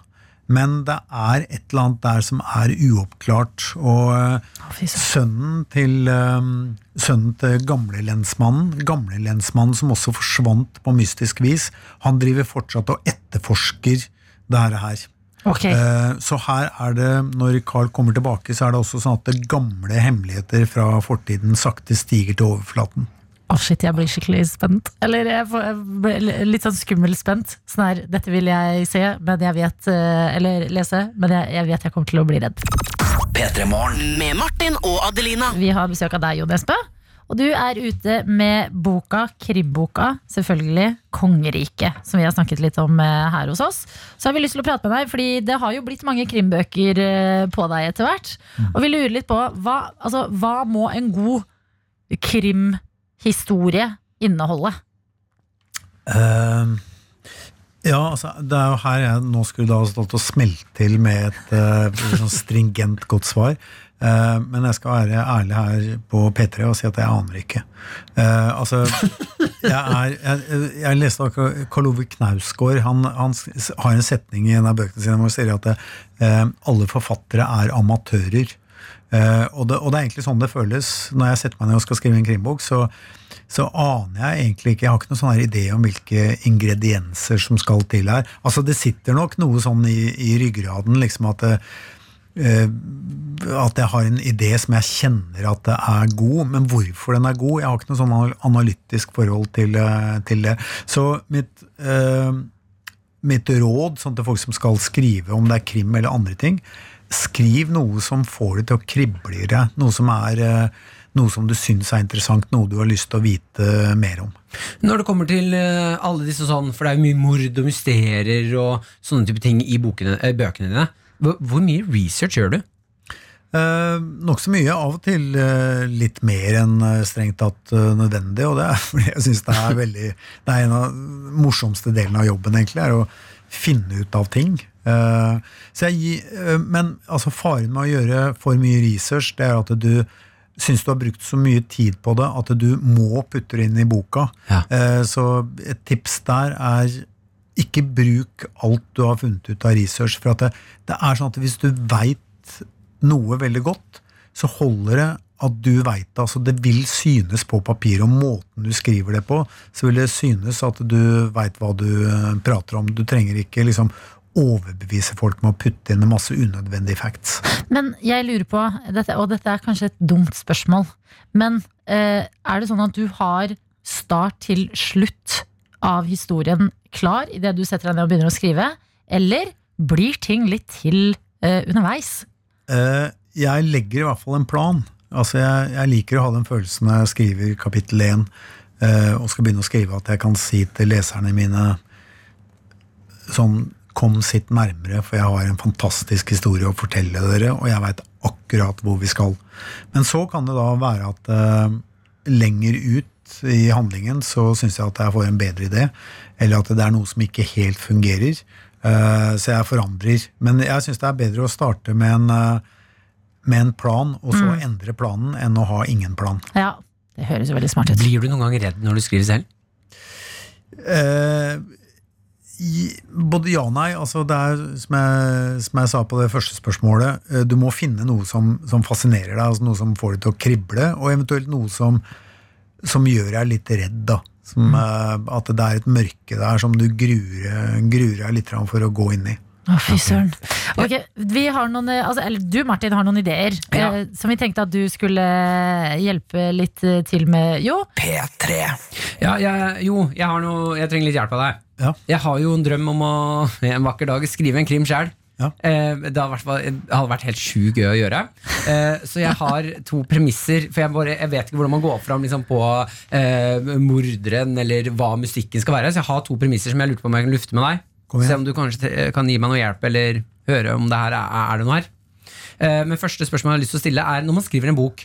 [SPEAKER 9] Men det er et eller annet der som er uoppklart. Og eh,
[SPEAKER 2] fy søren.
[SPEAKER 9] sønnen til, um, sønnen til gamlelensmannen, gamlelensmannen som også forsvant på mystisk vis, han driver fortsatt og etterforsker det her. her.
[SPEAKER 2] Ok.
[SPEAKER 9] Eh, Så her er det, når Carl kommer tilbake, så er det også sånn at det gamle hemmeligheter fra fortiden sakte stiger til overflaten.
[SPEAKER 2] Å shit, jeg blir skikkelig spent. Eller jeg får, jeg blir litt sånn skummel spent. Sånn her, dette vil jeg se, men jeg vet, eh, eller lese, men jeg, jeg vet jeg kommer til å bli redd.
[SPEAKER 5] Med Martin og Adelina.
[SPEAKER 2] Vi har besøk av deg, Jon Espe. Og du er ute med boka, krimboka, selvfølgelig, Kongeriket, som vi har snakket litt om eh, her hos oss. Så har vi lyst til å prate med deg, fordi det har jo blitt mange krimbøker eh, på deg etter hvert. Og vi lurer litt på, hva, altså, hva må en god krimhistorie inneholde?
[SPEAKER 9] Eh, ja, altså, det er jo her jeg nå skulle da stått og smelt til med et eh, sånn stringent godt svar. Eh, men jeg skal være ærlig her på P3 og si at jeg aner ikke. Eh, altså, jeg, er, jeg, jeg leste akkurat Karl Ove Knausgård. Han, han s- har en setning i en av bøkene sine hvor han sier at eh, alle forfattere er amatører. Eh, og, det, og det er egentlig sånn det føles når jeg setter meg ned og skal skrive en krimbok. Så, så aner jeg egentlig ikke Jeg har ikke noen sånn her idé om hvilke ingredienser som skal til her. Altså Det sitter nok noe sånn i, i ryggraden liksom at det, eh, at jeg har en idé som jeg kjenner at det er god, men hvorfor den er god Jeg har ikke noe sånn anal- analytisk forhold til, eh, til det. Så mitt eh, mitt råd sånn til folk som skal skrive, om det er krim eller andre ting, skriv noe som får det til å krible i deg. Noe som, er, eh, noe som du syns er interessant, noe du har lyst til å vite eh, mer om.
[SPEAKER 3] Når det kommer til eh, alle disse sånn, for det er jo mye mord og mysterier og sånne type ting i bokene, eh, bøkene dine, hvor, hvor mye research gjør du?
[SPEAKER 9] Eh, Nokså mye. Av og til eh, litt mer enn eh, strengt tatt eh, nødvendig. Og det er <laughs> fordi jeg syns det er veldig Det er en av de morsomste delene av jobben, egentlig, er å finne ut av ting. Eh, Så jeg, gi- eh, men altså, faren med å gjøre for mye research, det er at du syns du har brukt så mye tid på det at du må putte det inn i boka.
[SPEAKER 3] Ja.
[SPEAKER 9] Eh, Så et tips der er ikke bruk alt du har funnet ut av research. For at det, det er sånn at hvis du veit noe veldig godt, så holder det at du veit det. Altså, det vil synes på papiret, og måten du skriver det på, så vil det synes at du veit hva du eh, prater om. Du trenger ikke liksom overbevise folk med å putte inn en masse unødvendige facts.
[SPEAKER 2] Men jeg lurer på, dette, og dette er kanskje et dumt spørsmål, men eh, er det sånn at du har start til slutt av historien klar idet du setter deg ned og begynner å skrive, eller blir ting litt til eh, underveis?
[SPEAKER 9] Eh, jeg legger i hvert fall en plan. Altså, jeg, jeg liker å ha den følelsen når jeg skriver kapittel 1 eh, og skal begynne å skrive, at jeg kan si til leserne mine sånn Kom sitt nærmere, for jeg har en fantastisk historie å fortelle dere, og jeg veit akkurat hvor vi skal. Men så kan det da være at eh, lenger ut i handlingen så syns jeg at jeg får en bedre idé, eller at det er noe som ikke helt fungerer. eh, så jeg forandrer. Men jeg syns det er bedre å starte med en eh, med en plan, og så endre planen, enn å ha ingen plan.
[SPEAKER 2] Ja, Det høres jo veldig smart ut.
[SPEAKER 3] Blir du noen gang redd når du skriver selv?
[SPEAKER 9] Eh, i- både ja og nei. Altså det er, som jeg, som jeg sa på det første spørsmålet, eh, du må finne noe som, som fascinerer deg, altså noe som får deg til å krible, og eventuelt noe som, som gjør deg litt redd. da. Som, eh, At det er et mørke der som du gruer, gruer deg litt grann for å gå inn i.
[SPEAKER 2] Å, fy søren. Ok, vi har noen, eh, altså, eller du Martin har noen ideer
[SPEAKER 3] Ja.
[SPEAKER 2] eh, som vi tenkte at du skulle hjelpe litt eh, til med. Jo,
[SPEAKER 3] Ja, jeg, jo, jeg, har noe, jeg trenger litt hjelp av deg.
[SPEAKER 9] Ja.
[SPEAKER 3] Jeg har jo en drøm om å <laughs> en vakker dag skrive en krim sjøl.
[SPEAKER 9] Ja.
[SPEAKER 3] Eh, det hadde vært, det hadde vært helt sjukt gøy å gjøre. Eh, så jeg har to premisser. For jeg, bare, jeg vet ikke hvordan man går fram liksom, på eh, morderen eller hva musikken skal være. Så jeg har to premisser som jeg lurte på om jeg kan lufte med deg.
[SPEAKER 9] Kom igjen.
[SPEAKER 3] Se om du kanskje te- kan gi meg noe hjelp eller høre om det her er, er det noe her. Eh, Men første spørsmål jeg har lyst til å stille er Når man skriver en bok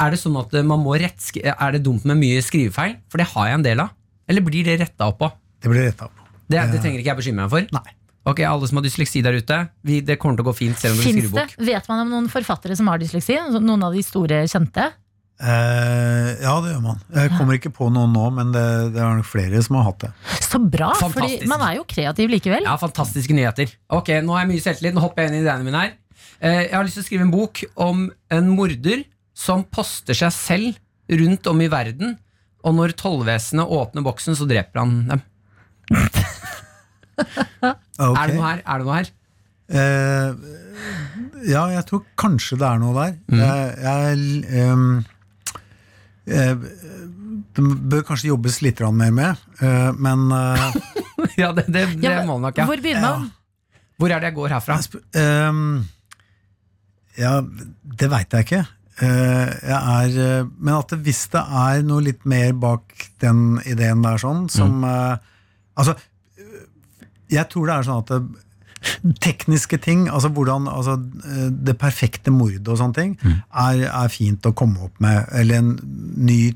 [SPEAKER 3] Er det sånn at eh, man må rettsk Er det dumt med mye skrivefeil? For det har jeg en del av Eller blir det rettet opp på?
[SPEAKER 9] Det blir retta opp. Eh,
[SPEAKER 3] Det, det trenger ikke jeg bekymre meg for
[SPEAKER 9] Nei.
[SPEAKER 3] Ok, alle som har dysleksi der ute vi, Det kommer til å gå fint selv om du
[SPEAKER 2] Fins
[SPEAKER 3] skriver
[SPEAKER 2] det?
[SPEAKER 3] bok
[SPEAKER 2] Vet man om noen forfattere som har dysleksi? Noen av de store kjente?
[SPEAKER 9] Eh, ja, det gjør man. Jeg kommer ikke på noen nå, men det, det er nok flere som har hatt det.
[SPEAKER 2] Så bra!
[SPEAKER 3] Fantastisk.
[SPEAKER 2] Fordi man er jo kreativ likevel.
[SPEAKER 3] Ja, fantastiske nyheter Ok, nå har jeg mye selvtillit Nå hopper jeg inn i ideene mine her Eh, Jeg har lyst til å skrive en bok om en morder Som poster seg selv rundt om i verden Og når tollvesenet åpner boksen Så dreper han dem
[SPEAKER 9] Ok.
[SPEAKER 3] Er det noe her? Er det noe her?
[SPEAKER 9] Eh, ja, jeg tror kanskje det er noe der.
[SPEAKER 3] Mm.
[SPEAKER 9] Jeg, jeg, ehm, eh, det bør kanskje jobbes litt grann mer med, eh, men eh,
[SPEAKER 3] <laughs> Ja, det, det, det
[SPEAKER 2] Ja, men
[SPEAKER 3] må det nok, ja.
[SPEAKER 2] Hvor begynner man?
[SPEAKER 3] Hvor er det jeg går herfra?
[SPEAKER 9] jeg sp- ehm, Ja, det veit jeg ikke. Eh, jeg er, eh, men at det, hvis det er noe litt mer bak den ideen der, sånn, som eh, Altså, jeg tror det er sånn at det, tekniske ting, altså hvordan altså, eh, det perfekte mordet og sånne ting, er, er fint å komme opp med. Eller en ny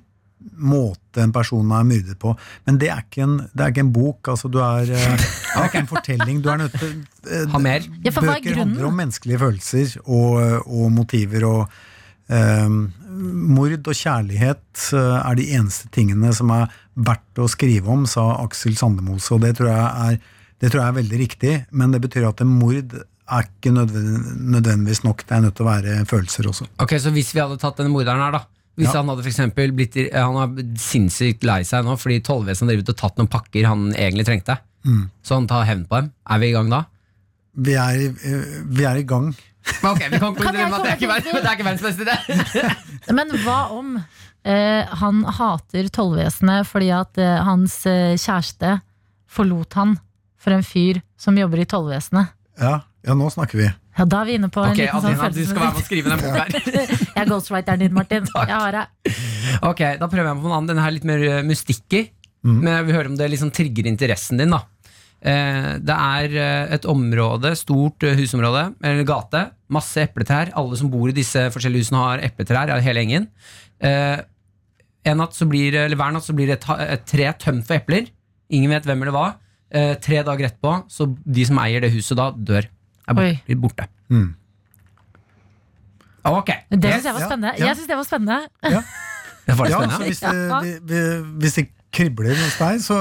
[SPEAKER 9] måte en person er myrdet på. Men det er ikke en, det er ikke en bok. altså Du er, eh, det er ikke en fortelling. Du er nødt til eh,
[SPEAKER 3] Ha mer.
[SPEAKER 2] Ja, for hva er
[SPEAKER 9] Bøker
[SPEAKER 2] grunnen?
[SPEAKER 9] handler om menneskelige følelser og, og motiver og eh, Mord og kjærlighet eh, er de eneste tingene som er verdt å skrive om, sa Aksel Sandemose, og det tror jeg er, det tror jeg er veldig riktig. Men det betyr at en mord er ikke nødven- nødvendigvis nok. Det er nødt til å være følelser også.
[SPEAKER 3] Ok, Så hvis vi hadde tatt denne morderen her, da. Hvis
[SPEAKER 9] Ja.
[SPEAKER 3] han hadde for eksempel blitt eh, Han er sinnssykt lei seg nå fordi tollvesenet har drevet og tatt noen pakker han egentlig trengte.
[SPEAKER 9] Mm.
[SPEAKER 3] Så han tar hevn på dem. Er vi i gang da?
[SPEAKER 9] Vi er, i- eh, vi er i gang.
[SPEAKER 3] Men ok, vi
[SPEAKER 2] Kan
[SPEAKER 3] kan
[SPEAKER 2] jeg
[SPEAKER 3] konkludere med at det er ikke
[SPEAKER 2] komme
[SPEAKER 3] verdens, <laughs> det er ikke verdens beste idé.
[SPEAKER 2] Men hva om eh, han hater tollvesenet fordi at eh, hans eh, kjæreste forlot han for en fyr som jobber i tollvesenet?
[SPEAKER 9] Ja, ja nå snakker vi.
[SPEAKER 2] Ja, da er vi inne på en
[SPEAKER 3] Ok,
[SPEAKER 2] liten sånn
[SPEAKER 3] Adelina, du skal være
[SPEAKER 2] følelse.
[SPEAKER 3] med å skrive denne boka her.
[SPEAKER 2] Jeg er ghostwriteren din, Martin. Jeg har deg.
[SPEAKER 3] <laughs> Ok, Da prøver jeg på en annen. Denne her er litt mer eh, mystikker. Men jeg vil høre om det liksom trigger interessen din. da eh, Det er eh, et område, stort eh, husområde, eller gate. Masse epletrær. Alle som bor i disse forskjellige husene, har epletrær. ja, Hele gjengen. Eh, en natt så blir, eller hver natt så blir et, ha- et tre tømt for epler. Ingen vet hvem eller hva. Eh, tre dager etterpå, så de som eier det huset da, dør. Er
[SPEAKER 2] Oi.
[SPEAKER 3] borte. Blir borte.
[SPEAKER 9] Mm.
[SPEAKER 3] Ok.
[SPEAKER 2] Det syns jeg var
[SPEAKER 9] ja,
[SPEAKER 2] spennende.
[SPEAKER 9] ja.
[SPEAKER 2] Jeg synes det var spennende.
[SPEAKER 3] Det var
[SPEAKER 9] Ja,
[SPEAKER 3] spennende.
[SPEAKER 9] så hvis det, vi, vi, hvis det kribler hos deg, så,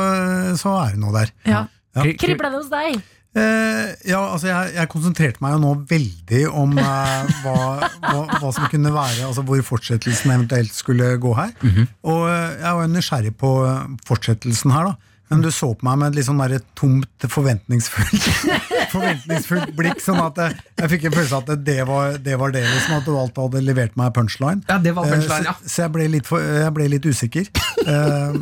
[SPEAKER 9] så er det noe der.
[SPEAKER 2] Ja.
[SPEAKER 9] Ja.
[SPEAKER 3] Kri- kri-
[SPEAKER 2] Kribla det hos deg?
[SPEAKER 9] Eh, ja, altså jeg, jeg konsentrerte meg jo nå veldig om eh, hva, hva, hva som kunne være, altså hvor fortsettelsen eventuelt skulle gå her. Og eh, jeg var jo nysgjerrig på eh, fortsettelsen her, da. Men du så på meg med et litt sånn der tomt, forventningsfullt Forventningsfullt blikk. Sånn at jeg, jeg fikk en følelse av at det var det, var det liksom, at du alt hadde levert meg punchline.
[SPEAKER 3] Ja, det var punchline,
[SPEAKER 9] Eh,
[SPEAKER 3] ja.
[SPEAKER 9] Så, så jeg ble litt, for, jeg ble litt usikker. Eh,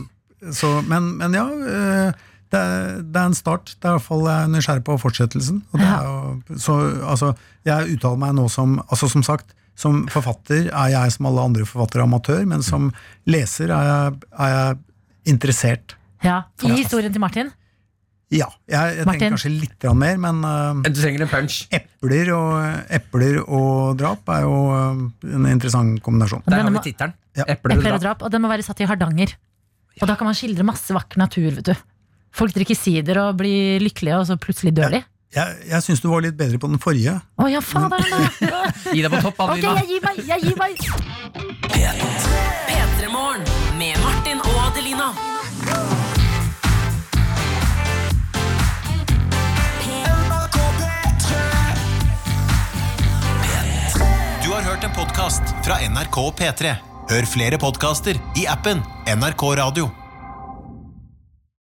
[SPEAKER 9] så, men, men ja, eh, det er, det er en start. Det er i hvert fall jeg er nysgjerrig på fortsettelsen. Og det er jo, så, altså, jeg uttaler meg nå som altså, Som sagt, som forfatter er jeg som alle andre forfattere amatør, men som leser er jeg, er jeg interessert.
[SPEAKER 2] Ja. I historien til Martin?
[SPEAKER 9] Ja. Jeg, jeg
[SPEAKER 2] Martin?
[SPEAKER 9] tenker kanskje litt grann mer, men eh,
[SPEAKER 3] Du trenger en punch.
[SPEAKER 9] epler, og, epler og drap er jo eh, en interessant kombinasjon.
[SPEAKER 3] Der har
[SPEAKER 2] Denne
[SPEAKER 3] vi
[SPEAKER 2] må-
[SPEAKER 3] tittelen.
[SPEAKER 9] Ja.
[SPEAKER 3] Epler og
[SPEAKER 2] Epler og
[SPEAKER 3] drap.
[SPEAKER 2] drap, og den må være satt i Hardanger. Og da kan man skildre masse vakker natur, vet du. Folk drikker sider og blir lykkelige, og så plutselig dør de.
[SPEAKER 9] Jeg, jeg syns du var litt bedre på den forrige.
[SPEAKER 2] Å ja, fader! da.
[SPEAKER 9] <laughs>
[SPEAKER 3] Gi deg på topp,
[SPEAKER 2] Ok,
[SPEAKER 3] Adelina.
[SPEAKER 2] jeg gir meg! Jeg gir meg.
[SPEAKER 5] P3morgen med Martin og Adelina.
[SPEAKER 9] Du har hørt en podcast fra NRK P3. Hør flere podcaster i appen NRK Radio.